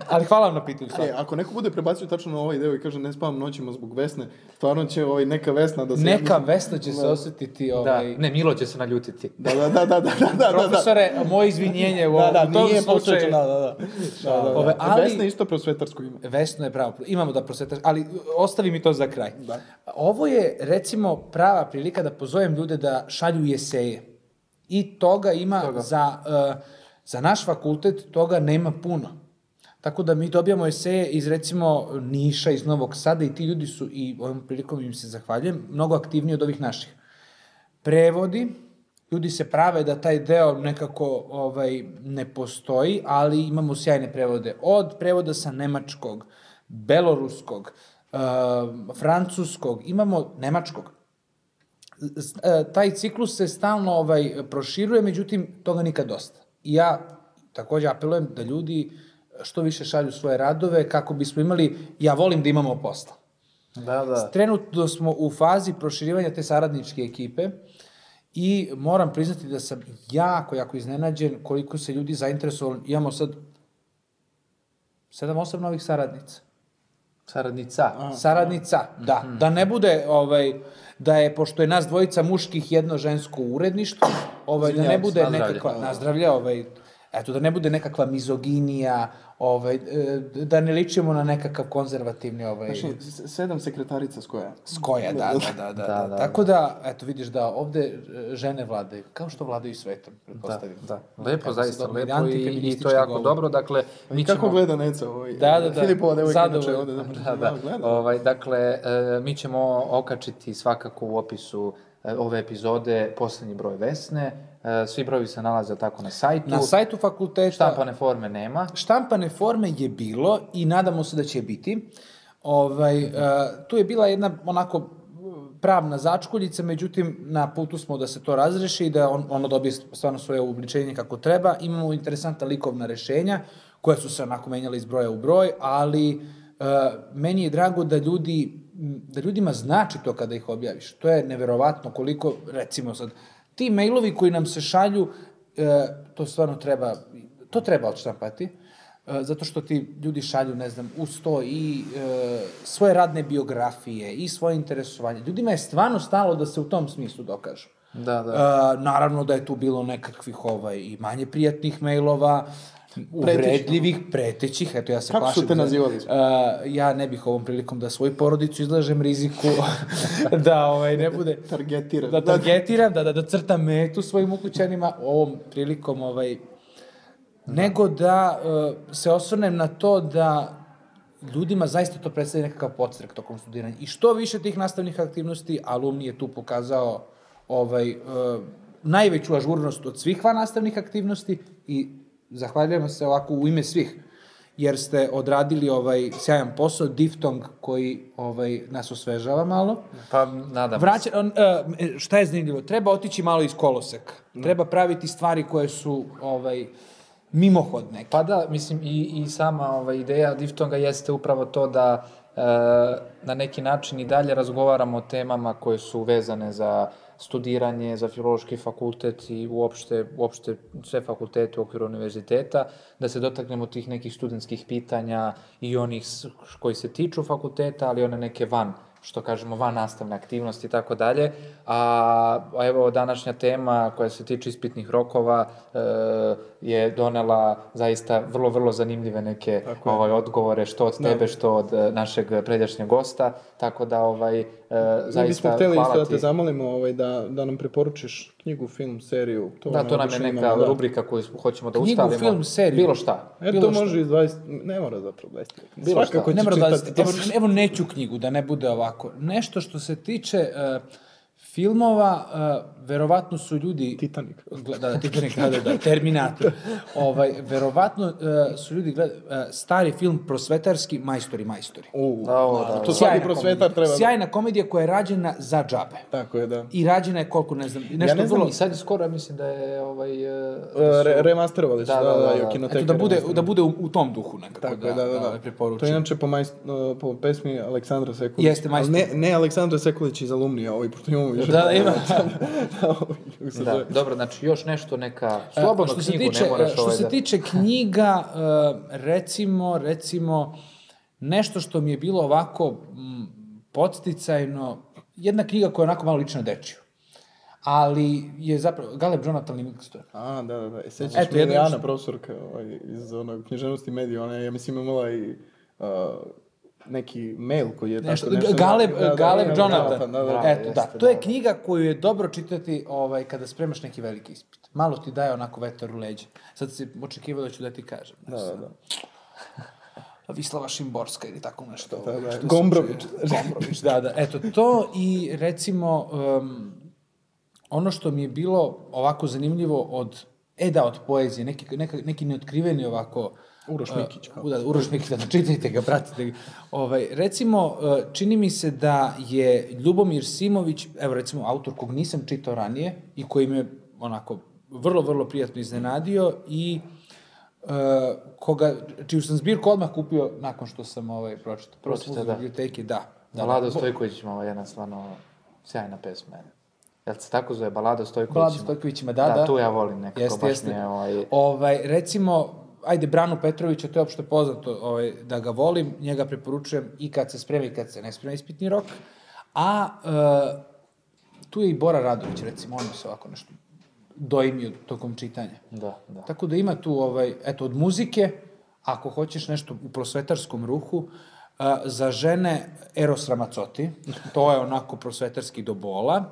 [SPEAKER 12] ali hvala vam na pitanju. stvarno.
[SPEAKER 1] E, ako neko bude prebacio tačno na ovaj deo i kaže ne spavam noćima zbog Vesne, stvarno će ovaj, neka Vesna da se...
[SPEAKER 12] Neka Vesna će se
[SPEAKER 1] Da.
[SPEAKER 12] osjetiti ovaj...
[SPEAKER 2] [LAUGHS] Da, ne, Milo će se naljutiti.
[SPEAKER 1] Da, da, da, da, da, da, da.
[SPEAKER 12] Profesore, moje izvinjenje u
[SPEAKER 1] Da,
[SPEAKER 12] ovom
[SPEAKER 1] da,
[SPEAKER 12] u tom
[SPEAKER 1] nije
[SPEAKER 12] slučaju.
[SPEAKER 1] posvećeno, da, da, da. Da, da, da.
[SPEAKER 12] Ove,
[SPEAKER 1] E,
[SPEAKER 12] ali-
[SPEAKER 1] Vesna je isto prosvetarsko ime.
[SPEAKER 12] Vesno je pravo, imamo da prosvetaš, ali ostavi mi to za kraj.
[SPEAKER 1] Da.
[SPEAKER 12] Ovo je, recimo, prava prilika da pozovem ljude da šalju i eseje. I toga ima za, e, za naš fakultet, toga nema puno. Tako da mi dobijamo eseje iz, recimo, Niša, iz Novog Sada i ti ljudi su, i ovom prilikom im se zahvaljujem, mnogo aktivniji od ovih naših prevodi, ljudi se prave da taj deo nekako ovaj, ne postoji, ali imamo sjajne prevode. Od prevoda sa nemačkog, beloruskog, e, francuskog, imamo nemačkog. Z- e, taj ciklus se stalno ovaj, proširuje, međutim, toga nikad dosta. I ja takođe apelujem da ljudi što više šalju svoje radove kako bismo imali, ja volim da imamo posla.
[SPEAKER 2] Da, da.
[SPEAKER 12] Trenutno smo u fazi proširivanja te saradničke ekipe i moram priznati da sam jako, jako iznenađen koliko se ljudi zainteresovali. Imamo sad 7-8 novih saradnica.
[SPEAKER 2] Saradnica. Mhm.
[SPEAKER 12] Saradnica, da. Da ne bude, ovaj, da je, pošto je nas dvojica muških, jedno žensko uredništvo, ovaj, da ne
[SPEAKER 2] Izvinjavam se,
[SPEAKER 12] bude
[SPEAKER 2] na zdravlje.
[SPEAKER 12] nekakva, nazdravlja, ovaj, eto, da ne bude nekakva mizoginija, ovaj, e, da ne ličimo na nekakav konzervativni, ovaj...
[SPEAKER 1] Znači, s- sedam sekretarica s koja?
[SPEAKER 12] Skoja, da, da, da, da, da, Tako da, eto, vidiš da ovde e, žene vladaju, kao što vladaju svetom, pretpostavljam.
[SPEAKER 2] Da, Lepo,
[SPEAKER 12] Kako se
[SPEAKER 2] zaista
[SPEAKER 12] dobro,
[SPEAKER 2] lepo i,
[SPEAKER 12] antifeministički
[SPEAKER 2] i to je jako
[SPEAKER 12] govor.
[SPEAKER 2] dobro. Dakle,
[SPEAKER 1] I
[SPEAKER 2] mi
[SPEAKER 1] kako
[SPEAKER 2] ćemo...
[SPEAKER 1] gleda Neca ovaj?
[SPEAKER 2] Da, da, da.
[SPEAKER 1] Filipova devojka inače
[SPEAKER 2] Zadovoljno.
[SPEAKER 1] ovde.
[SPEAKER 2] Da, da.
[SPEAKER 1] gleda.
[SPEAKER 2] Ovaj, dakle, e, mi ćemo okačiti svakako u opisu e, ove epizode poslednji broj Vesne. E, Svi brojevi se nalaze tako na sajtu. da.
[SPEAKER 12] Na sajtu fakulteta...
[SPEAKER 2] Štampane forme nema.
[SPEAKER 12] Štampane forme je bilo i nadamo se da će biti. Ovaj, e, tu je bila jedna onako e, pravna začkuljica, međutim na putu smo da se to razreši i da on, ono dobije stvarno svoje uobličenje kako treba. Imamo interesantna likovna rešenja koja su se onako menjala iz broja u broj, ali e, meni je drago da ljudi m, da ljudima znači to kada ih objaviš. To je neverovatno koliko, recimo sad, ti mailovi koji nam se šalju, e, to stvarno treba to treba odštampati, e, zato što ti ljudi šalju, ne znam, uz to i e, svoje radne biografije i svoje interesovanje. Ljudima je stvarno stalo da se u tom smislu dokažu.
[SPEAKER 2] Da, da.
[SPEAKER 12] E, naravno da je tu bilo nekakvih ovaj, i manje prijatnih mailova, uvredljivih, pretećih, eto ja se
[SPEAKER 1] da. Kako su
[SPEAKER 12] plašim.
[SPEAKER 1] te
[SPEAKER 12] za-
[SPEAKER 1] nazivali?
[SPEAKER 12] E, ja ne bih ovom prilikom da svoju porodicu izlažem riziku, [LAUGHS] da ovaj, ne bude...
[SPEAKER 1] Targetira.
[SPEAKER 12] Da targetiram, da, da, da crtam metu svojim ukućanima, ovom prilikom ovaj, nego da e, se osvrnem na to da ljudima zaista to predstavlja nekakav podstrek tokom studiranja. I što više tih nastavnih aktivnosti, alumni je tu eh, pokazao ovaj, e, najveću ažurnost od svih van nastavnih aktivnosti i zahvaljujem se ovako u ime svih jer ste odradili ovaj sjajan posao, diftong koji ovaj, nas osvežava malo.
[SPEAKER 2] Pa, nadam se.
[SPEAKER 12] Vraća, on, e, šta je zanimljivo? Treba otići malo iz koloseka.
[SPEAKER 2] Da.
[SPEAKER 12] Treba praviti stvari koje su ovaj, mimohodne.
[SPEAKER 2] Pa da, mislim, i, i sama ova ideja diftonga jeste upravo to da e, na neki način i dalje razgovaramo o temama koje su vezane za studiranje, za filološki fakultet i uopšte, uopšte sve fakultete u okviru univerziteta, da se dotaknemo tih nekih studentskih pitanja i onih s- koji se tiču fakulteta, ali i one neke van što kažemo van nastavne aktivnosti i tako dalje. A a evo današnja tema koja se tiče ispitnih rokova e, je donela zaista vrlo, vrlo zanimljive neke ovaj, odgovore što od
[SPEAKER 1] Da.
[SPEAKER 2] tebe, što od e, našeg pređašnjeg gosta. Tako da ovaj, e,
[SPEAKER 1] Mi bismo
[SPEAKER 2] zaista
[SPEAKER 1] hteli isto
[SPEAKER 2] hvala
[SPEAKER 1] da
[SPEAKER 2] ti.
[SPEAKER 1] te zamolimo ovaj, da, da nam preporučiš knjigu, film, seriju.
[SPEAKER 2] da, to nam je
[SPEAKER 1] obično
[SPEAKER 2] neka
[SPEAKER 1] imamo, da.
[SPEAKER 2] rubrika koju smo- hoćemo da
[SPEAKER 1] Knjigu,
[SPEAKER 2] ustalimo.
[SPEAKER 1] film, seriju.
[SPEAKER 2] Bilo šta.
[SPEAKER 1] E,
[SPEAKER 2] bilo
[SPEAKER 1] to
[SPEAKER 2] šta.
[SPEAKER 1] može iz 20, ne mora zapravo 20.
[SPEAKER 12] Bilo
[SPEAKER 1] Svakako
[SPEAKER 12] šta.
[SPEAKER 1] će
[SPEAKER 12] Ne mora
[SPEAKER 1] čitati.
[SPEAKER 12] 20. Evo, evo neću knjigu, da ne bude ovako. Nešto što se tiče e, filmova, e, verovatno su ljudi...
[SPEAKER 1] Titanic.
[SPEAKER 12] Da, da, Titanic, da, da, da, Terminator. ovaj, verovatno e, su ljudi gleda, e, stari film prosvetarski Majstori, majstori.
[SPEAKER 1] da, da. To svaki
[SPEAKER 12] Sjajna
[SPEAKER 1] prosvetar
[SPEAKER 12] komedija.
[SPEAKER 1] treba-
[SPEAKER 12] Sjajna komedija koja je rađena za džabe.
[SPEAKER 1] Tako je, da.
[SPEAKER 12] I rađena je koliko, ne znam, nešto
[SPEAKER 2] ja ne znam,
[SPEAKER 12] vrlo...
[SPEAKER 2] i sad je skoro, ja mislim da je ovaj... e,
[SPEAKER 1] E,
[SPEAKER 2] da
[SPEAKER 1] re-
[SPEAKER 2] su-
[SPEAKER 1] remasterovali su, da, da, da, i u kinoteke
[SPEAKER 12] Eto, da bude,
[SPEAKER 1] remasterovali.
[SPEAKER 12] da bude u, u tom duhu nekako.
[SPEAKER 1] Tako je, da, da, da.
[SPEAKER 12] preporučim.
[SPEAKER 1] To je inače po, majst- po pesmi Aleksandra Sekulića.
[SPEAKER 12] Jeste, majstor.
[SPEAKER 1] Ali Ne, ne Aleksandra Sekulić iz Alumnija, ovaj, pošto imamo više. ovaj,
[SPEAKER 12] Da, da, ima.
[SPEAKER 1] [LAUGHS] se
[SPEAKER 2] Da,
[SPEAKER 1] zove.
[SPEAKER 2] dobro, znači još nešto neka
[SPEAKER 12] E,
[SPEAKER 2] slobodno
[SPEAKER 12] što se
[SPEAKER 2] knjigu
[SPEAKER 12] tiče,
[SPEAKER 2] ne moraš
[SPEAKER 12] e, Što
[SPEAKER 2] ovaj
[SPEAKER 12] se
[SPEAKER 2] da-
[SPEAKER 12] tiče knjiga, e, recimo, recimo, nešto što mi je bilo ovako mm, podsticajno, jedna knjiga koja je onako malo lično dečiju. Ali je zapravo, Galeb Jonathan Livingston.
[SPEAKER 1] A, da, da, da. E, Sećaš
[SPEAKER 12] Eto,
[SPEAKER 1] mi
[SPEAKER 12] jedno
[SPEAKER 1] Adriana,
[SPEAKER 12] što-
[SPEAKER 1] profesorka ovaj, iz onog književnosti i medija, ona je, ja mislim, imala i uh, neki mail koji je
[SPEAKER 12] Nešto,
[SPEAKER 1] tako nešto...
[SPEAKER 12] Galeb,
[SPEAKER 1] Da, da,
[SPEAKER 12] Galeb
[SPEAKER 1] da, da,
[SPEAKER 12] Jonathan.
[SPEAKER 1] da, da,
[SPEAKER 12] Eto, da, to je knjiga koju je dobro čitati ovaj, kada spremaš neki veliki ispit. Malo ti daje onako vetar u leđe. Sad si očekivao da ću da ti kažem.
[SPEAKER 1] Da, da, da.
[SPEAKER 12] [LAUGHS] Vislava Šimborska ili tako nešto.
[SPEAKER 1] Da, da,
[SPEAKER 12] što se
[SPEAKER 1] Gombrović.
[SPEAKER 12] čuje. Gombrović, da, da. Eto, to i recimo um, em, ono što mi je bilo ovako zanimljivo od, e da, od poezije, neki, neka, neki neotkriveni ovako...
[SPEAKER 1] Uroš
[SPEAKER 12] e,
[SPEAKER 1] Mikić, kao.
[SPEAKER 12] Da, Uroš Mikić, da, da, čitajte ga, pratite ga. Ovaj, recimo, e, čini mi se da je Ljubomir Simović, evo recimo autor kog nisam čitao ranije i koji me onako vrlo, vrlo prijatno iznenadio i e, koga, čiju sam zbirku odmah kupio nakon što sam ovaj, pročitao. Prvo sam
[SPEAKER 2] Pročitao,
[SPEAKER 12] uzeo
[SPEAKER 2] da.
[SPEAKER 12] biblioteke, da. da,
[SPEAKER 2] Balada o
[SPEAKER 12] da.
[SPEAKER 2] Stojkovićima, ova jedna stvarno sjajna pesma. je. Jel se tako zove? Balada o Stojkovićima?
[SPEAKER 12] Balada o Stojkovićima, da, da.
[SPEAKER 2] tu ja volim nekako,
[SPEAKER 12] Jeste,
[SPEAKER 2] baš
[SPEAKER 12] jeste.
[SPEAKER 2] mi je ovaj...
[SPEAKER 12] Ovaj, recimo, ajde, Branu Petrovića, to je opšte poznato ovaj, da ga volim, njega preporučujem i kad se sprema i kad se ne sprema ispitni rok, a e, tu je i Bora Radović, recimo, on mi se ovako nešto doimio tokom čitanja.
[SPEAKER 2] Da, da.
[SPEAKER 12] Tako da ima tu, ovaj, eto, od muzike, ako hoćeš nešto u prosvetarskom ruhu, a, za žene Eros Ramazzotti, to je onako prosvetarski do bola.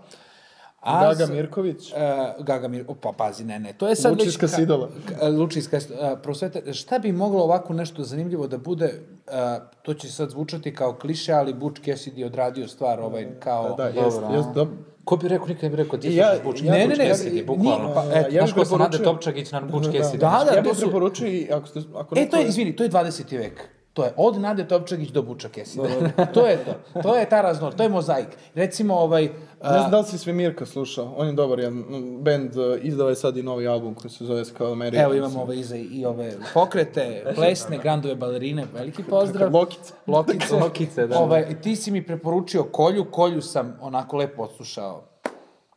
[SPEAKER 1] Gaga
[SPEAKER 12] za-
[SPEAKER 1] Mirković.
[SPEAKER 12] E, Gaga Mir, opa, pazi, ne, ne, to je sad
[SPEAKER 1] Lučijska
[SPEAKER 12] ka-
[SPEAKER 1] sidala.
[SPEAKER 12] ka- Lučijska sidala, prosvete, šta bi moglo ovako nešto zanimljivo da bude, a, to će sad zvučati kao kliše, ali Butch Cassidy odradio stvar ovaj, kao...
[SPEAKER 1] Da, da, jest,
[SPEAKER 2] Dobro,
[SPEAKER 1] jest,
[SPEAKER 2] a?
[SPEAKER 1] dobro.
[SPEAKER 2] Ko bi rekao, nikad ne bi rekao, ti
[SPEAKER 1] Ja-
[SPEAKER 2] ja, slušaš Buč
[SPEAKER 1] ja-
[SPEAKER 2] Cassidy,
[SPEAKER 1] ne, ne, ne,
[SPEAKER 2] Cassidy,
[SPEAKER 1] ja-
[SPEAKER 2] bukvalno.
[SPEAKER 1] nije, pa, eto,
[SPEAKER 2] Znaš
[SPEAKER 1] ja
[SPEAKER 2] ko
[SPEAKER 1] bih
[SPEAKER 2] se Nade
[SPEAKER 1] preporučio-
[SPEAKER 2] Topčagić na
[SPEAKER 1] Da,
[SPEAKER 2] Buč
[SPEAKER 1] da.
[SPEAKER 2] Cassidy?
[SPEAKER 12] Da, da,
[SPEAKER 1] ja
[SPEAKER 12] to
[SPEAKER 1] bih
[SPEAKER 12] su-
[SPEAKER 1] preporučio i ako ste... Ako
[SPEAKER 12] E,
[SPEAKER 1] neko-
[SPEAKER 12] to je, izvini, to je 20. vek. To je od Nade Topčagić do Buča Kesida. [LAUGHS] to je to. To je ta raznor, to je mozaik. Recimo, ovaj... a,
[SPEAKER 1] Ne znam da li si sve Mirka slušao, on je dobar jedan mm, band, e, izdao je sad i novi album koji se zove Skal America.
[SPEAKER 12] Evo imamo ove iza i ove pokrete, plesne, grandove balerine, veliki pozdrav.
[SPEAKER 1] Lokice.
[SPEAKER 12] Lokice.
[SPEAKER 2] Lokice, da.
[SPEAKER 12] Ovaj, ti si mi preporučio kolju, kolju sam onako lepo odslušao.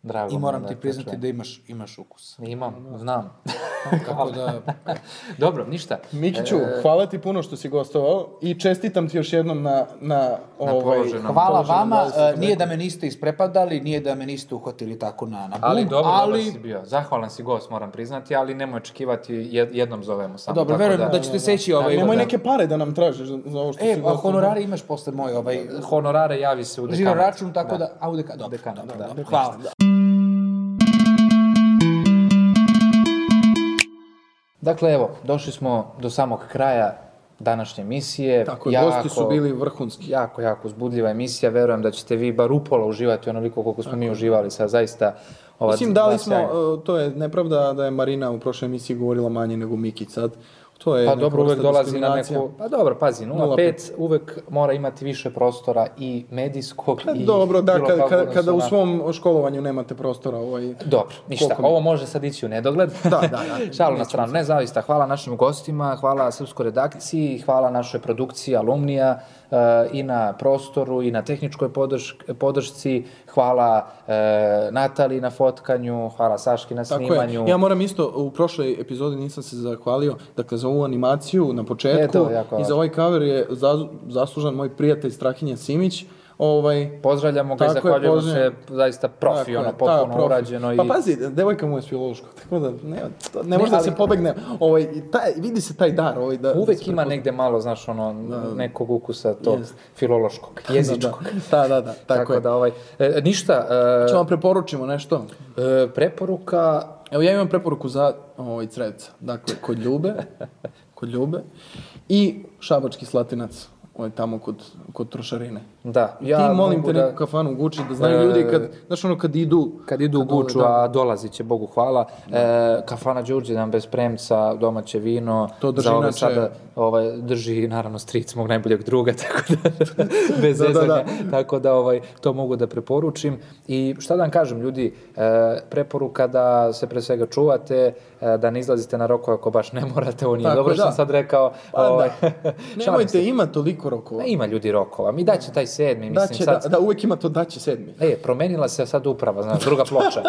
[SPEAKER 2] Drago mi
[SPEAKER 12] I
[SPEAKER 2] je
[SPEAKER 12] moram
[SPEAKER 2] da
[SPEAKER 12] ti
[SPEAKER 2] to
[SPEAKER 12] priznati
[SPEAKER 2] čujem.
[SPEAKER 12] da imaš, imaš ukus.
[SPEAKER 2] Imam,
[SPEAKER 12] [LAUGHS]
[SPEAKER 2] znam.
[SPEAKER 12] Kako da...
[SPEAKER 2] [LAUGHS] Dobro, ništa.
[SPEAKER 1] Mikiću,
[SPEAKER 2] E,
[SPEAKER 1] hvala ti puno što si gostovao i čestitam ti još jednom na, na, ovaj,
[SPEAKER 2] položenom.
[SPEAKER 12] Hvala
[SPEAKER 1] položenom
[SPEAKER 12] vama,
[SPEAKER 1] 20.
[SPEAKER 12] e, nije da me niste isprepadali, nije da me niste uhvatili tako na, na bum,
[SPEAKER 2] Ali dobro, ali...
[SPEAKER 12] ali
[SPEAKER 2] dobar si bio. Zahvalan si gost, moram priznati, ali nemoj očekivati, jed- jednom zovemo samo.
[SPEAKER 12] Dobro,
[SPEAKER 2] tako
[SPEAKER 12] verujem da ćete seći
[SPEAKER 1] Da,
[SPEAKER 12] ovaj...
[SPEAKER 1] nemoj
[SPEAKER 12] da-
[SPEAKER 1] neke pare da nam tražiš za za ovo što
[SPEAKER 12] E,
[SPEAKER 1] si
[SPEAKER 12] a
[SPEAKER 1] gostovao.
[SPEAKER 12] honorare imaš posle moj ovaj
[SPEAKER 2] Honorare javi se u dekanat.
[SPEAKER 12] žiro račun, tako da... A, u dekanat, dobro, dobro, dobro, hvala.
[SPEAKER 2] Dakle, evo, došli smo do samog kraja današnje emisije.
[SPEAKER 1] Tako je, gosti su bili vrhunski.
[SPEAKER 2] Jako, jako uzbudljiva emisija. Verujem da ćete vi bar upola uživati onoliko koliko smo mi uživali. Sad zaista ova
[SPEAKER 1] Mislim, da
[SPEAKER 2] dva
[SPEAKER 1] li smo,
[SPEAKER 2] sjajna.
[SPEAKER 1] e, to je nepravda da je Marina u prošloj emisiji govorila manje nego Miki sad. To je
[SPEAKER 2] Pa
[SPEAKER 1] neka
[SPEAKER 2] dobro, uvek
[SPEAKER 1] vrsta
[SPEAKER 2] dolazi na
[SPEAKER 1] diskriminacije.
[SPEAKER 2] neku... Pa dobro, pazi, 0,5
[SPEAKER 1] 0,5.
[SPEAKER 2] uvek mora imati više prostora i medijskog
[SPEAKER 1] Pa
[SPEAKER 2] i...
[SPEAKER 1] Dobro, da,
[SPEAKER 2] bilo
[SPEAKER 1] kada,
[SPEAKER 2] kakvog
[SPEAKER 1] kada, kada u
[SPEAKER 2] odnosa na-
[SPEAKER 1] svom školovanju nemate prostora ovaj...
[SPEAKER 2] Dobro, ništa.
[SPEAKER 1] koliko mi-
[SPEAKER 2] Ovo može sad ići u nedogled. Da,
[SPEAKER 1] da, da.
[SPEAKER 2] [LAUGHS] Šalu na stranu. Ne, zaista. Hvala našim gostima, hvala srpskoj redakciji, hvala našoj produkciji Alumnija e, i na prostoru i na tehničkoj podrš- podršci. Hvala e, Natali na fotkanju, hvala Saški na
[SPEAKER 1] Tako je.
[SPEAKER 2] snimanju.
[SPEAKER 1] Ja moram isto, u prošloj epizodi nisam se zahvalio, dakle za ovu animaciju na početku
[SPEAKER 2] E, to je jako
[SPEAKER 1] i za
[SPEAKER 2] važno.
[SPEAKER 1] ovaj cover je zazu- zaslužan moj prijatelj Strahinja Simić. Ovaj,
[SPEAKER 2] Pozdravljamo ga i
[SPEAKER 1] Tako je,
[SPEAKER 2] zahvaljujemo se,
[SPEAKER 1] pozdravljam.
[SPEAKER 2] zaista
[SPEAKER 1] Tako
[SPEAKER 2] profi,
[SPEAKER 1] je,
[SPEAKER 2] ono,
[SPEAKER 1] ta
[SPEAKER 2] potpuno
[SPEAKER 1] profi.
[SPEAKER 2] urađeno.
[SPEAKER 1] Pa
[SPEAKER 2] i-
[SPEAKER 1] pazi, devojka mu je s filološkog, tako da ne, to, ne,
[SPEAKER 2] Ne,
[SPEAKER 1] može da se
[SPEAKER 2] ali-
[SPEAKER 1] pobegne. Ovaj, i taj, vidi se taj dar. Ovaj, da, da
[SPEAKER 2] Uvek
[SPEAKER 1] se
[SPEAKER 2] ima
[SPEAKER 1] prepoznaje.
[SPEAKER 2] negde malo, znaš, ono, nekog ukusa tog
[SPEAKER 1] Jest. [LAUGHS]
[SPEAKER 2] filološkog,
[SPEAKER 1] Da, da,
[SPEAKER 2] jezičkog.
[SPEAKER 1] Da, da, da, tako,
[SPEAKER 2] Tako
[SPEAKER 1] je. Pa
[SPEAKER 2] da, ovaj, e, ništa. e,
[SPEAKER 1] Ćemo da vam preporučimo nešto?
[SPEAKER 2] preporuka...
[SPEAKER 1] Evo ja imam preporuku za ovaj cret. Dakle, kod ljube, kod ljube i šabački slatinac. Ovaj tamo kod, kod trošarine.
[SPEAKER 2] Da,
[SPEAKER 1] Ja Ti molim te
[SPEAKER 2] mogu da-
[SPEAKER 1] neku kafanu u Guči da znaju ljudi kad,
[SPEAKER 2] E,
[SPEAKER 1] znaš ono kad idu...
[SPEAKER 2] kad idu u
[SPEAKER 1] kad dole,
[SPEAKER 2] Guču,
[SPEAKER 1] da.
[SPEAKER 2] a dolazi će, Bogu hvala, e, kafana Đurđe nam bez premca, domaće vino,
[SPEAKER 1] To drži
[SPEAKER 2] za ove
[SPEAKER 1] inače-
[SPEAKER 2] sada, ovaj, drži naravno stric mog najboljeg druga, [LAUGHS] tako da, bez
[SPEAKER 1] Da, da,
[SPEAKER 2] zezanja,
[SPEAKER 1] da.
[SPEAKER 2] tako da ovaj, to mogu da preporučim. I šta da vam kažem, ljudi, e, preporuka da se pre svega čuvate, e, da ne izlazite na rokove ako baš ne morate, ovo nije
[SPEAKER 1] Tako,
[SPEAKER 2] dobro što
[SPEAKER 1] da.
[SPEAKER 2] sam sad rekao.
[SPEAKER 1] Pa da.
[SPEAKER 2] ovaj, [LAUGHS] šalim se.
[SPEAKER 1] Nemojte, ima toliko rokova.
[SPEAKER 2] Ne, ima ljudi rokova, mi daće taj sedmi,
[SPEAKER 1] Da
[SPEAKER 2] mislim
[SPEAKER 1] će,
[SPEAKER 2] sad.
[SPEAKER 1] da, da, uvek ima to da će sedmi.
[SPEAKER 2] E, promenila se sad uprava, znaš, druga ploča.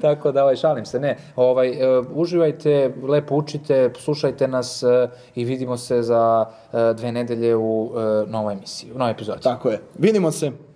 [SPEAKER 2] Tako da, ovaj, šalim se, ne. Ovaj, e, uživajte, lepo učite, slušajte nas e, i vidimo se za e, dve nedelje u e, novoj emisiji, u novoj epizodi.
[SPEAKER 1] Tako je. Vidimo se.